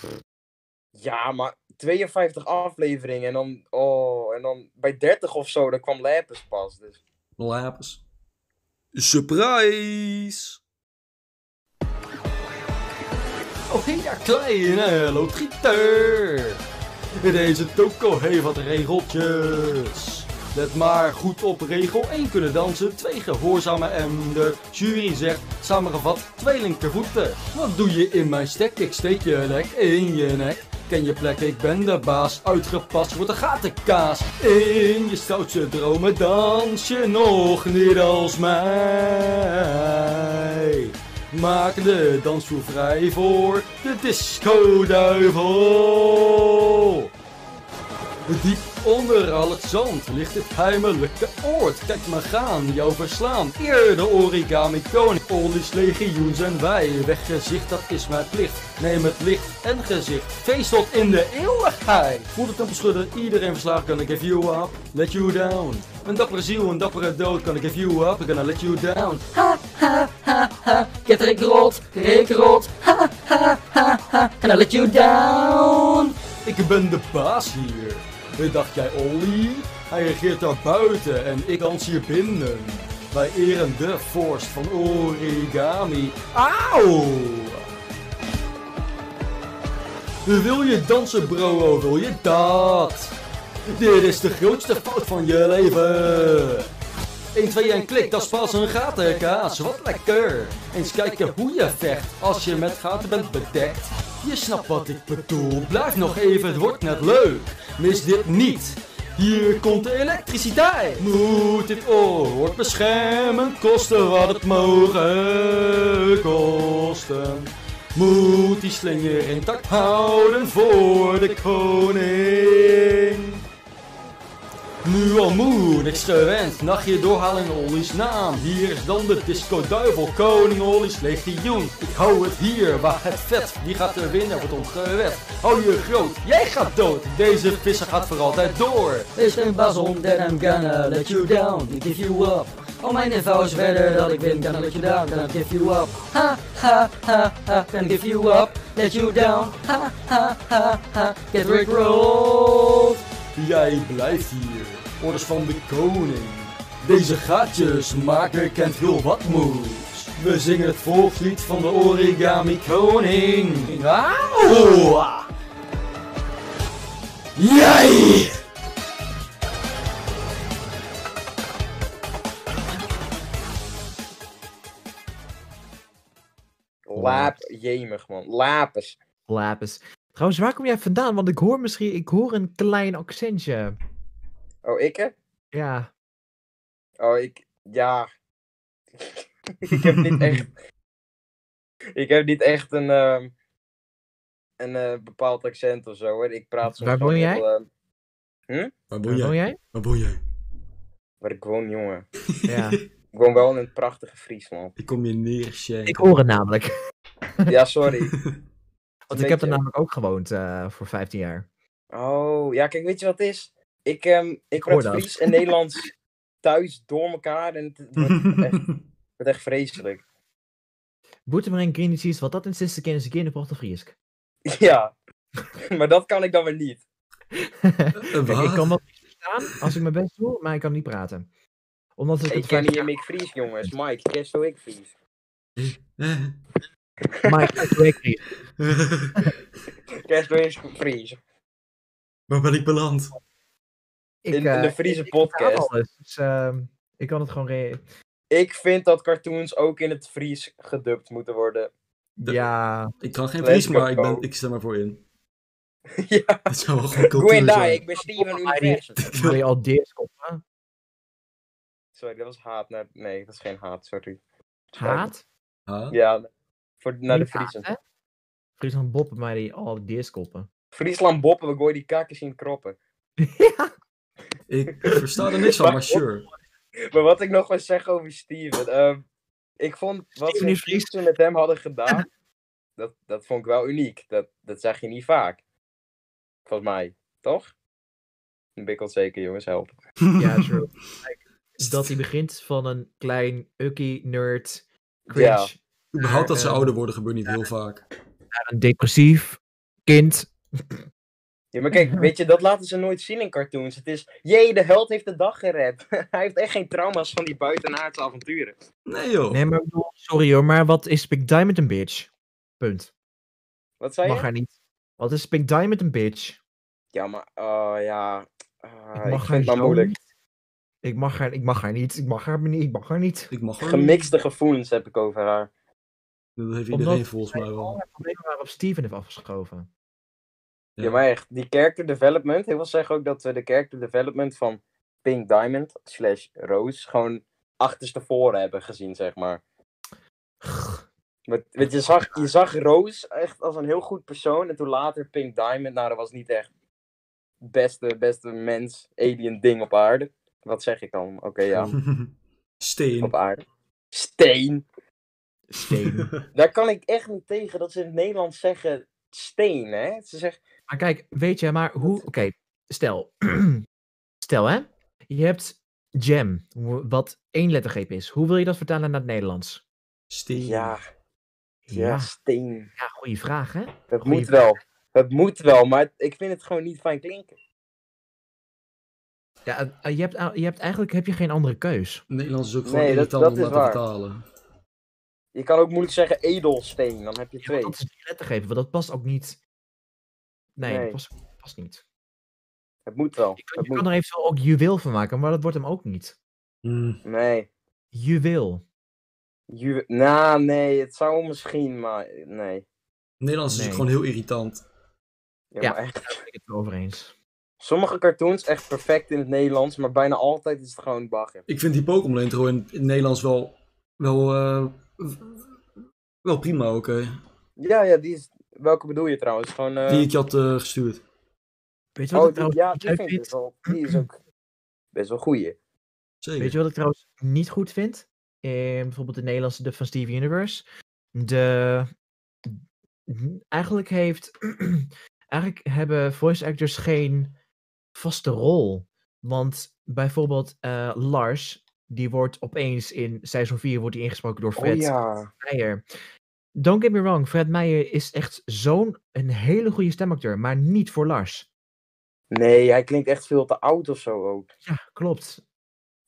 S3: ja, maar 52 afleveringen en dan, oh, en dan bij 30 of zo, dan kwam Lapis pas. Dus.
S13: Lapis. Surprise! Oh, hey daar, kleine loodgieter! Deze toko heeft wat regeltjes. Let maar goed op regel 1 kunnen dansen, 2 gehoorzamen en de jury zegt samengevat twee linkervoeten. Wat doe je in mijn stek? Ik steek je nek in je nek. Ken je plek, ik ben de baas. Uitgepast wordt de gatenkaas. In je stoutje dromen dans je nog niet als mij.
S1: Maken de dansvloer vrij voor de discoduivel. Diep onder al het zand ligt het heimelijke oord. Kijk maar gaan, jou verslaan. Eer de origami koning. Oldies legioen zijn wij. Weggezicht, dat is mijn plicht. Neem het licht en gezicht. Feest tot in de eeuwigheid. Voel de tempel schudden, iedereen verslagen. Kan ik give you up, let you down. Een dappere ziel, een dappere dood. Kan ik give you up, I'm gonna let you down.
S14: Ha, ha, ha, ha. Get Rick rot, Rick rot. Ha, ha, ha, ha. Can I let you down?
S1: Ik ben de baas hier. Dacht jij Ollie? Hij regeert daar buiten en ik dans hier binnen. Wij eren de vorst van origami. Auw! Wil je dansen, bro? Wil je dat? Dit is de grootste fout van je leven. 1, 2 en klik, dat is pas een gatenkaas. Wat lekker. Eens kijken hoe je vecht als je met gaten bent bedekt. Je snapt wat ik bedoel. Blijf nog even, het wordt net leuk. Mis dit niet. Hier komt de elektriciteit. Moet dit oord beschermen, kosten wat het mogen kosten. Moet die slinger intact houden voor de koning. Nu al moe, niks gewend, nachtje doorhalen in Ollies naam. Hier is dan de disco duivel, koning Ollies legioen. Ik hou het hier, waar het vet, wie gaat er winnen, wordt ongewet. Hou je groot, jij gaat dood, deze visser gaat voor altijd door.
S14: Is geen baas om, then I'm gonna let you down. Ik give you up. Al mijn niveau is verder dat ik win. Gonna let you down, gonna give you up. Ha, ha, ha, ha. Gonna give you up, let you down. Ha, ha, ha, ha. Get Rick roll.
S1: Jij blijft hier, orders van de koning. Deze gaatjes maken kent heel wat moes. We zingen het volkslied van de origami koning. Auw! Jij!
S3: Laap, jemig man. Lapis.
S2: Lapis. Trouwens, waar kom jij vandaan? Want ik hoor misschien, ik hoor een klein accentje.
S3: Oh, ik hè?
S2: Ja.
S3: Oh, ik. Ja. *laughs* ik heb niet echt.
S2: *laughs*
S3: Ik heb niet echt een. ehm, een eh, bepaald accent of zo hoor. Ik praat soms.
S2: Waar woon
S3: gewoon
S2: jij?
S3: heel, ehm, hm?
S1: Waar
S2: Waar woon
S3: *laughs*
S2: jij?
S1: Waar woon jij?
S3: Waar ik woon, jongen.
S2: Ja.
S3: Ik woon wel in het prachtige Friesland.
S1: Ik kom je neer,
S2: ik hoor het namelijk.
S3: Ja,
S2: *laughs*
S3: sorry.
S2: Want ik heb er
S3: Beetje-
S2: namelijk ook gewoond eh, voor 15 jaar.
S3: Oh, ja, kijk, weet je wat het is? Ik, ehm ik,
S2: hoor
S3: praat
S2: dat.
S3: Fries en Nederlands thuis door elkaar en het wordt echt,
S1: *laughs*
S3: wordt echt vreselijk. *laughs*
S2: Boetemerin Greenwich, wat dat in zesde keer is een keer in Porto Friesk. *laughs*
S3: Ja, maar dat kan ik dan weer niet. Eh,
S2: Kijk, ik kan wel Fries verstaan als ik mijn best doe, maar ik kan niet praten. Omdat ik
S3: Ik
S2: het
S3: ken
S2: vaak-
S3: hier Mick Fries, jongens. Mike, ken zo ik Fries?
S2: Maar ik kan het
S3: *laughs*
S2: niet.
S3: Ken zo ik Fries?
S15: Waar ben ik beland?
S2: Ik,
S3: In- in
S2: eh,
S3: de Friese
S2: ik- ik vertaal
S3: podcast.
S2: alles, dus, ehm, ik kan het gewoon... re-
S3: Ik vind dat cartoons ook in het Fries gedubt moeten worden. *laughs*
S2: ja,
S15: Ik kan geen
S3: Let's
S15: Fries, maar ik,
S3: go.
S15: ben, ik stem ervoor in.
S3: *laughs* ja.
S15: Dat zou wel gewoon cultuur
S3: Goeiedag,
S15: zijn.
S3: ik ben Steven Universe.
S2: wil je al deers komen?
S3: Sorry, dat was haat naar... Nee, dat is geen haat, sorry. Spijt me.
S2: Haat?
S15: Ah,
S3: Ja, voor, naar de
S2: Niet haat,
S3: Friesen.
S2: hè? Friesland boppen, maar die al eh. deers koppen.
S3: Friesland boppen, we gooien die kakkers in kroppen.
S15: Ik versta er niks van,
S2: *laughs*
S15: maar sure.
S3: Maar wat ik nog wil zeggen over Steven. ehm, ik vond wat
S2: Steven
S3: ze
S2: is
S3: in
S2: Fries.
S3: Fries toen met hem hadden gedaan. *laughs* dat, dat vond ik wel uniek. Dat, dat zag je niet vaak. Volgens mij, toch? Dan ben ik onzeker, jongens, help. *laughs*
S1: *laughs*
S2: Ja, true. Kijk, dat hij begint van een klein ukkie nerd, cringe,
S3: Ja.
S15: Überhaupt dat ze
S2: eh,
S15: ouder worden gebeurt niet heel vaak.
S2: naar een depressief kind.
S3: Ja, maar
S2: *laughs*
S3: kijk, weet je, dat laten ze nooit zien in cartoons. Het is, jee, de held heeft de dag gered. *laughs* Hij heeft echt geen trauma's van die buitenaardse avonturen.
S15: Nee joh.
S2: Nee, maar ik bedoel, sorry hoor, maar wat is Pink Diamond een bitch? Punt.
S3: Wat zei je?
S2: Mag haar niet. Wat is Pink Diamond een bitch?
S3: Ja, maar, oh ja. Ah,
S2: Ik
S3: ik
S2: mag
S3: vind het
S2: haar
S3: maar
S2: zo
S3: moeilijk.
S2: niet. Ik mag haar, ik mag haar niet. Ik mag haar niet. Ik mag haar niet.
S15: Ik mag gewoon niet.
S3: Gemixte gevoelens heb ik over haar.
S15: Dat heeft iedereen
S2: Omdat
S15: volgens mij
S2: Al
S15: wel.
S2: haar problemen waren op Steven heeft afgeschoven.
S15: Ja.
S3: Ja, maar echt, die character development. Ik wil zeggen ook dat we de character development van Pink Diamond slash Rose gewoon achterstevoren hebben gezien, zeg maar. Want, want je, zag, je zag Roos echt als een heel goed persoon. En toen later Pink Diamond. Nou, dat was niet echt het beste, beste mens, alien ding op aarde. Wat zeg ik dan? Oké, ja.
S1: *laughs* Steen.
S3: Op aarde. Steen.
S2: Steen.
S3: Daar kan ik echt niet tegen dat ze in het Nederlands zeggen steen, hè? Ze zeggen,
S2: Maar kijk, weet je, maar hoe... Oké, stel. *clears throat* stel, hè. Je hebt jam, wo- wat één lettergreep is. Hoe wil je dat vertalen naar het Nederlands?
S1: Steen.
S3: Ja. ja,
S2: Ja.
S3: steen.
S2: Ja, goede vraag, hè?
S3: Dat
S2: Goeie
S3: moet wel. Dat moet wel, maar het- ik vind het gewoon niet fijn klinken.
S2: Ja, eh, je hebt, eh, je hebt, eigenlijk heb je geen andere keus.
S1: Nederlands is ook
S3: gewoon Nee, dat- irritant dat om is dat te waar. vertalen. Je kan ook moeilijk zeggen edelsteen, dan heb je twee.
S2: Dat is die lettergreep, want dat past ook niet. Nee,
S3: Nee.
S2: dat past, past niet.
S3: Het moet wel.
S2: Je kan er eventueel ook juweel van maken, maar dat wordt hem ook niet.
S1: Hmm.
S3: Nee.
S2: Juweel.
S3: Ju nou, nee, het zou misschien, maar nee.
S1: Nederlands is ook gewoon heel irritant.
S3: Ja,
S2: Ja,
S3: maar echt.
S2: daar ben ik het wel over eens.
S3: Sommige cartoons echt perfect in het Nederlands, maar bijna altijd is het gewoon bagger.
S1: Ik vind die Pokémon intro in het Nederlands wel, wel, eh, wel prima ook. hè.
S3: Eh. Ja, ja, die is... Welke bedoel je trouwens? Gewoon, eh,
S1: Die ik je had eh, gestuurd.
S2: Weet je wat
S3: Oh,
S2: ik
S3: die,
S2: trouwens
S3: ja,
S2: niet
S3: die
S2: leuk
S3: vind ik
S2: vind?
S3: dus wel... Die is ook best wel goeie.
S1: Zeker.
S2: Weet je wat ik trouwens niet goed vind? In bijvoorbeeld de Nederlandse dub van Steven Universe. De... n- Eigenlijk heeft... *clears throat* Eigenlijk hebben voice actors geen vaste rol. Want bijvoorbeeld eh, Lars, die wordt opeens in seizoen 4 wordt die ingesproken door Fred
S3: Oh ja.
S2: Meijer. Don't get me wrong, Fred Meijer is echt zo'n een hele goede stemacteur, maar niet voor Lars.
S3: Nee, hij klinkt echt veel te oud of zo ook.
S2: Ja, klopt.
S3: Het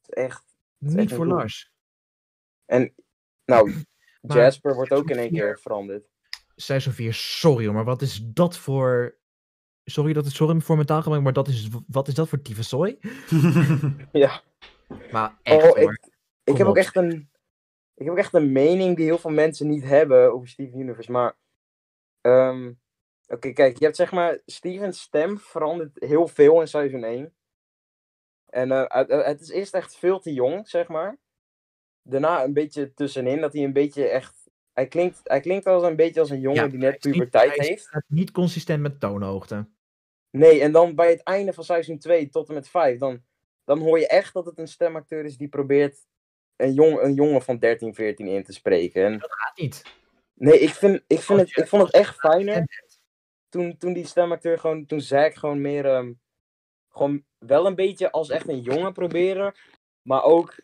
S3: is Echt.
S2: Niet
S3: echt
S2: voor
S3: goed.
S2: Lars.
S3: En, nou,
S2: Maar-
S3: Jasper wordt ook in één keer veranderd.
S2: seizoen 4, sorry hoor, maar wat is dat voor... Sorry dat het sorry voor mijn taal gebruik, maar dat is, wat is dat voor tyfezooi?
S3: *laughs* Ja.
S2: Maar echt
S3: oh,
S2: hoor.
S3: ik, ik heb
S2: op.
S3: ook echt een... Ik heb ook echt een mening die heel veel mensen niet hebben over Steven Universe, maar... ehm, Oké, kijk, je hebt zeg maar... Steven's stem verandert heel veel in seizoen 1. En eh, het- het- het is eerst echt veel te jong, zeg maar. Daarna een beetje tussenin, dat hij een beetje echt... Hij klinkt, hij klinkt als een beetje als een jongen
S2: Ja,
S3: die net
S2: is niet-
S3: puberteit
S2: hij is-
S3: heeft.
S2: staat niet consistent met toonhoogte.
S3: Nee, en dan bij het einde van seizoen 2 tot en met 5, dan, dan hoor je echt dat het een stemacteur is die probeert een, jong, een jongen van 13, 14 in te spreken. En,
S2: Gaat niet.
S3: nee, ik, vind, ik, vind
S2: Als
S3: het,
S2: je-
S3: ik vond het echt
S2: En-
S3: fijner toen, toen die stemacteur gewoon, toen Zack gewoon meer, ehm, gewoon wel een beetje als echt een jongen proberen, maar ook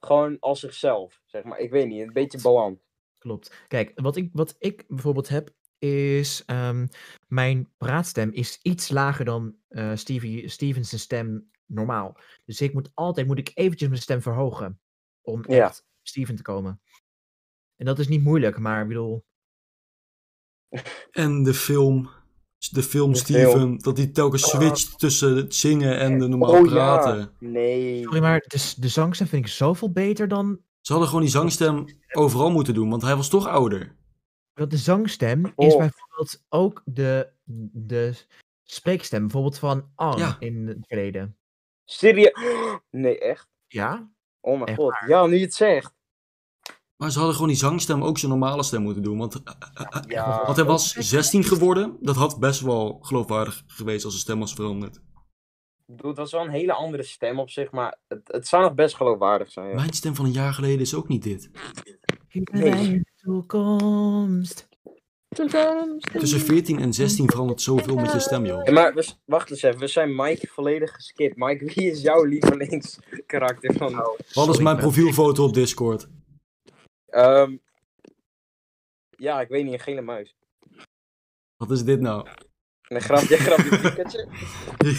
S3: gewoon als zichzelf, zeg maar. Ik weet niet, een beetje balans.
S2: Klopt. Kijk, wat ik, wat ik bijvoorbeeld heb, is ehm, mijn praatstem is iets lager dan eh Stevie, Stevens' stem normaal. Dus ik moet altijd moet ik eventjes mijn stem verhogen om
S3: Ja.
S2: echt Steven te komen. En dat is niet moeilijk, maar ik bedoel,
S1: En de film. De film
S3: De
S1: Steven.
S3: film. Ah.
S1: Dat die telkens switcht tussen het zingen en de normaal
S3: Oh
S1: praten.
S3: ja, nee.
S2: Sorry, maar de, s- de zangstem vind ik zoveel beter dan...
S1: Ze hadden gewoon die zangstem overal moeten doen, want hij was toch ouder.
S2: Want de zangstem is
S1: Oh.
S2: bijvoorbeeld ook de, de spreekstem. Bijvoorbeeld van Ang
S1: Ja.
S2: in het verleden.
S3: Serieus? *gasps* Nee, echt?
S2: Ja?
S3: Oh mijn
S2: Echt
S3: god. Ja, nu je het zegt.
S1: Maar ze hadden gewoon die zangstem ook zijn normale stem moeten doen. Want,
S2: Ah,
S3: Ja.
S1: want hij was 16 geworden. Dat had best wel geloofwaardig geweest als zijn stem was veranderd.
S3: Ik bedoel, het was wel een hele andere stem op zich, maar het, het zou nog best geloofwaardig zijn. Ja.
S1: Mijn stem van een jaar geleden is ook niet dit.
S2: Hier
S3: Nee.
S2: bij de toekomst.
S1: Tussen 14 en 16 verandert zoveel met je stem, joh.
S3: Hey, maar we s- wacht eens even, we zijn Mike volledig geskipt. Mike, wie is jouw lievelingskarakter van nou?
S1: Wat is
S2: Sorry,
S1: mijn
S2: maar-
S1: profielfoto op Discord?
S3: Ehm, ja, ik weet niet, een gele muis.
S1: Wat is dit nou? *laughs*
S3: En een grapje, grapje, Pikachu.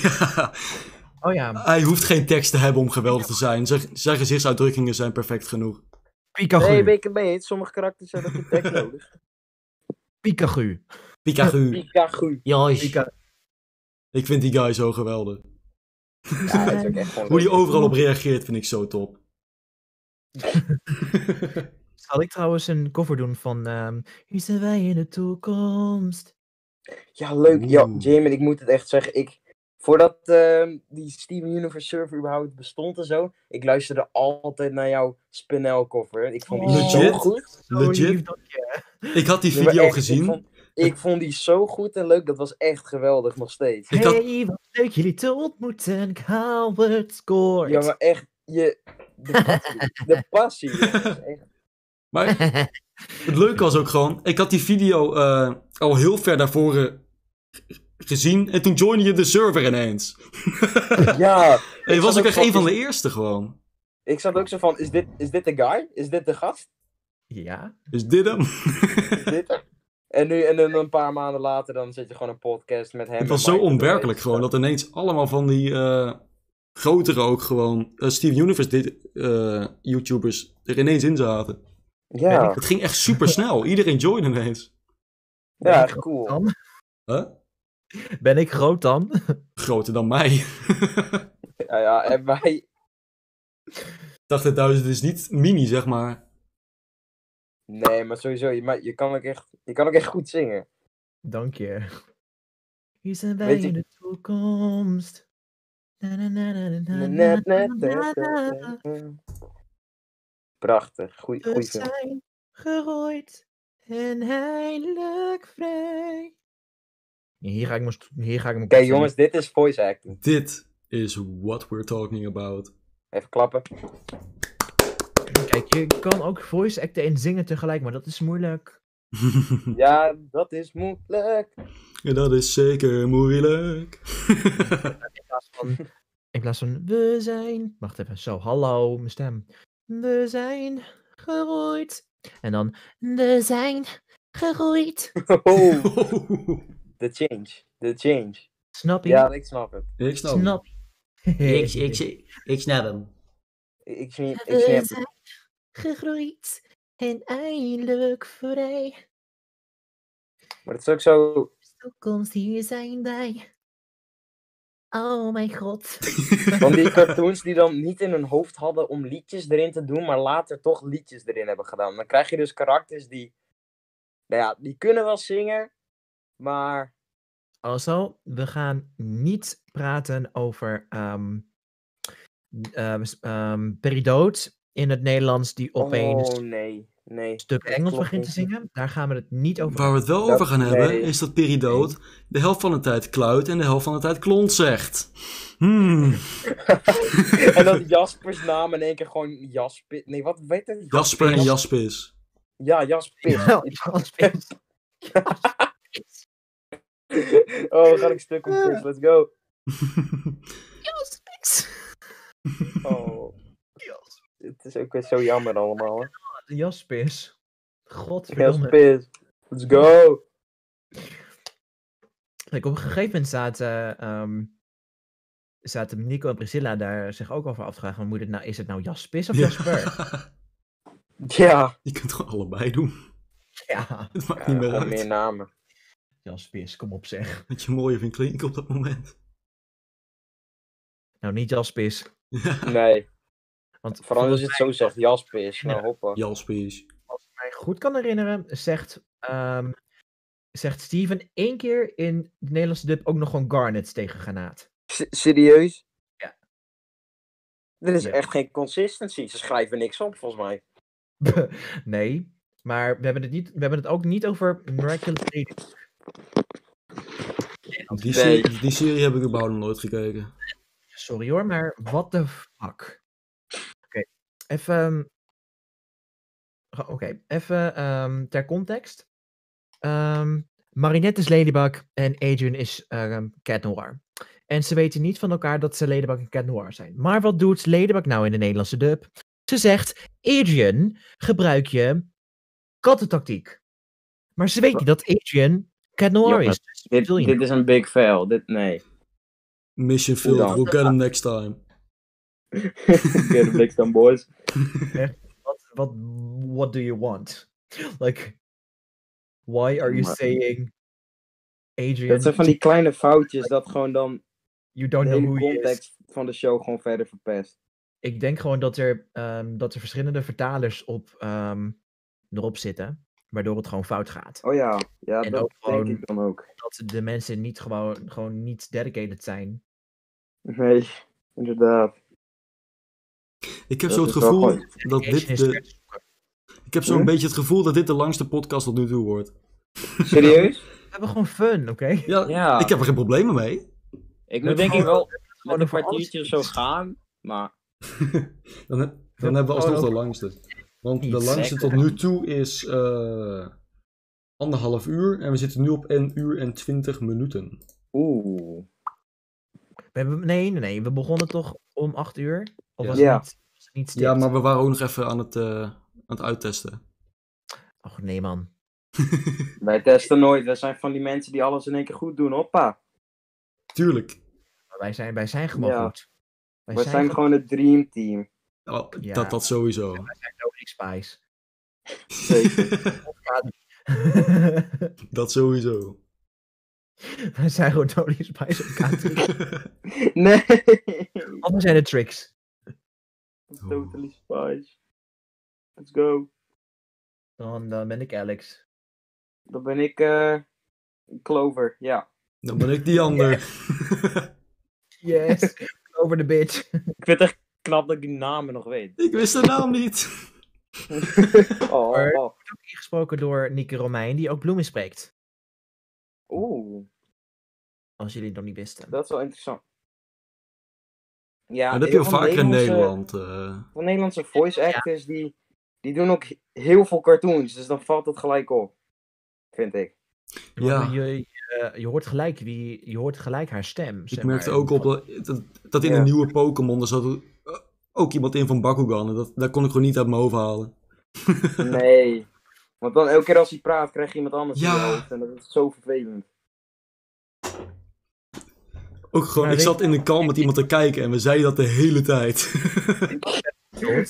S1: Ja,
S2: Oh ja,
S1: hij hoeft geen tekst te hebben om geweldig te zijn. Zijn, zijn gezichtsuitdrukkingen zijn perfect genoeg.
S2: Pikachu.
S3: Nee, ben ik het mee eens. Sommige karakters hebben geen tekst *laughs* nodig.
S2: Pikachu.
S1: Pikachu.
S3: Pikachu.
S1: Josh.
S2: Pika-
S1: Ik vind die guy zo geweldig.
S3: Ja, dat is ook echt gewoon
S1: Hoe die
S3: leuk.
S1: overal op reageert vind ik zo top.
S2: Zal ik trouwens een cover doen van... ehm, Hier zijn wij in de toekomst.
S3: Ja, leuk. Ja,
S1: Oeh.
S3: Jamie, ik moet het echt zeggen. Ik, Voordat ehm, die Steven Universe server überhaupt bestond en zo, ik luisterde altijd naar jouw Spinel cover. Ik vond die zo
S1: Oh. Legit?
S3: goed.
S1: Legit? Ik had die
S3: Nee, maar
S1: video
S3: echt, Ik
S1: gezien.
S3: vond, ik vond die zo goed en leuk. Dat was echt geweldig nog steeds.
S2: Hey, wat leuk jullie te ontmoeten. Howard scoort.
S3: Ja, maar echt, je,
S1: *laughs*
S3: de passie. de passie. jongens, echt.
S1: Maar het leuke was ook gewoon, ik had die video eh, al heel ver daarvoor eh, gezien. En toen joinde je de server ineens. *laughs*
S3: ja.
S1: Het was
S3: zat
S1: ook echt
S3: van,
S1: een van de e-
S3: is-
S1: eerste gewoon.
S3: Ik zat ook zo van, is dit, is dit de guy? Is dit de gast?
S2: *laughs* Ja.
S1: Is Dus dit hem?
S3: Is dit er? En nu, en dan een paar maanden later, dan zit je gewoon een podcast met hem.
S1: Het was
S3: en
S1: zo
S3: Mike.
S1: onwerkelijk gewoon dat ineens allemaal van die eh, grotere ook gewoon eh, Steven Universe dit, eh, YouTubers er ineens in zaten.
S3: Ja.
S1: Het ging echt super snel. Iedereen joinde ineens.
S3: Ja, echt cool.
S1: Huh?
S2: Ben ik groot dan?
S1: Groter dan mij.
S3: Ja, ja, en wij...
S1: 80.000 nou is dus niet mini, zeg maar.
S3: Nee, maar sowieso, je, maar je, kan ook echt, je kan ook echt goed zingen.
S2: Dank je. Hier zijn
S3: Weet
S2: wij
S3: je-
S2: in de toekomst. Na, na, na, na, na, na,
S3: Na, na,
S2: na,
S3: na,
S2: na,
S3: na,
S2: na.
S3: na, na. Prachtig, goeie,
S2: We
S3: goeie film.
S2: zijn gerooid en eindelijk vrij. Hier ga ik mijn... Hier ga ik mijn
S3: Oké jongens, dit is voice acting.
S1: Dit is what we're talking about. *laughs*
S3: Even klappen.
S2: Kijk, je kan ook voice acten en zingen tegelijk, maar dat is moeilijk.
S3: Ja, dat is moeilijk.
S2: *laughs*
S1: En dat is zeker *laughs* moeilijk.
S2: *laughs* In plaats van we zijn... Wacht even, zo, hallo, mijn stem. We zijn gerooid. En dan...
S7: We zijn geroeid.
S3: Oh. The change, the change.
S2: Snap je?
S3: Ja, ik snap het.
S1: Ik snap.
S2: Snap
S16: Ik, ik, ik, ik snap hem.
S3: Ik, ik, snap- ik
S7: We
S3: snap het.
S7: zijn geroeid en eindelijk vrij.
S3: Maar het is ook zo.
S7: Toekomst, hier zijn wij. Oh mijn god.
S3: Van die cartoons die dan niet in hun hoofd hadden om liedjes erin te doen, maar later toch liedjes erin hebben gedaan. Dan krijg je dus karakters die. Nou ja, die kunnen wel zingen, maar.
S2: Also, we gaan niet praten over ehm ehm, s- ehm, peridood in het Nederlands die opeens
S3: Oh nee, nee.
S2: een stuk Engels
S3: klopt
S2: begint te
S3: niet.
S2: zingen. Daar gaan we het niet over
S1: Waar we het wel over gaan
S3: nee.
S1: hebben, is dat Peridood de helft van de tijd kluit en de helft van de tijd klont zegt. Hmm,
S3: *laughs* En dat Jaspers naam in één keer gewoon Jasper. Nee, wat weet het?
S1: Jasper en Jaspis.
S3: Ja, Jaspis.
S2: hebben. *laughs*
S3: *laughs* Oh, we gaan ik stuk op Chris, let's go. Oh. Het is ook weer zo jammer allemaal. Hè.
S2: Jaspis. Godverdomme.
S3: Jaspis. Let's go.
S2: Kijk, op een gegeven moment zaten, ehm, zaten Nico en Priscilla daar zich ook over af te vragen. van, Moet het nou, is het nou Jaspis of
S1: Ja. *laughs*
S2: Jasper?
S3: Ja.
S1: Je kunt het gewoon allebei doen.
S2: Ja,
S1: Het maakt
S3: Ja,
S1: niet meer
S3: gewoon
S1: uit.
S3: meer namen.
S2: Jaspis, kom op zeg.
S1: Wat je mooier vindt klinken op dat moment. *laughs*
S2: Nou, niet Jaspis.
S3: Nee,
S2: Want
S3: vooral als
S2: volgens
S3: je het zo zegt. Jaspis. Nou, hoppa.
S1: Jaspis.
S2: mij goed kan herinneren, zegt, ehm, zegt Steven één keer in de Nederlandse dub ook nog gewoon Garnet tegen Granaat. *laughs*
S3: S- Serieus?
S2: Ja.
S3: Er is
S2: Ja.
S3: echt geen consistency. Ze schrijven niks op, volgens mij.
S2: nee, maar we hebben, het niet, we hebben het ook niet over Miraculous Lady.
S1: Die,
S3: Nee.
S1: serie, die serie heb ik überhaupt nog nooit gekeken.
S2: Sorry hoor, maar what the fuck. Oké, even... ehm, ga- Oké, even ehm, ter context. Ehm, Marinette is Ladybug en Adrian is ehm, Cat Noir. En ze weten niet van elkaar dat ze Ladybug en Cat Noir zijn. Maar wat doet Ladybug nou in de Nederlandse dub? Ze zegt, Adrian, gebruik je kattentactiek. Maar ze weet niet dat Adrian Cat Noir
S3: Ja,
S2: is.
S3: Dit,
S2: Wil je nou?
S3: dit is een big fail. Dit, nee. *laughs*
S1: Mission
S3: Hoe
S1: failed,
S3: dan?
S1: we'll get him next time.
S3: Get the Black Stone Boys.
S2: what what what do you want? Like why are you
S3: Maar-
S2: saying Adrian
S3: Dat zijn van die kleine foutjes dat gewoon dan
S2: you
S3: de
S2: don't know
S3: hele
S2: who he is?
S3: context van de show gewoon verder verpest.
S2: Ik denk gewoon dat er, ehm, dat er verschillende vertalers op, ehm, erop zitten, waardoor het gewoon fout gaat.
S3: Oh ja, ja
S2: En
S3: dat
S2: ook
S3: denk
S2: gewoon-
S3: ik dan ook. *laughs*
S2: Dat de mensen niet gewoon, gewoon niet dedicated zijn
S3: Nee, inderdaad.
S1: Ik heb
S3: Dat
S1: zo het
S3: is wel
S1: gevoel
S3: goed.
S1: dat dit de... Ik heb zo'n
S3: Hm?
S1: beetje het gevoel dat dit de langste podcast tot nu toe wordt.
S3: Serieus?
S2: We hebben gewoon fun, oké?
S1: Ja,
S3: Ja.
S1: ik heb er geen problemen mee.
S3: Ik
S2: We
S3: moet denk ik
S2: hebben
S3: wel
S2: gewoon
S3: met een
S2: over alles
S3: kwartiertje of zo gaan, maar...
S1: Dan, he- dan hebben we alsnog de langste. Want de
S3: Niet
S1: langste
S3: lekker.
S1: tot nu toe is eh, anderhalf uur. En we zitten nu op 1 uur en 20 minuten.
S3: Oeh.
S2: We hebben- nee, nee, nee. We begonnen toch om acht uur? Of was
S1: Ja.
S2: het niet, was het niet stipt?
S1: Ja, maar we waren ook nog even aan het, eh, aan het uittesten.
S2: Och nee, man.
S3: Wij testen nooit, wij zijn van die mensen die alles in één keer goed doen, hoppa.
S1: Tuurlijk.
S2: Wij zijn, wij zijn gewoon
S3: Ja.
S2: goed.
S3: Wij, zijn, gewoon het dream team.
S1: Oh,
S2: Ja.
S1: dat, dat sowieso. *laughs*
S2: Wij zijn Dominic Spice. *laughs*
S1: Dat sowieso. *laughs*
S2: wij zijn gewoon Dominic Spice op
S3: *laughs*
S2: K3.
S3: *laughs* nee!
S2: Anders zijn het tricks.
S3: Totally Spice. Let's go.
S2: Dan, dan ben ik Alex.
S3: Dan ben ik eh, Clover, ja.
S1: Dan ben ik die ander.
S2: Yes, *laughs* over de bitch.
S3: Ik vind het echt knap dat ik die namen nog
S1: *laughs*
S3: weet.
S1: Ik wist de naam niet.
S3: Oh,
S2: Maar-
S3: oh.
S2: Gesproken door Nieke Romein, die ook bloemen spreekt.
S3: Oeh,
S2: Als jullie het nog niet wisten.
S3: dat is wel interessant. Ja,
S1: dat heb je wel
S3: heel veel
S1: vaker in
S3: Nederlandse-
S1: Nederland. eh.
S3: Van Nederlandse voice actors, die, die doen ook heel veel cartoons, dus dan valt het gelijk op. Vind
S1: *laughs*
S3: ik.
S1: Ja.
S2: Je, je, je hoort gelijk wie, je hoort gelijk haar stem.
S1: Ik
S2: zeg
S1: merkte
S2: maar.
S1: ook op dat- dat, dat in
S3: Ja.
S1: een nieuwe Pokémon, er zat eh, ook iemand in van Bakugan. En dat, dat kon ik gewoon niet uit mijn hoofd halen.
S3: Nee. Want dan elke keer als hij praat, krijg je iemand anders in
S1: Ja.
S3: je hoofd. En dat is zo vervelend.
S1: Ook gewoon,
S2: Maar
S1: ik
S2: weet-
S1: zat in een kalm met iemand te kijken en we zeiden dat de hele tijd.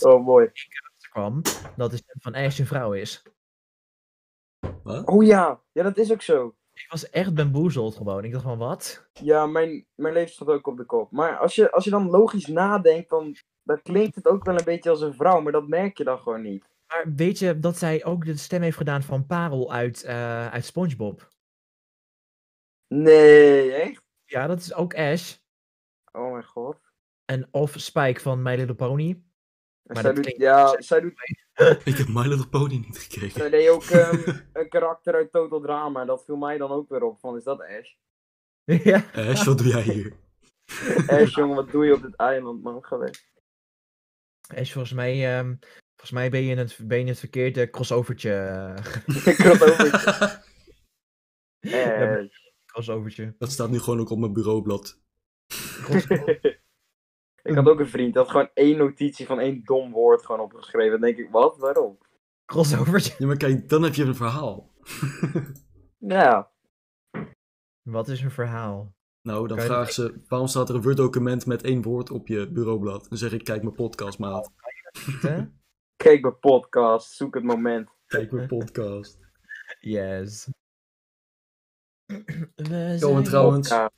S3: Oh, mooi.
S2: kwam dat de stem van Ash een vrouw is.
S1: Wat?
S3: Oh ja, ja dat is ook zo.
S2: Ik was echt bamboezeld gewoon. Ik dacht van wat?
S3: Ja, mijn, mijn leven staat ook op de kop. Maar als je, als je dan logisch nadenkt, dan, dan klinkt het ook wel een beetje als een vrouw, maar dat merk je dan gewoon niet.
S2: Maar weet je dat zij ook de stem heeft gedaan van Parel uit, eh, uit SpongeBob?
S3: Nee, echt?
S2: Ja, dat is ook Ash.
S3: Oh mijn god.
S2: En of Spike van My Little Pony. *laughs*
S3: En
S2: Maar
S3: zij
S2: dat
S3: doet,
S2: klinkt-
S3: ja, zij doet
S1: *laughs* ik heb My Little Pony niet gekeken.
S3: zij deed ook
S1: *laughs*
S3: ehm, een karakter uit Total Drama. En dat viel mij dan ook weer op. Van, is dat Ash?
S2: ja.
S1: Ash, wat doe jij hier?
S3: Ash, jongen, wat doe je op dit eiland, man? Ga weg.
S2: Ash, volgens mij, ehm, volgens mij ben, je in het, ben je in het verkeerde crossovertje. eh,
S3: Ik had over.
S1: *laughs*
S2: hebben-
S3: Ash.
S2: crossovertje.
S1: Dat staat nu gewoon ook op mijn bureaublad.
S3: Ik had ook een vriend, die had gewoon één notitie van één dom woord gewoon opgeschreven. Dan denk ik, wat? Waarom?
S2: Crossovertje.
S1: Ja, maar kijk, dan heb je een verhaal.
S3: Ja.
S2: Wat is een verhaal?
S1: Nou, dan
S2: Kan je
S1: vragen ze, waarom staat er een Word-document met één woord op je bureaublad? Dan zeg ik, kijk mijn podcast, maat.
S2: Niet, hè?
S3: Kijk mijn podcast, zoek het moment.
S1: Kijk mijn podcast.
S2: yes. We
S1: Oh, en
S2: zijn...
S1: trouwens,
S3: Ja.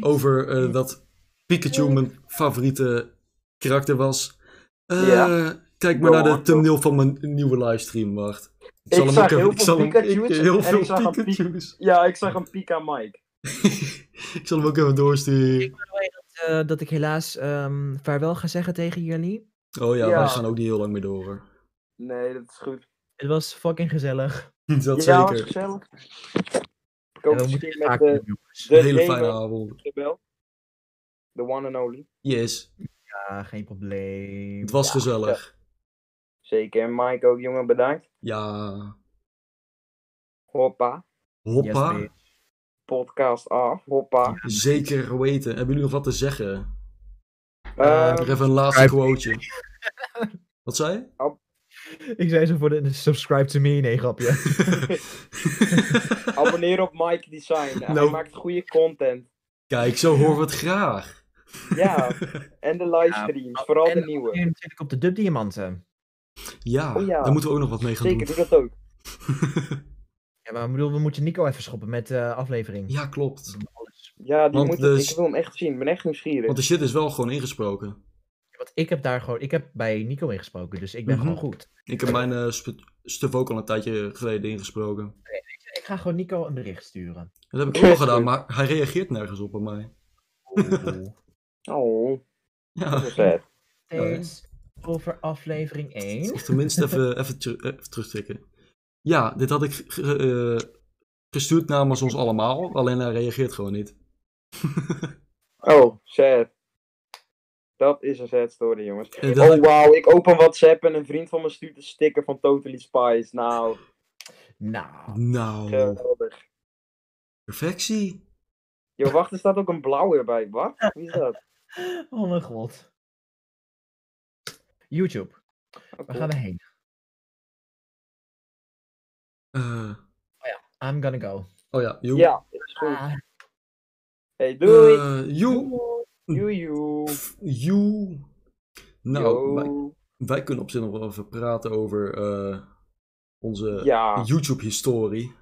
S1: over eh, dat Pikachu mijn favoriete karakter was. Eh,
S3: Ja.
S1: Kijk maar
S3: Go
S1: naar de
S3: on.
S1: thumbnail van mijn nieuwe livestream, wacht. Ik
S3: Ik zag heel
S1: ik
S3: veel
S1: zal hem-
S3: Pikachu's
S1: ik, heel
S3: en
S1: veel
S3: ik zag een Pik-
S1: Pikachu's. *laughs*
S3: Ja, ik zag een Pika Mike.
S1: ik zal hem ook even doorsturen.
S2: Eh, dat ik helaas ehm, vaarwel ga zeggen tegen jullie.
S1: Oh ja,
S3: Ja.
S1: wij gaan ook niet heel lang meer door. hoor. *laughs*
S3: Nee, dat is goed.
S2: Het was fucking gezellig.
S1: Dat
S3: ja, was
S1: zeker.
S3: gezellig. Ik
S2: En
S3: hoop
S2: Eh, we
S3: dat
S2: moeten
S3: je
S2: het
S3: met
S2: vaak
S3: de,
S2: doen, jongens.
S3: de
S1: Een hele fijne
S3: gamer
S1: avond.
S3: de bel. The one and only.
S1: Yes,
S2: Ja, Ah, geen probleem.
S1: het was gezellig.
S3: Zeker. En Mike ook, jongen, bedankt.
S1: Ja.
S3: Hoppa.
S1: Hoppa.
S2: bitch.
S3: Podcast af. Hoppa.
S1: zeker weten. Hebben jullie nog wat te zeggen?
S3: Ehm,
S1: *laughs* Nog even een laatste quoteje. Wat zei je?
S2: Ik zei zo voor de subscribe to me. Nee, grapje. *laughs*
S3: abonneer op Mike Design. Hij
S1: Nou.
S3: maakt goede content.
S1: Kijk, zo horen we het graag. *laughs*
S3: Ja. en de livestreams. vooral de
S2: en-
S3: nieuwe.
S2: En natuurlijk op de Dub Diamanten.
S1: Ja,
S3: Oh ja.
S1: daar moeten we ook nog wat mee gaan
S3: Zeker,
S1: doen.
S3: doe dat ook.
S2: Ja, maar ik bedoel, we moeten Nico even schoppen met de aflevering.
S1: Ja, klopt.
S3: Ja, die
S1: Want
S3: moet
S1: dus-
S3: ik wil hem echt zien. Ik ben echt nieuwsgierig.
S1: Want de shit is wel gewoon ingesproken.
S2: Want ik heb daar gewoon, ik heb bij Nico ingesproken, dus ik ben
S1: Mhm.
S2: gewoon goed.
S1: Ik heb mijn eh, sp- stuf ook al een tijdje geleden ingesproken.
S2: Ik ga gewoon Nico een bericht sturen.
S1: Dat heb ik ook al gedaan, maar hij reageert nergens op bij mij.
S3: Oh.
S1: Ja. *laughs*
S2: Eens over aflevering 1.
S1: Of tenminste
S3: *laughs*
S1: even, even, teru- eh, even terugtrekken. Ja, dit had ik ge- ge- eh, gestuurd namens ons allemaal, alleen hij reageert gewoon niet.
S3: Oh, sad. Dat is een sad story, jongens.
S1: Eh, dat-
S3: Oh, wauw. Ik open WhatsApp en een vriend van me stuurt een sticker van Totally Spies. Nou,
S1: Oh.
S2: Nou.
S1: Nou,
S3: geweldig.
S1: perfectie.
S3: Yo, wacht, er staat ook een blauwe bij. Wat? Wie is dat?
S2: Oh mijn god. YouTube. We gaan erheen.
S1: Eh,
S2: I'm gonna go.
S1: oh ja, joe.
S3: Ja, is goed.
S2: Ah,
S3: Hey, doei.
S1: Eh, joe.
S3: Joe, joe.
S1: Joe. *laughs* Nou,
S3: Yo.
S1: wij, wij kunnen op zich nog wel even praten over eh, onze
S3: Ja.
S1: YouTube-historie.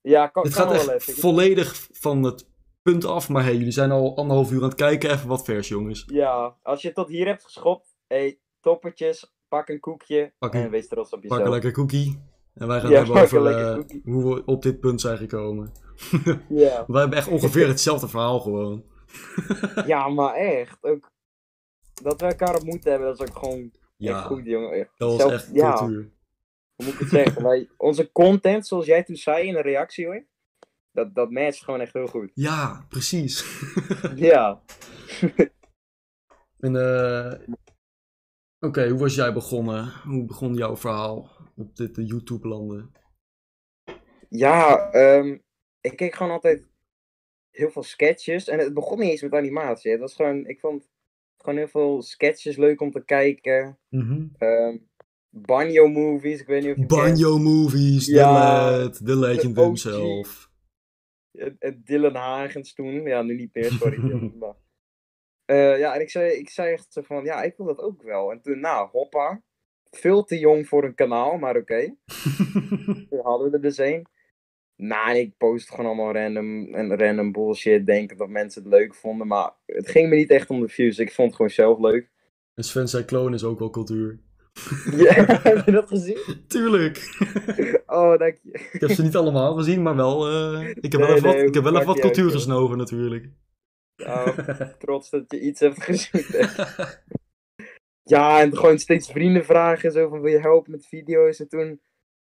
S3: Ja, kan,
S1: eh, Het
S3: kan
S1: gaat echt
S3: wel even.
S1: volledig van het punt af, maar hey, jullie zijn al anderhalf uur aan het kijken. Even wat vers, jongens.
S3: Ja, als je tot hier hebt geschopt, hey, toppertjes, pak een koekje
S1: Pak een-
S3: en wees trots op
S1: Pak
S3: jezelf.
S1: een lekker cookie. En wij gaan
S3: Ja,
S1: het hebben
S3: pak een
S1: over
S3: lekker
S1: eh,
S3: cookie.
S1: hoe we op dit punt zijn gekomen.
S3: Ja.
S1: Wij hebben echt
S3: *laughs*
S1: ongeveer hetzelfde verhaal gewoon.
S3: ja, maar echt. Ook, dat we elkaar op moeten hebben, dat is ook gewoon
S1: Ja,
S3: echt goed, jongen. Echt.
S1: Dat was
S3: Zelf-
S1: echt
S3: ja,
S1: cultuur.
S3: hoe moet ik het zeggen? Wij, onze content, zoals jij toen zei in de reactie, hoor. Dat, dat matcht gewoon echt heel
S1: *laughs*
S3: goed.
S1: Ja, precies. *laughs*
S3: Ja.
S1: en eh, Oké, hoe was jij begonnen? Hoe begon jouw verhaal op dit eh, YouTube-landen?
S3: Ja, ehm, ik keek gewoon altijd heel veel sketches. En het begon niet eens met animatie. Het was gewoon, ik vond gewoon heel veel sketches leuk om te kijken. Ehm, Banjo movies, ik weet niet of je
S1: Banjo Movies, The
S3: Ja,
S1: Lad, The Legend
S3: OG.
S1: himself.
S3: kent. Het, het Dylan Hagens toen. Ja, nu niet meer, sorry. Dylan, maar- Eh, ja, en ik zei, ik zei echt zo van, ja, ik wil dat ook wel. En toen, nou, hoppa. Veel te jong voor een kanaal, maar oké. toen hadden we er dus één. Nou, en ik post gewoon allemaal random, en random bullshit, denken dat mensen het leuk vonden. Maar het ging me niet echt om de views. Ik vond het gewoon zelf leuk. *laughs*
S1: En Sven zijn kloon is ook wel cultuur.
S3: Ja, heb je dat gezien?
S1: Tuurlijk.
S3: Oh, dank je.
S1: Ik heb ze niet allemaal gezien, maar wel. eh, ik heb wel
S3: Nee,
S1: even wat,
S3: nee,
S1: ik heb wel even
S3: maakt
S1: wat
S3: niet uit,
S1: cultuur
S3: joh.
S1: gesnoven, natuurlijk. *laughs*
S3: Nou, trots dat je iets hebt gezien. ja, en gewoon steeds vrienden vragen. Zo van, wil je helpen met video's? En toen...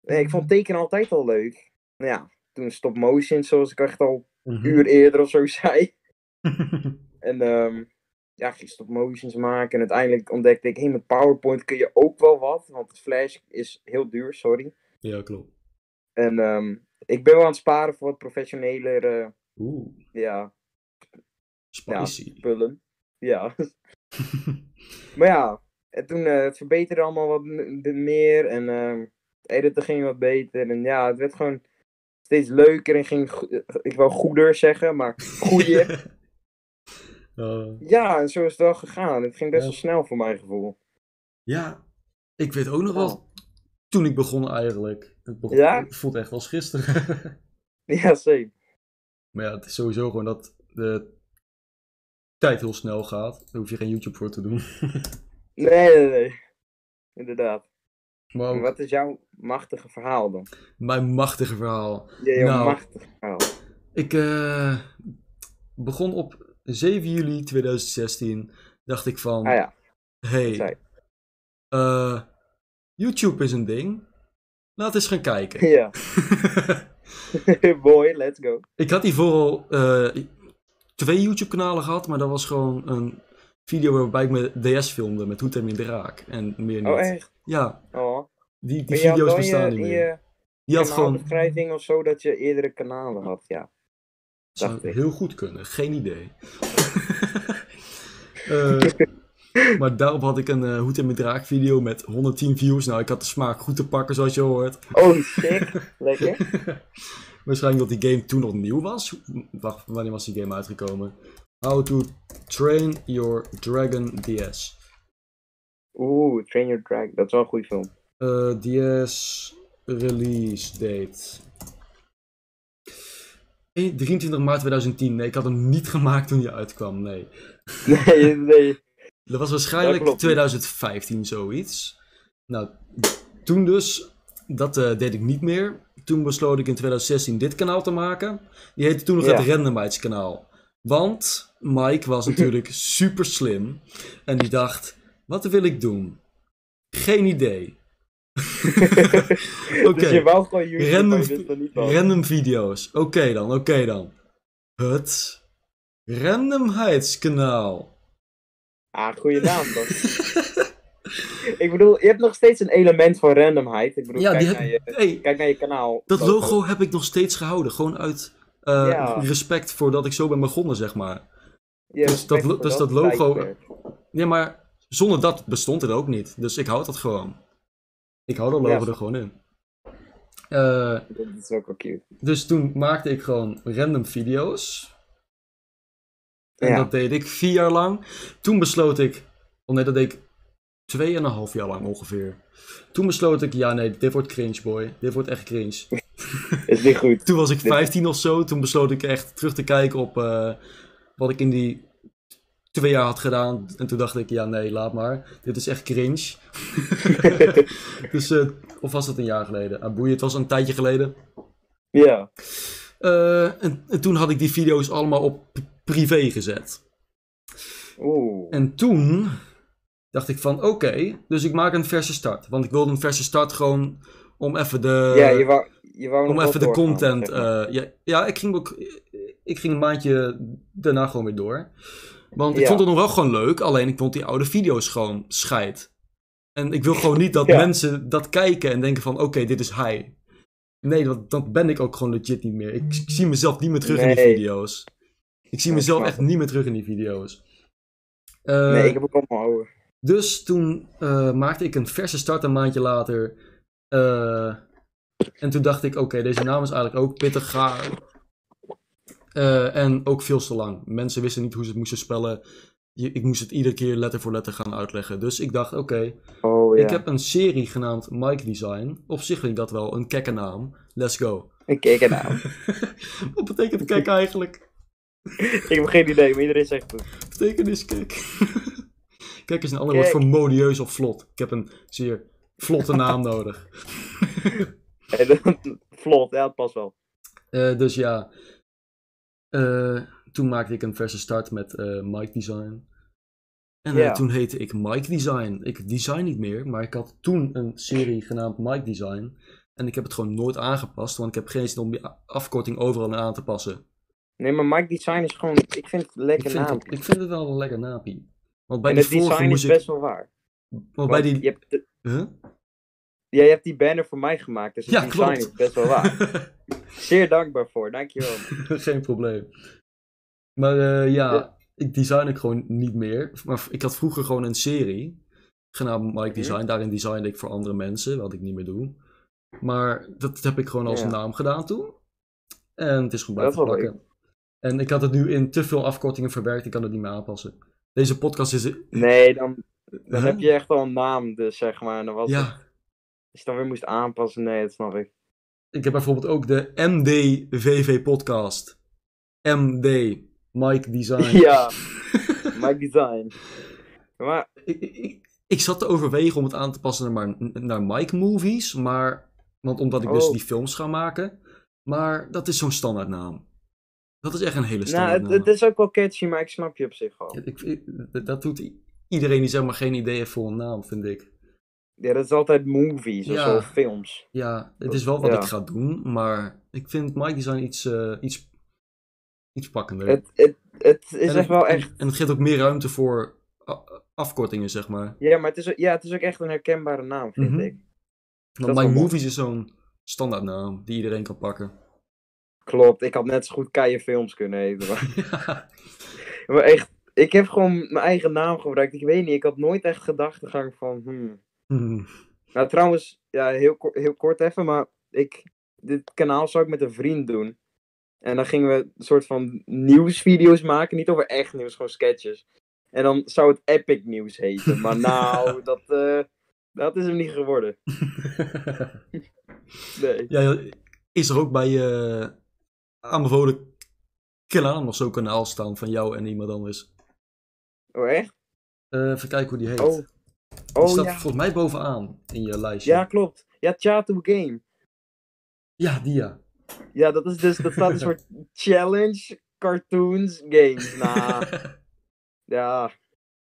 S3: Nee, ik vond tekenen altijd al leuk. Nou ja, toen stop motion, zoals ik echt al
S1: Mhm.
S3: een uur eerder of zo *laughs* zei. en ehm ja, ging stop motions maken. En uiteindelijk ontdekte ik, hé, met PowerPoint kun je ook wel wat. Want Flash is heel duur, sorry.
S1: Ja, klopt.
S3: En ehm, ik ben wel aan het sparen voor wat professioneler eh,
S1: Oeh,
S3: ja, ja,
S1: spicy.
S3: spullen.
S1: *laughs*
S3: Ja. maar ja, en toen eh, het verbeterde allemaal wat m- de- meer. En ehm editen ging wat beter. En ja, het werd gewoon steeds leuker. En ging, go- eh, ik wou goeder
S1: *laughs*
S3: zeggen, maar goeie.
S1: Eh,
S3: ja, en zo is het wel gegaan. Het ging best
S1: Ja.
S3: wel snel voor mijn gevoel. *laughs*
S1: ja, ik weet ook nog wel. Toen ik begon, eigenlijk. Het begon-
S3: Ja?
S1: het voelt echt als gisteren. *laughs*
S3: Ja, zeker.
S1: maar ja, het is sowieso gewoon dat de tijd heel snel gaat. Daar hoef je geen YouTube voor te doen. *laughs*
S3: Nee, nee, nee. Inderdaad.
S1: maar
S3: En
S1: ook
S3: wat is jouw machtige verhaal dan?
S1: mijn machtige verhaal.
S3: Ja, jouw
S1: Nou.
S3: machtige verhaal.
S1: Ik eh, begon op 7 juli 2016. Dacht ik van,
S3: Ah ja, dat zei
S1: hey,
S3: ik.
S1: eh, YouTube is een ding. Laat eens gaan
S3: *laughs*
S1: kijken.
S3: *laughs* Ja. Boy, let's go.
S1: ik had hiervoor al eh, twee YouTube-kanalen gehad, maar dat was gewoon een video waarbij ik me DS filmde met Hoed en Min Draak. En meer niet.
S3: Oh, echt?
S1: Ja,
S3: Oh.
S1: die, die
S3: Maar je had
S1: video's
S3: wel in
S1: bestaan
S3: je-
S1: niet
S3: in
S1: meer.
S3: je
S1: die had gewoon,
S3: kanaalbeschrijving of zo dat je eerdere kanalen had, ja. dacht
S1: zou
S3: ik.
S1: heel goed kunnen, geen idee. *laughs* Eh, maar daarop had ik een eh Hoed en Min Draak video met 110 views. Nou, ik had de smaak goed te pakken, zoals je al hoort.
S3: Oh,
S1: *laughs*
S3: sick. Lekker.
S1: Waarschijnlijk dat die game toen nog nieuw was. Wacht, wanneer was die game uitgekomen? How to Train Your Dragon DS.
S3: Oeh, Train Your Dragon, dat is wel een goede
S1: *laughs*
S3: film.
S1: Eh, DS release date. Eh, 23 maart 2010. Nee, ik had hem niet *laughs* gemaakt toen hij uitkwam. Nee.
S3: Nee, nee.
S1: Dat was
S3: Dat
S1: waarschijnlijk
S3: klopt niet.
S1: 2015 zoiets. Nou, toen dus, dat eh, deed ik niet meer. Toen besloot ik in 2016 dit kanaal te maken. Die heette toen nog
S3: Ja.
S1: het Randomites kanaal. Want Mike was
S3: *laughs*
S1: natuurlijk super slim. En die dacht: wat wil ik doen? Geen idee. Oké.
S3: Dus je wou gewoon YouTube, maar
S1: random,
S3: je wist er niet van.
S1: random video's. Oké dan, oké dan. Het randomheidskanaal.
S3: Ah, goede naam toch? ik bedoel, je hebt nog steeds een element van randomheid. Ik bedoel,
S1: Ja,
S3: kijk,
S1: die
S3: naar je,
S1: heb- hey,
S3: kijk naar je kanaal.
S1: Dat logo heb ik nog steeds gehouden. Gewoon uit eh,
S3: Ja.
S1: respect voor dat ik zo ben begonnen, zeg maar.
S3: Ja,
S1: dus
S3: respect
S1: dat,
S3: voor
S1: lo- dus
S3: dat
S1: dat logo.
S3: tijdperk.
S1: Ja, maar zonder dat bestond het ook niet. Dus ik houd dat gewoon. Ik hou dat
S3: Ja.
S1: logo er gewoon in. Eh,
S3: Dat is ook wel cute.
S1: dus toen maakte ik gewoon random video's. En
S3: Ja.
S1: dat deed ik vier jaar lang. Toen besloot ik. Oh nee, dat deed ik tweeënhalf jaar lang ongeveer. Toen besloot ik, ja nee, dit wordt cringe boy. Dit wordt echt cringe.
S3: Is niet goed.
S1: Toen was ik
S3: Dit-
S1: 15 of zo. Toen besloot ik echt terug te kijken op eh, wat ik in die twee jaar had gedaan. En toen dacht ik, ja nee, laat maar. Dit is echt
S3: *laughs*
S1: cringe. dus, eh, of was dat een jaar geleden? Ah, boeien, het was een tijdje geleden. Eh,
S3: Ja.
S1: en, en toen had ik die video's allemaal op p- privé gezet.
S3: Oeh.
S1: En toen dacht ik van, oké, dus ik maak een verse start. Want ik wilde een verse start gewoon om even de...
S3: ja, je wou, je wou nog
S1: eh, om
S3: wel
S1: even de
S3: doorgaan,
S1: content.
S3: zeg maar.
S1: eh, ja, ja, ik ging ook. Ik ging een maandje daarna gewoon weer door. Want ik
S3: Ja.
S1: vond het nog wel gewoon leuk. Alleen ik vond die oude video's gewoon scheid. En ik wil gewoon niet dat
S3: *laughs* Ja.
S1: mensen dat kijken en denken van oké, dit is hij. Nee, want dan ben ik ook gewoon legit niet meer. Ik, ik zie mezelf niet meer terug in die
S3: Mm. Nee.
S1: video's. Ik zie
S3: Ja, ik
S1: mezelf
S3: snap
S1: echt niet meer terug in die video's. Eh,
S3: nee, ik heb ook allemaal oude.
S1: dus toen eh, maakte ik een verse start een maandje later. Eh, en toen dacht ik, oké, deze naam is eigenlijk ook pittig gaar. Eh, en ook veel te lang. Mensen wisten niet hoe ze het moesten spellen. Je- ik moest het iedere keer letter voor letter gaan uitleggen. Dus ik dacht, oké,
S3: Oh ja.
S1: ik heb een serie genaamd Mike Design. Op zich vind ik dat wel een kekke naam. Let's
S3: *laughs*
S1: go.
S3: Ik keek ernaar.
S1: Wat betekent kek eigenlijk?
S3: ik heb geen idee, maar iedereen zegt het.
S1: Betekent is *laughs* kek. kek is een ander
S3: Kek.
S1: woord voor modieus of vlot. Ik heb een zeer vlotte naam
S3: *laughs*
S1: nodig.
S3: En dan- *laughs* Vlot, ja, dat past wel.
S1: Eh, dus ja, Eh, toen maakte ik een verse start met eh Mike Design. En eh,
S3: Ja.
S1: toen heette ik Mike Design. Ik design niet meer, maar ik had toen een serie genaamd Mike Design. En ik heb het gewoon nooit aangepast, want ik heb geen zin om die a- afkorting overal aan te passen.
S3: Nee, maar Mike Design is gewoon, ik vind het een
S1: Ik
S3: lekker
S1: vind,
S3: naam.
S1: het, ik vind het wel een lekker napie. Want bij
S3: En
S1: die
S3: het
S1: vorige
S3: design is
S1: moest
S3: best
S1: ik...
S3: wel waar.
S1: Want bij
S3: Want
S1: die...
S3: je hebt de-
S1: Huh?
S3: Jij hebt die banner voor mij gemaakt, dus het
S1: Ja,
S3: design
S1: klopt.
S3: is best wel
S1: *laughs*
S3: waar. Zeer dankbaar voor, dankjewel.
S1: Geen probleem. Maar eh, ja, ik design ik gewoon niet meer. Maar ik had vroeger gewoon een serie genaamd
S3: Mhm.
S1: Mike Design. Daarin designde ik voor andere mensen, wat ik niet meer doe. Maar dat heb ik gewoon als
S3: Ja.
S1: naam gedaan toen. En het is goed
S3: Dat is
S1: blijven
S3: wel
S1: plakken. En ik had het nu in te veel afkortingen verwerkt. Ik kan het niet meer aanpassen. Deze podcast is...
S3: Nee, dan, dan
S1: Huh?
S3: heb je echt al een naam, dus zeg maar. En dan was het,
S1: Ja,
S3: als je dan weer moest aanpassen, nee, dat snap ik.
S1: ik heb bijvoorbeeld ook de MDVV podcast. MD, Mike Design.
S3: *laughs*
S1: *laughs*
S3: Ja, Mike Design. Maar
S1: ik, ik, ik zat te overwegen om het aan te passen naar, maar- naar Mike Movies, maar, want omdat ik dus
S3: Oh.
S1: die films ga maken. Maar dat is zo'n standaardnaam. Dat is echt een hele
S3: nou, het,
S1: standaardnaam.
S3: het is ook wel catchy, maar ik snap je op zich wel.
S1: Ik- ik- dat doet i- iedereen die zeg maar geen idee heeft voor een naam, vind ik.
S3: Ja, dat is altijd movies of
S1: Ja.
S3: zo, films.
S1: Ja, het is wel wat
S3: Ja.
S1: ik ga doen, maar ik vind Mike Design iets, eh, iets, iets pakkender.
S3: Het, het, het is
S1: En
S3: echt
S1: het-
S3: wel
S1: en-
S3: echt...
S1: En het geeft ook meer ruimte voor a- afkortingen, zeg maar.
S3: Ja, maar het is, ja, het is ook echt een herkenbare naam, vind
S1: Mhm.
S3: ik. Dat
S1: Want
S3: is wel
S1: Mike
S3: mooi.
S1: Movies is zo'n standaardnaam die iedereen kan pakken. *laughs*
S3: Klopt, ik had net zo goed Keien Films kunnen heten. maar- *laughs*
S1: Ja.
S3: Maar echt, ik heb gewoon mijn eigen naam gebruikt. Ik weet niet, ik had nooit echt gedachtegang van. Hmm.
S1: Hmm.
S3: Nou, trouwens, ja, heel, ko- heel kort even, maar ik, dit kanaal zou ik met een vriend doen. En dan gingen we een soort van nieuwsvideo's maken. Niet over echt nieuws, gewoon sketches. En dan zou het Epic Nieuws heten. Maar nou, dat, eh, dat is hem niet geworden. Nee.
S1: ja, is er ook bij je aanbevolen kanaal nog zo'n kanaal staan van jou en iemand anders?
S3: Oh, echt?
S1: Eh, even kijken hoe die heet.
S3: Oh,
S1: die
S3: oh
S1: staat
S3: ja.
S1: volgens mij bovenaan in je lijstje.
S3: ja, klopt. Ja, Chato Game.
S1: ja die ja. *laughs*
S3: Ja, dat is dus, dat staat een soort challenge cartoons, games. Nou,
S1: *laughs*
S3: ja,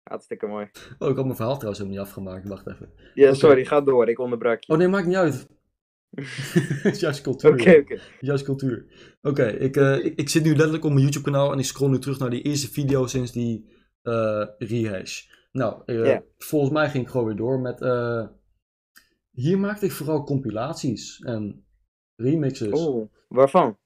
S3: hartstikke mooi.
S1: Oh, ik had mijn verhaal trouwens helemaal niet afgemaakt. Wacht even.
S3: Ja,
S1: Oké.
S3: sorry, ga door. Ik onderbrak je.
S1: Oh nee, maakt niet
S3: *laughs*
S1: uit. *laughs* Het is juist cultuur.
S3: Oké, oké.
S1: Het is juist cultuur. Oké, ik, eh, ik, ik zit nu letterlijk op mijn YouTube kanaal en ik scroll nu terug naar die eerste video sinds die eh, rehash. Nou, eh,
S13: Ja.
S1: volgens mij ging ik gewoon weer door met... eh, hier maakte ik vooral compilaties en remixes. Eh,
S3: Oh, waarvan?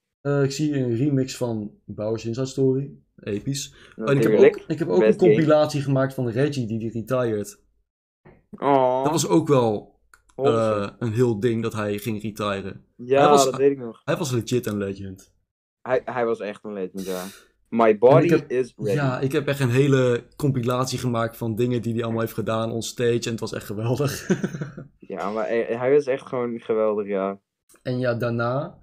S1: ik zie hier een remix van Bowser's Inside Story. Episch. en ik heb
S3: Natuurlijk.
S1: ook, ik heb ook een
S3: Best game.
S1: compilatie gemaakt van Reggie die die retired.
S3: Oh.
S1: Dat was ook wel eh,
S3: Awesome.
S1: een heel ding dat hij ging retiren.
S3: Ja,
S1: hij was,
S3: dat weet ik nog.
S1: Hij was legit een legend.
S3: Hij, hij was echt een legend, ja. My body
S1: En ik heb-
S3: is ready.
S1: Ja, ik heb echt een hele compilatie gemaakt van dingen die hij allemaal heeft gedaan on stage. En het was echt
S3: *laughs*
S1: geweldig.
S3: Ja, maar hij, hij was echt gewoon geweldig, ja.
S1: en ja, daarna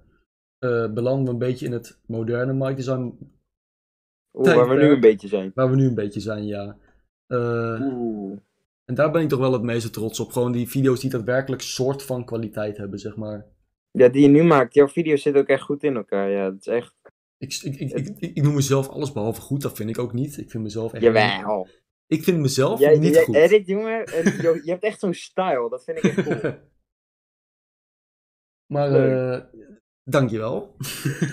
S1: eh belanden we een beetje in het moderne Mike Design.
S3: Oeh, waar we nu
S1: tijdperk.
S3: een beetje zijn.
S1: Waar we nu een beetje zijn, ja. Eh, En daar ben ik toch wel het meeste trots op. Gewoon die video's die daadwerkelijk soort van kwaliteit hebben, zeg maar.
S3: Ja, die je nu maakt. Jouw video's zitten ook echt goed in elkaar, ja. Dat is echt...
S1: Ik, ik, ik, ik, ik- ik noem mezelf alles behalve goed, dat vind ik ook niet. Ik vind mezelf echt.
S3: Jawel.
S1: Ik vind mezelf
S3: Jij,
S1: niet
S3: jij
S1: goed.
S3: edit, jongen. En, joh, je hebt echt zo'n style. Dat vind ik echt cool.
S1: *laughs* Maar eh
S3: Leuk.
S1: dankjewel.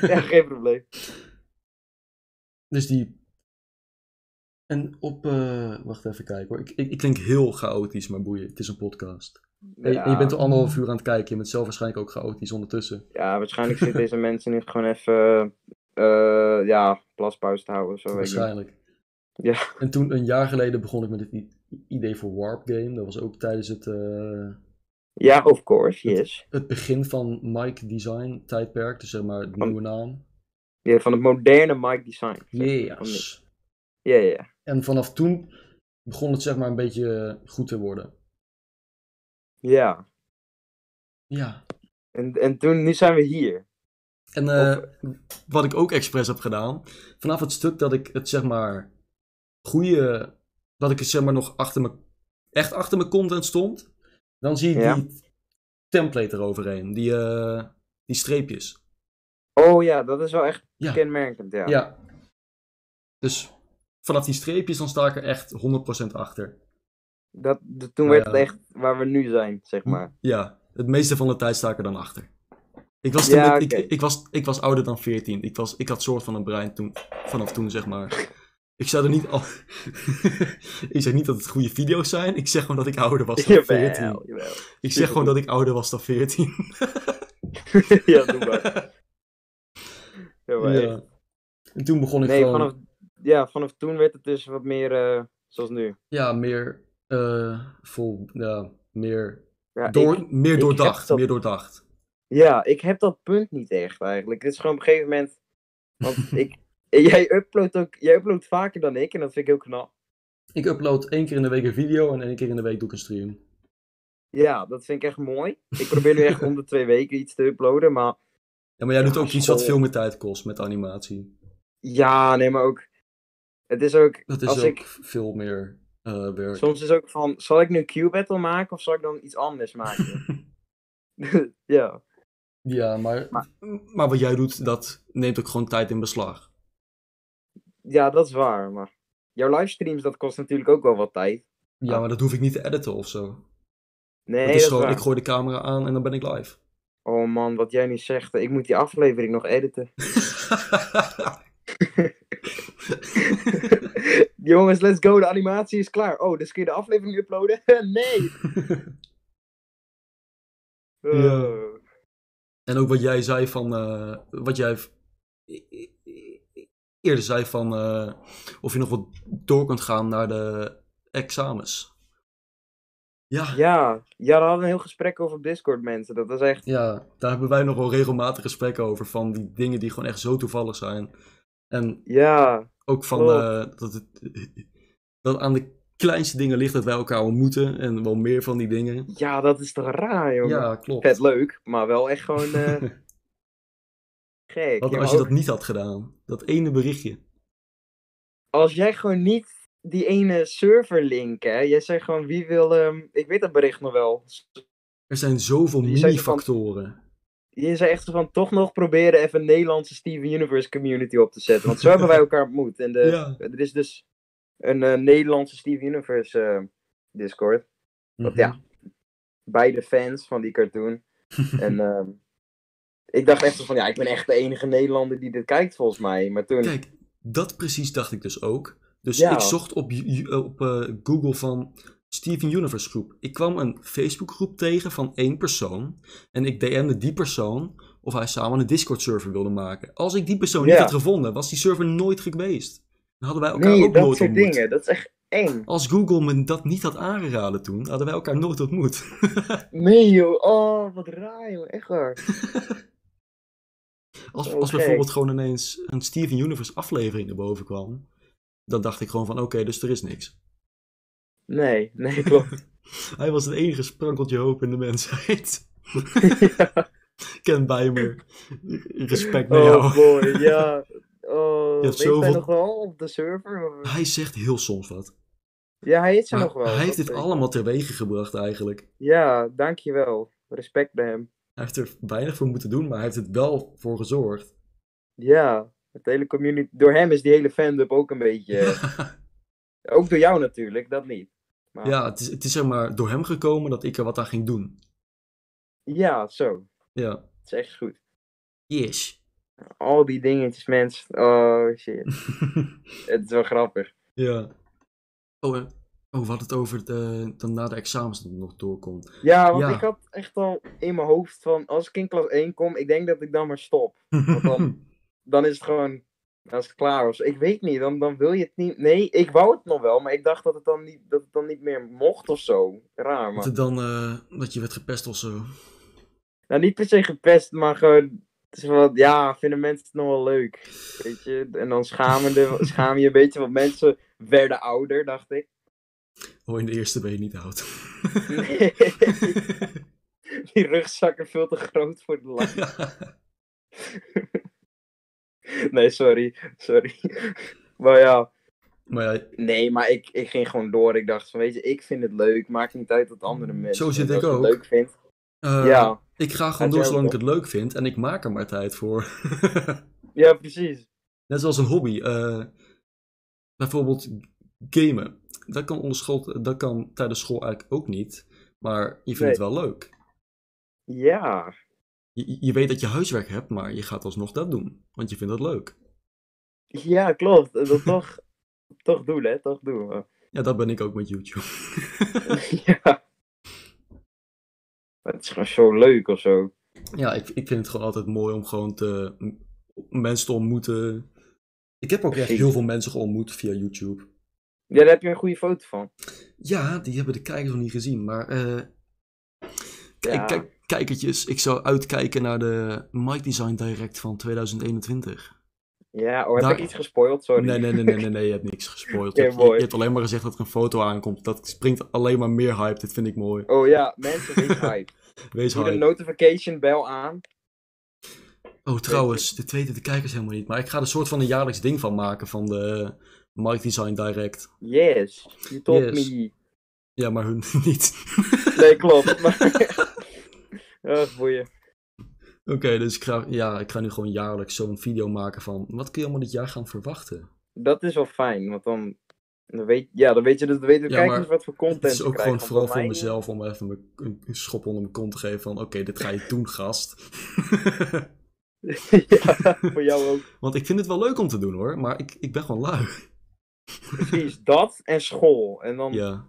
S3: ja, geen probleem.
S1: Dus die. En op. eh, wacht even kijken hoor. Ik, ik, ik klink heel chaotisch, maar boeien. Het is een podcast. En- en je
S3: Ja.
S1: bent al anderhalf uur aan het kijken. Je bent zelf waarschijnlijk ook chaotisch ondertussen.
S3: Ja, waarschijnlijk zitten deze mensen nu gewoon even... eh, ja, plaspauze te houden of zo. weet ik niet.
S1: Waarschijnlijk.
S3: Ja.
S1: En toen, een jaar geleden, begon ik met het i- idee voor Warp Game. Dat was ook tijdens het. eh,
S3: Ja, of course, yes.
S1: Het begin van Mike Design tijdperk, dus zeg maar de nieuwe naam.
S3: Ja, van het moderne mic design.
S1: Yes.
S3: Ja, ja, ja.
S1: En vanaf toen begon het zeg maar een beetje eh, goed te worden.
S3: Ja.
S1: Ja.
S3: En, en toen, nu zijn we hier.
S1: En eh, wat ik ook expres heb gedaan, vanaf het stuk dat ik het zeg maar goede, dat ik het zeg maar nog achter me, echt achter mijn content stond, dan zie ik
S3: Ja.
S1: die template eroverheen, die, eh, die streepjes.
S3: Oh ja, dat is wel echt
S1: Ja.
S3: kenmerkend, ja.
S1: Ja. Dus vanaf die streepjes dan sta ik er echt 100% achter.
S3: Dat, dat- toen
S1: Ja,
S3: werd
S1: ja.
S3: het echt waar we nu zijn, zeg maar.
S1: Ja, het meeste van de tijd sta ik er dan achter. Ik was, toen,
S3: Ja,
S1: ik,
S3: oké.
S1: ik, ik was, ik was ouder dan 14. Ik, was, ik had soort van een brein toen, vanaf toen, zeg maar. Ik zou er niet al. *laughs* ik zeg niet dat het goede video's zijn. Ik zeg gewoon dat ik ouder was dan
S3: *laughs* Jawel,
S1: 14.
S3: jawel. *laughs*
S1: Ik zeg gewoon dat ik ouder was dan 14.
S3: ja, doe maar.
S1: *laughs*
S3: Ja, maar echt.
S1: ja. En toen begon ik
S3: Nee,
S1: gewoon.
S3: vanaf, ja, vanaf toen werd het dus wat meer eh, zoals nu.
S1: Ja, meer. eh, vol, ja, meer.
S3: Ja,
S1: door,
S3: ik- ik
S1: meer
S3: heb
S1: doordacht.
S3: dat-
S1: Meer doordacht.
S3: Ja, ik heb dat punt niet echt eigenlijk. Het is gewoon op een gegeven moment.
S1: *laughs*
S3: Want ik, jij, uploadt ook, jij uploadt vaker dan ik en dat vind ik heel knap.
S1: Ik upload één keer in de week een video en één keer in de week doe ik een stream.
S3: Ja, dat vind ik echt mooi. Ik probeer nu echt om de twee weken iets te uploaden, maar
S1: Ja, maar jij doet
S3: Ja,
S1: ook iets wat
S3: school.
S1: veel meer tijd kost met animatie.
S3: ja, nee, maar ook. Het is ook.
S1: Dat is
S3: als
S1: ook
S3: ik,
S1: veel meer eh, werk.
S3: Soms is ook van, zal ik nu Q-battle maken of zal ik dan iets anders
S1: *laughs*
S3: maken? *laughs* ja.
S1: Ja, maar, maar... wat jij doet, dat neemt ook gewoon tijd in beslag.
S3: ja, dat is waar, maar jouw livestreams, dat kost natuurlijk ook wel wat tijd.
S1: Ja, Ah, maar dat hoef ik niet te editen of zo.
S3: Nee,
S1: dat
S3: dat
S1: is
S3: is
S1: gewoon,
S3: waar.
S1: ik gooi de camera aan en dan ben ik live. *laughs*
S3: Oh man, wat jij nu zegt, ik moet die aflevering nog editen. *laughs* Jongens, let's go, de animatie is klaar. Oh, dus kun je de aflevering uploaden? *laughs* nee!
S1: *laughs* Ja.
S3: Eh,
S1: En ook wat jij zei van, eh, wat jij v- eerder zei van, eh, of je nog wat door kunt gaan naar de examens. Ja.
S3: ja. Ja, daar hadden we een heel gesprek over op Discord, mensen. Dat was echt...
S1: Ja, daar hebben wij nog wel regelmatig gesprekken over. Van die dingen die gewoon echt zo toevallig zijn. En
S3: ja,
S1: ook van
S3: klopt.
S1: eh, dat, het, dat aan de kleinste dingen ligt dat wij elkaar ontmoeten. En wel meer van die dingen.
S3: Ja, dat is toch raar, jongen?
S1: Ja, klopt.
S3: Vet leuk, maar wel echt gewoon...
S1: *laughs*
S3: eh, gek.
S1: Wat nou
S3: Ja,
S1: als je
S3: ook-
S1: dat niet had gedaan? Dat ene berichtje.
S3: als jij gewoon niet die ene server link, hè? Jij zei gewoon wie wil. ehm, ik weet dat bericht nog wel.
S1: Er zijn zoveel
S3: Die zei
S1: minifactoren.
S3: Die is echt van toch nog proberen even een Nederlandse Steven Universe community op te zetten. Want zo hebben wij elkaar ontmoet. En de,
S1: Ja.
S3: er is dus een eh, Nederlandse Steven Universe eh, Discord. Want
S1: Mhm.
S3: ja, beide fans van die
S1: *laughs*
S3: cartoon. en ehm, ik dacht echt van ja, ik ben echt de enige Nederlander die dit kijkt volgens mij. Maar toen.
S1: Kijk, dat precies dacht ik dus ook. Dus
S3: Ja.
S1: ik zocht op, ju- ju- op eh, Google van Steven Universe groep. Ik kwam een Facebook groep tegen van één persoon. En ik DM'de die persoon of hij samen een Discord server wilde maken. Als ik die persoon
S3: Ja.
S1: niet had gevonden, was die server nooit geweest. Dan hadden wij elkaar
S3: Nee,
S1: ook
S3: dat
S1: nooit
S3: soort
S1: ontmoet.
S3: dingen. Dat is echt eng.
S1: Als Google me dat niet had aangeraden toen, hadden wij elkaar nooit ontmoet.
S3: Nee joh, oh wat raar joh, echt waar.
S1: Als,
S3: Oh,
S1: als
S3: gek.
S1: bijvoorbeeld gewoon ineens een Steven Universe aflevering erboven kwam, dan dacht ik gewoon van oké, dus er is niks.
S3: Nee,
S1: *laughs*
S3: nee klopt.
S1: Hij was het enige sprankeltje hoop in de
S3: *laughs*
S1: mensheid. Ken Bijmer. Respect naar jou.
S3: oh boy, ja. Oh,
S1: *laughs* Je hebt
S3: weet hij
S1: zoveel-
S3: nog wel op de server?
S1: Hij zegt heel soms wat.
S3: Ja, hij is er
S1: Maar
S3: nog wel.
S1: hij heeft
S3: dat
S1: dit
S3: weet ik.
S1: allemaal teweeg gebracht eigenlijk.
S3: Ja, dankjewel. Respect bij hem.
S1: Hij heeft er weinig voor moeten doen, maar hij heeft het wel voor gezorgd.
S3: Ja, het hele community. Door hem is die hele fandom ook een beetje.
S1: *laughs*
S3: Ook door jou natuurlijk, dat niet. Maar...
S1: Ja, het is, het is zeg maar door hem gekomen dat ik er wat aan ging doen.
S3: Ja, zo.
S1: Ja.
S3: Het is echt goed.
S1: Yes.
S3: Al die dingetjes, mensen. Oh shit. het is wel grappig.
S1: *laughs* Ja. Oh, en- oh we hadden het over de, dan na de examens dat het nog doorkomt.
S3: Ja, want
S1: Ja.
S3: ik had echt al in mijn hoofd van als ik in klas 1 kom, ik denk dat ik dan maar stop. Want dan, dan is het gewoon, als het klaar was. Ik weet niet, dan, dan wil je het niet. Nee, ik wou het nog wel, maar ik dacht dat het dan niet, dat het dan niet meer mocht of zo. Raar,
S1: *laughs* Dat,
S3: man.
S1: het dan, eh, dat je werd gepest of zo.
S3: Nou, niet per se gepest, maar gewoon. het is wel- ja, vinden mensen het nog wel leuk. Weet je, en dan schamen de-
S1: *laughs*
S3: schaam je een beetje, want mensen werden ouder, dacht ik. *laughs*
S1: Oh, in de eerste ben je niet oud.
S3: Nee. Die rugzakken veel te groot voor de lach. nee, sorry. Sorry. Maar ja.
S1: *laughs* Maar ja,
S3: Nee, maar ik, ik ging gewoon door. Ik dacht van, weet je, ik vind het leuk. Maakt niet uit wat andere mensen
S1: Zo zit
S3: vinden.
S1: ik
S3: Als je
S1: ook.
S3: het leuk vindt.
S1: Eh,
S3: Ja.
S1: Ik ga gewoon
S3: Uit
S1: door
S3: jouw
S1: zolang ik
S3: kop.
S1: het leuk vind en ik maak er maar tijd voor. *laughs*
S3: Ja, precies.
S1: Net zoals een hobby. eh, bijvoorbeeld gamen. Dat kan, onder school, dat kan tijdens school eigenlijk ook niet. Maar je vindt het
S3: Nee.
S1: wel leuk.
S3: Ja.
S1: Je, je weet dat je huiswerk hebt, maar je gaat alsnog dat doen. Want je vindt dat leuk.
S3: Ja, klopt. Dat toch, toch doen, hè. Toch doen. maar-
S1: Ja, dat ben ik ook met YouTube. *laughs*
S3: *laughs* ja. Maar het is gewoon zo leuk of zo.
S1: Ja, ik, ik vind het gewoon altijd mooi om gewoon te, m- mensen te ontmoeten. Ik heb ook echt
S3: Precies.
S1: heel veel mensen ontmoet via YouTube.
S3: Ja, daar heb je een goede foto van.
S1: Ja, die hebben de kijkers nog niet gezien, maar eh, kijk,
S3: Ja.
S1: kijk, kijkertjes, ik zou uitkijken naar de Mike Design Direct van 2021.
S3: Ja, oh, heb
S1: Daar-
S3: ik iets gespoild? Sorry.
S1: Nou, Nee, nee, nee, nee, nee, nee, je hebt niks
S3: *laughs*
S1: gespoild.
S3: Oké,
S1: je, hebt, je-
S3: mooi.
S1: je hebt alleen maar gezegd dat er een foto aankomt. Dat springt alleen maar meer hype, dit vind ik mooi.
S3: Oh ja, mensen,
S1: *laughs*
S3: wees hype.
S1: Wees
S3: Doe de
S1: hype.
S3: notification bell aan.
S1: Oh, trouwens, dit weten de kijkers helemaal niet, maar ik ga er een soort van een jaarlijks ding van maken van de Mike Design Direct.
S3: Yes, you told
S1: Yes.
S3: me.
S1: Ja, maar hun *laughs* niet.
S3: Nee,
S1: *laughs*
S3: klopt. Maar... *laughs* Ach, boeien.
S1: Oké, dus ik ga, ja, ik ga nu gewoon jaarlijks zo'n video maken van wat kun je allemaal dit jaar gaan verwachten?
S3: Dat is wel fijn, want dan, dan, weet, ja, dan weet je dus, dan weten de
S1: Ja, maar
S3: kijkers wat voor content
S1: Het is
S3: ze
S1: ook
S3: krijgen.
S1: gewoon vooral
S3: Want
S1: voor
S3: mij-
S1: mezelf om even mijn- een een schop onder mijn kont te geven van oké, dit
S3: *laughs*
S1: ga je doen, gast. *laughs*
S3: ja, voor jou ook.
S1: Want ik vind het wel leuk om te doen hoor, maar ik, ik ben gewoon lui.
S3: Precies, dat en school. En dan,
S1: Ja,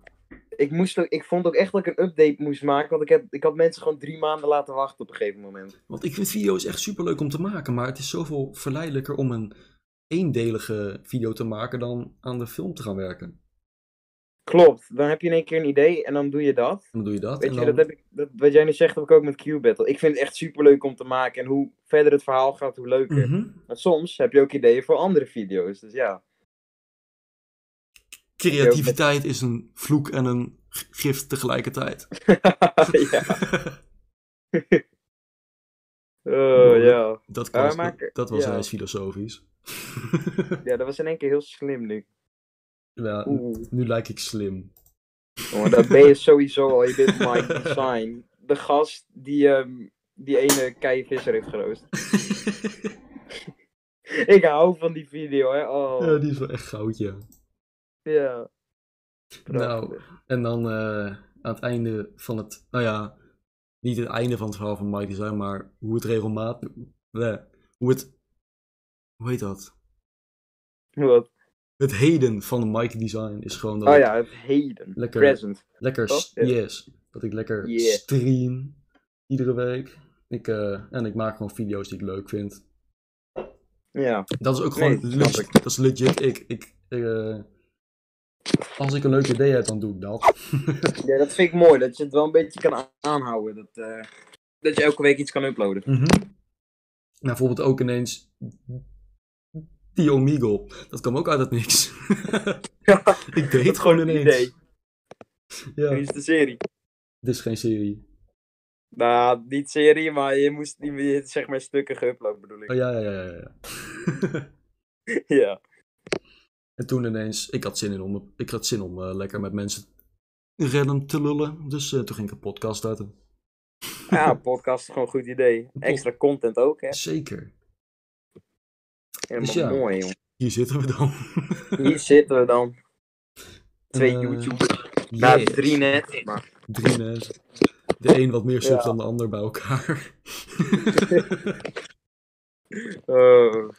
S3: ik, moest ook, ik vond ook echt dat ik een update moest maken, want ik, heb, ik had mensen gewoon drie maanden laten wachten op een gegeven moment.
S1: want ik vind video's echt super leuk om te maken, maar het is zoveel verleidelijker om een eendelige video te maken dan aan de film te gaan werken. En
S3: Klopt, dan heb je in één keer een idee en dan doe je dat.
S1: dan doe je dat
S3: Weet
S1: en
S3: je,
S1: dan...
S3: dat heb ik, dat, wat jij nu zegt, heb ik ook met Q-Battle. Ik vind het echt superleuk om te maken. En hoe verder het verhaal gaat, hoe leuker.
S1: Mhm.
S3: Maar soms heb je ook ideeën voor andere video's. Dus
S1: *laughs*
S3: ja,
S1: Creativiteit is een vloek en een g- gift tegelijkertijd.
S3: *laughs* ja. Oh, ja.
S1: Dat,
S3: Maar
S1: was,
S3: we maken-
S1: dat was
S3: ja.
S1: ineens filosofisch.
S3: ja, dat was in één keer heel slim nu.
S1: Ja,
S3: Oeh.
S1: nu lijk ik
S3: *laughs*
S1: slim. *laughs*
S3: Jongen, dat ben je sowieso al. Je bent Mike Design. De gast die ehm, die ene Kei Visser heeft geroost. *laughs* ik hou van die video, hè. Oh.
S1: Ja, Eh, die is wel echt goud, ja.
S3: Ja.
S1: Nou, en dan eh, aan het einde van het, nou ja, niet het einde van het verhaal van Mike Design, maar hoe het regelmatig, bleh, hoe het, hoe heet dat?
S3: Wat?
S1: Het heden van Mike Design is gewoon dat
S3: Oh
S1: ik
S3: ja, het heden.
S1: lekker,
S3: Present.
S1: lekker,
S3: Toch?
S1: s-
S3: Ja.
S1: yes, dat ik lekker
S3: Yeah.
S1: stream iedere week. Ik, eh, en ik maak gewoon video's die ik leuk vind.
S3: Ja.
S1: Dat is ook
S3: Nee,
S1: gewoon
S3: snap
S1: legit,
S3: ik.
S1: dat is legit ik. ik eh, als ik een leuk idee heb, dan doe ik dat.
S3: Ja, dat vind ik mooi. Dat je het wel een beetje kan a- aanhouden. Dat, eh, dat je elke week iets kan uploaden.
S1: Mhm. Nou, bijvoorbeeld ook ineens die Omegle. Dat kwam ook uit het
S3: *laughs*
S1: niks. *laughs* ik deed het gewoon ineens.
S3: Idee.
S1: Ja.
S3: Nu is de serie.
S1: Dit is geen serie.
S3: Nou, niet serie, maar je moest die- je- zeg maar stukken geüpload bedoel ik.
S1: Oh, ja, ja, ja, ja, ja.
S3: ja.
S1: En toen ineens, ik had zin, in om, ik had zin om eh, lekker met mensen random te lullen. Dus eh, toen ging ik een podcast starten.
S3: *laughs* Ja, Ah, podcast is gewoon een goed idee. Extra content ook, hè.
S1: Zeker.
S3: Helemaal
S1: Dus ja.
S3: mooi, joh.
S1: Hier zitten we dan.
S3: Hier zitten we dan. Twee
S1: Eh,
S3: YouTubers. Nou,
S1: yes.
S3: drie net, maar...
S1: Drie mensen. De een wat meer subs
S3: Ja.
S1: dan de ander bij elkaar.
S3: Oh.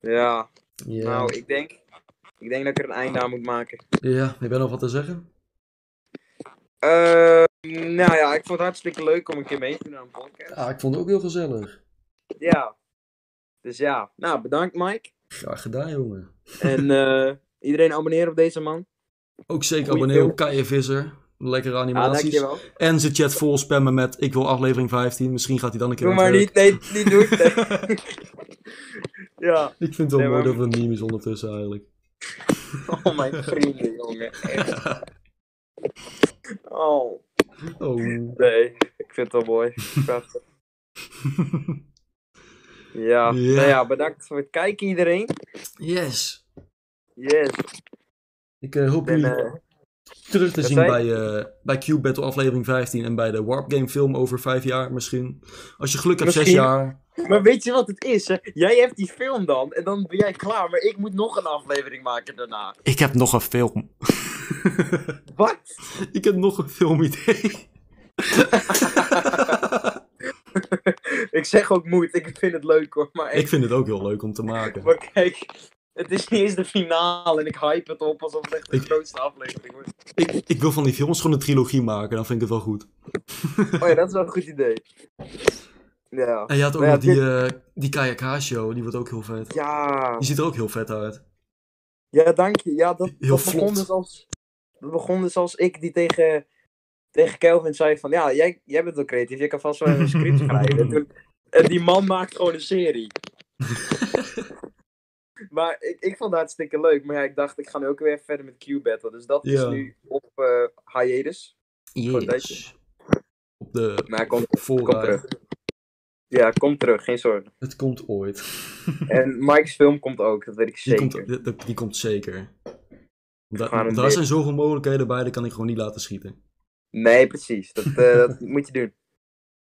S3: ja.
S1: Ja.
S3: Nou, ik denk... Ik denk dat ik er een einde aan moet maken.
S1: ja, heb jij nog wat te zeggen?
S3: Eh, nou ja, ik vond het hartstikke leuk om een keer mee te doen aan een podcast.
S1: Ja, Ah, ik vond het ook heel gezellig.
S3: Ja. Dus ja. Nou, bedankt Mike.
S1: Graag gedaan, jongen.
S3: En eh, iedereen abonneren op deze man.
S1: Ook zeker
S3: Goeie
S1: abonnee
S3: film.
S1: op Kaya Visser. Lekkere
S3: Ah,
S1: animaties.
S3: dankjewel.
S1: en ze chat vol spammen met ik wil aflevering 15. Misschien gaat hij dan een keer
S3: Doe
S1: aan
S3: maar
S1: het
S3: niet.
S1: werk.
S3: Nee, niet doen. Nee. *laughs* ja.
S1: Ik vind het wel
S3: Nee,
S1: mooi dat
S3: maar-
S1: we een meme is ondertussen eigenlijk.
S3: Oh, mijn vrienden, jongen. Echt. Oh.
S1: Oh.
S3: Nee, ik vind het wel mooi. Prachtig.
S1: Ja.
S3: Ja. Nou ja, bedankt voor het kijken iedereen.
S1: Yes.
S3: Yes.
S1: Ik eh, hoop
S3: En,
S1: jullie
S3: eh,
S1: terug te
S3: dat
S1: zien
S3: zei-
S1: bij, eh bij Q-Battle aflevering 15 en bij de Warp Game film over 5 jaar misschien. Als je geluk hebt, 6
S3: Misschien.
S1: jaar.
S3: Maar weet je wat het is? Hè? Jij hebt die film dan en dan ben jij klaar, maar ik moet nog een aflevering maken daarna.
S1: Ik heb nog een film.
S3: Wat?
S1: *laughs* Ik heb nog een filmidee.
S3: ik zeg ook moet, ik vind het leuk hoor, maar,
S1: Ik vind het ook heel leuk om te maken.
S3: maar kijk, het is niet eens de finale en ik hype het op alsof het echt de
S1: Ik-
S3: grootste aflevering wordt.
S1: Ik, ik wil van die films gewoon een trilogie maken, dan vind ik het wel goed.
S3: *laughs* Oh ja, dat is wel een goed idee. Ja.
S1: En je had ook
S3: Nou ja,
S1: nog die,
S3: dit-
S1: eh die KJK-show, die wordt ook heel vet.
S3: Ja.
S1: Die ziet er ook heel vet uit.
S3: ja, dank je. Ja, dat,
S1: Heel
S3: dat, begon
S1: vlot.
S3: dus als, dat begon dus als ik die tegen, tegen Kelvin zei van, ja, jij, jij bent wel creatief, jij kan vast wel
S1: *laughs*
S3: een script schrijven. En toen- en die man maakt gewoon een serie. maar ik, ik vond het hartstikke leuk. Maar ja, ik dacht, ik ga nu ook weer even verder met Q-Battle. Dus dat
S1: Ja.
S3: is nu op eh hiatus. Voor een tijdje.
S1: Yes. Op de
S3: Maar komt kom
S1: voorraad.
S3: terug. Ja, kom terug, geen
S1: *laughs*
S3: zorgen.
S1: Het komt ooit.
S3: *laughs* En Mike's film komt ook, dat weet ik
S1: Die
S3: zeker.
S1: komt, die, die- die komt zeker. Da-
S3: gaan hem
S1: daar
S3: weer-
S1: zijn zoveel mogelijkheden bij, dat kan ik gewoon niet laten schieten.
S3: Nee, precies. Dat, eh,
S1: *laughs*
S3: dat moet je doen.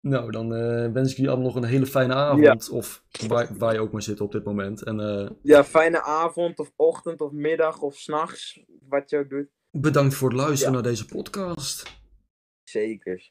S1: Nou, dan eh, wens ik jullie allemaal nog een hele fijne avond. Of waar, waar je ook maar zit op dit moment. En eh,
S3: Ja, fijne avond of ochtend of middag of s'nachts. Wat je ook doet.
S1: bedankt voor het luisteren naar deze podcast.
S3: Zeker.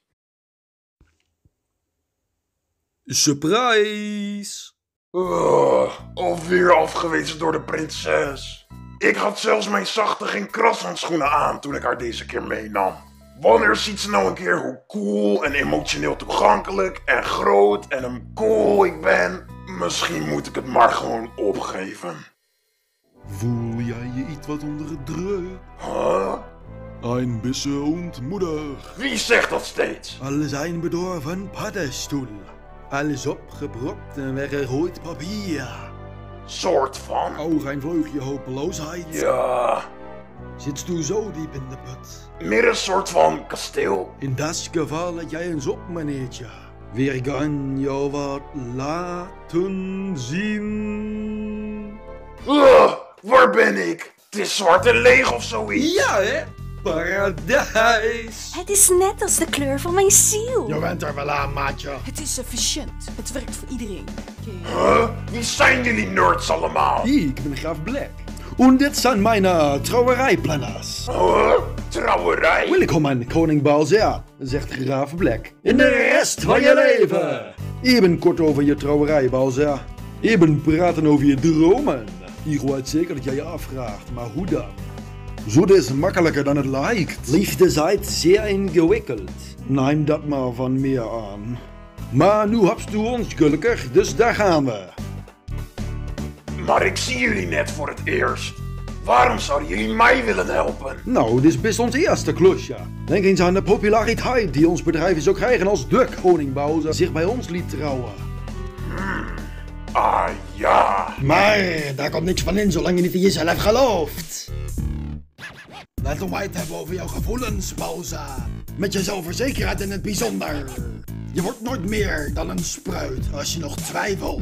S1: Surprise!
S17: Ugh, Oh, alweer afgewezen door de prinses. Ik had zelfs mijn zachte geen krashandschoenen aan toen ik haar deze keer meenam. Wanneer ziet ze nou een keer hoe cool en emotioneel toegankelijk en groot en een cool ik ben? Misschien moet ik het maar gewoon opgeven.
S14: Voel jij je iets wat onder druk?
S17: Huh?
S14: Ein bisschen ontmoedig.
S17: Wie zegt dat steeds?
S14: Alle zijn bedorven paddenstoel. Alles opgebrokt en weggegooid papier.
S17: Soort van.
S14: Ook een vleugje hopeloosheid.
S17: Ja.
S14: Zit u zo diep in de put?
S17: Meer een soort van kasteel.
S14: In dat geval let jij eens op, meneertje. We gaan jou wat laten zien.
S17: Ugh, waar ben ik? Het is zwart en leeg of zoiets.
S14: Ja, hè? paradijs.
S9: Het is net als de kleur van mijn ziel.
S14: Je bent er wel aan, maatje.
S18: Het is efficiënt. Het werkt voor iedereen.
S17: Huh? Wie zijn jullie nerds allemaal?
S14: Ik ben Graaf Black. En dit zijn mijn eh, trouwerijplanners.
S17: Huh? Trouwerij?
S14: Welkom aan koning Balzea, zegt Graaf Black.
S17: In de rest van je leven.
S14: Even kort over je trouwerij, Balzea. Even praten over je dromen. Ik weet zeker dat jij je afvraagt, maar hoe dan? Zoet is makkelijker dan het lijkt. Liefde zijt zeer ingewikkeld. Neem dat maar van meer aan. Maar nu hebt u ons, gelukkig, dus daar gaan we.
S17: Maar ik zie jullie net voor het eerst. Waarom zouden jullie mij willen helpen?
S14: Nou, dit is best ons eerste klus, ja. Denk eens aan de populariteit die ons bedrijf zou krijgen als de koningbouwer zich bij ons liet trouwen.
S17: Ah ja.
S14: Maar daar komt niks van in zolang je niet in jezelf gelooft.
S19: Laten wij het hebben over jouw gevoelens, Bowza. Met je zelfverzekerheid in het bijzonder. Je wordt nooit meer dan een spruit als je nog twijfelt.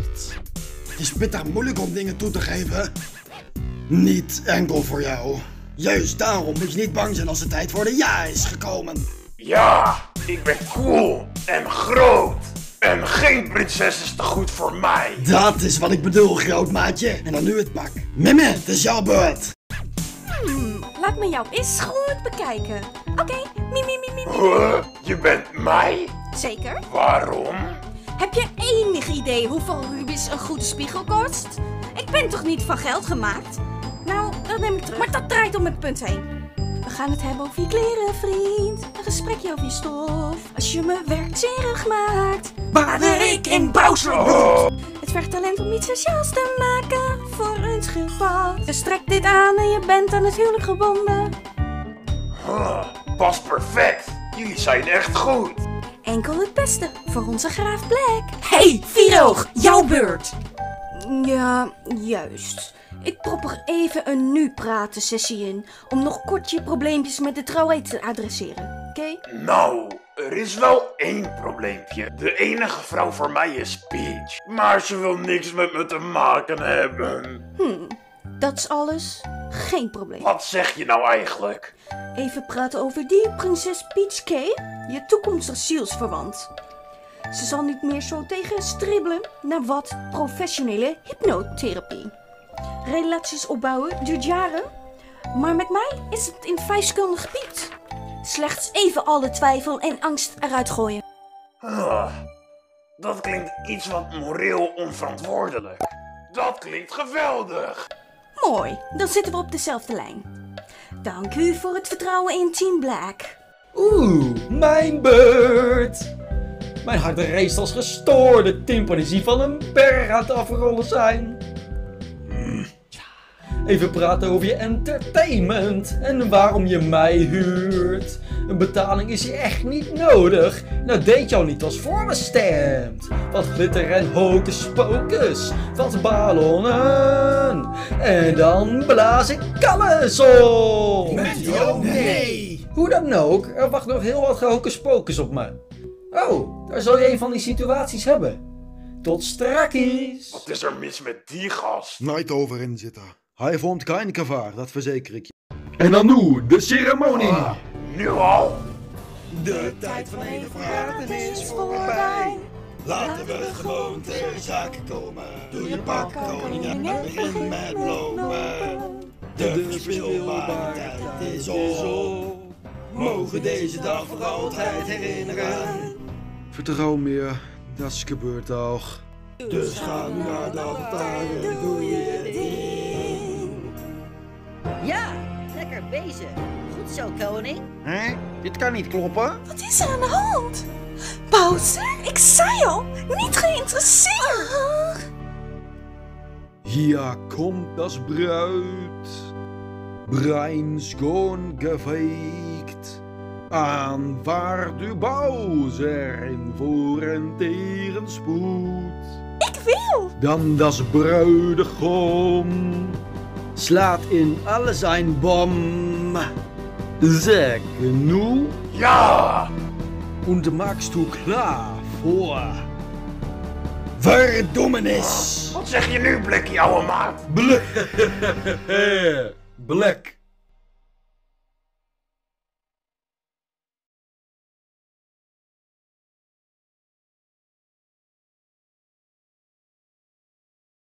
S19: Het is bitter moeilijk om dingen toe te geven. Niet enkel voor jou. Juist daarom moet je niet bang zijn als de tijd voor de ja is gekomen.
S17: Ja, ik ben cool en groot. En geen prinses is te goed voor mij.
S19: Dat is wat ik bedoel, grootmaatje. En dan nu het pak. Mimme, het is jouw beurt.
S9: Hmm, laat me jou eens goed bekijken. Oké, mie, mie, mie, mie,
S18: Oh.
S9: mie.
S17: Huh? Je bent mij?
S9: Zeker?
S17: Waarom?
S9: Heb je enig idee hoeveel Rubis een goede spiegel kost? Ik ben toch niet van geld gemaakt? Nou, dat neem ik terug. Maar dat draait om het punt heen. We gaan het hebben over je kleren, vriend. Een gesprekje over je stof. Als je me werkzinnig maakt.
S19: Bader ik in Bowser
S9: Het vergt talent om iets sociaals te maken voor een schildpad. Dus trek dit aan en je bent aan het huwelijk gebonden.
S17: Huh, Pas perfect. Jullie zijn echt goed.
S9: Enkel het beste voor onze graaf Black.
S18: Hey, Viroog, jouw beurt.
S9: Ja, juist. Ik prop er even een nu praten sessie in om nog kort je probleempjes met de trouwheid te adresseren. Oké?
S17: Nou, er is wel één probleempje. De enige vrouw voor mij is Peach. Maar ze wil niks met me te maken hebben.
S9: Hm, dat is alles. Geen probleem.
S17: Wat zeg je nou eigenlijk?
S9: Even praten over die prinses Peach K, je toekomstige zielsverwant. Ze zal niet meer zo tegen stribbelen naar wat professionele hypnotherapie. Relaties opbouwen duurt jaren, maar met mij is het in vijf seconden gepiept. Slechts even alle twijfel en angst eruit gooien.
S17: Huh, Ah, dat klinkt iets wat moreel onverantwoordelijk. Dat klinkt geweldig.
S9: Mooi, dan zitten we op dezelfde lijn. Dank u voor het vertrouwen in Team Black.
S13: Oeh, mijn beurt! Mijn hart race als gestoorde timpanis die van een berg aan het afrollen zijn. Even praten over je entertainment en waarom je mij huurt. Een betaling is hier echt niet nodig. En Dat deed je al niet als voorbestemd. Wat glitter en hocus pocus, wat ballonnen. En dan blaas ik alles op.
S19: Met jou nee.
S13: Hoe dan ook, er wacht nog heel wat hocus pocus op me. Oh, daar zal je een van die situaties hebben. Tot strakkies.
S17: Wat is er mis met die gast?
S14: Nooit over inzitten. Hij vormt geen gevaar, dat verzeker ik je.
S17: En dan nu,
S14: de ceremonie!
S17: Ah, Nu al?
S19: De tijd van even praten is voorbij. Laten we gewoon ter zake komen. Doe je pak, koningin, en begin met lopen. De verspeelbare tijd is op. Mogen deze dag voor altijd herinneren.
S14: Vertrouw meer, dat is gebeurd al.
S19: Dus ga naar de altaar en doe je ding.
S20: Ja, lekker bezig. Goed zo, koning.
S21: Hè? Dit kan niet kloppen.
S9: Wat is er aan de hand? Bowser, ik zei al, niet geïnteresseerd.
S14: Hier komt das bruid. Brein schoon gefeikt. Aan waar de bouwzer in voor en tegenspoed.
S9: Ik wil!
S14: Dan das bruidegom. Slaat in alle zijn bom. Zeg nu.
S17: Ja!
S14: En maakst u klaar voor.
S19: Verdoemenis!
S9: Oh.
S17: Wat zeg je nu, Blikkie, ouwe maat?
S14: Black.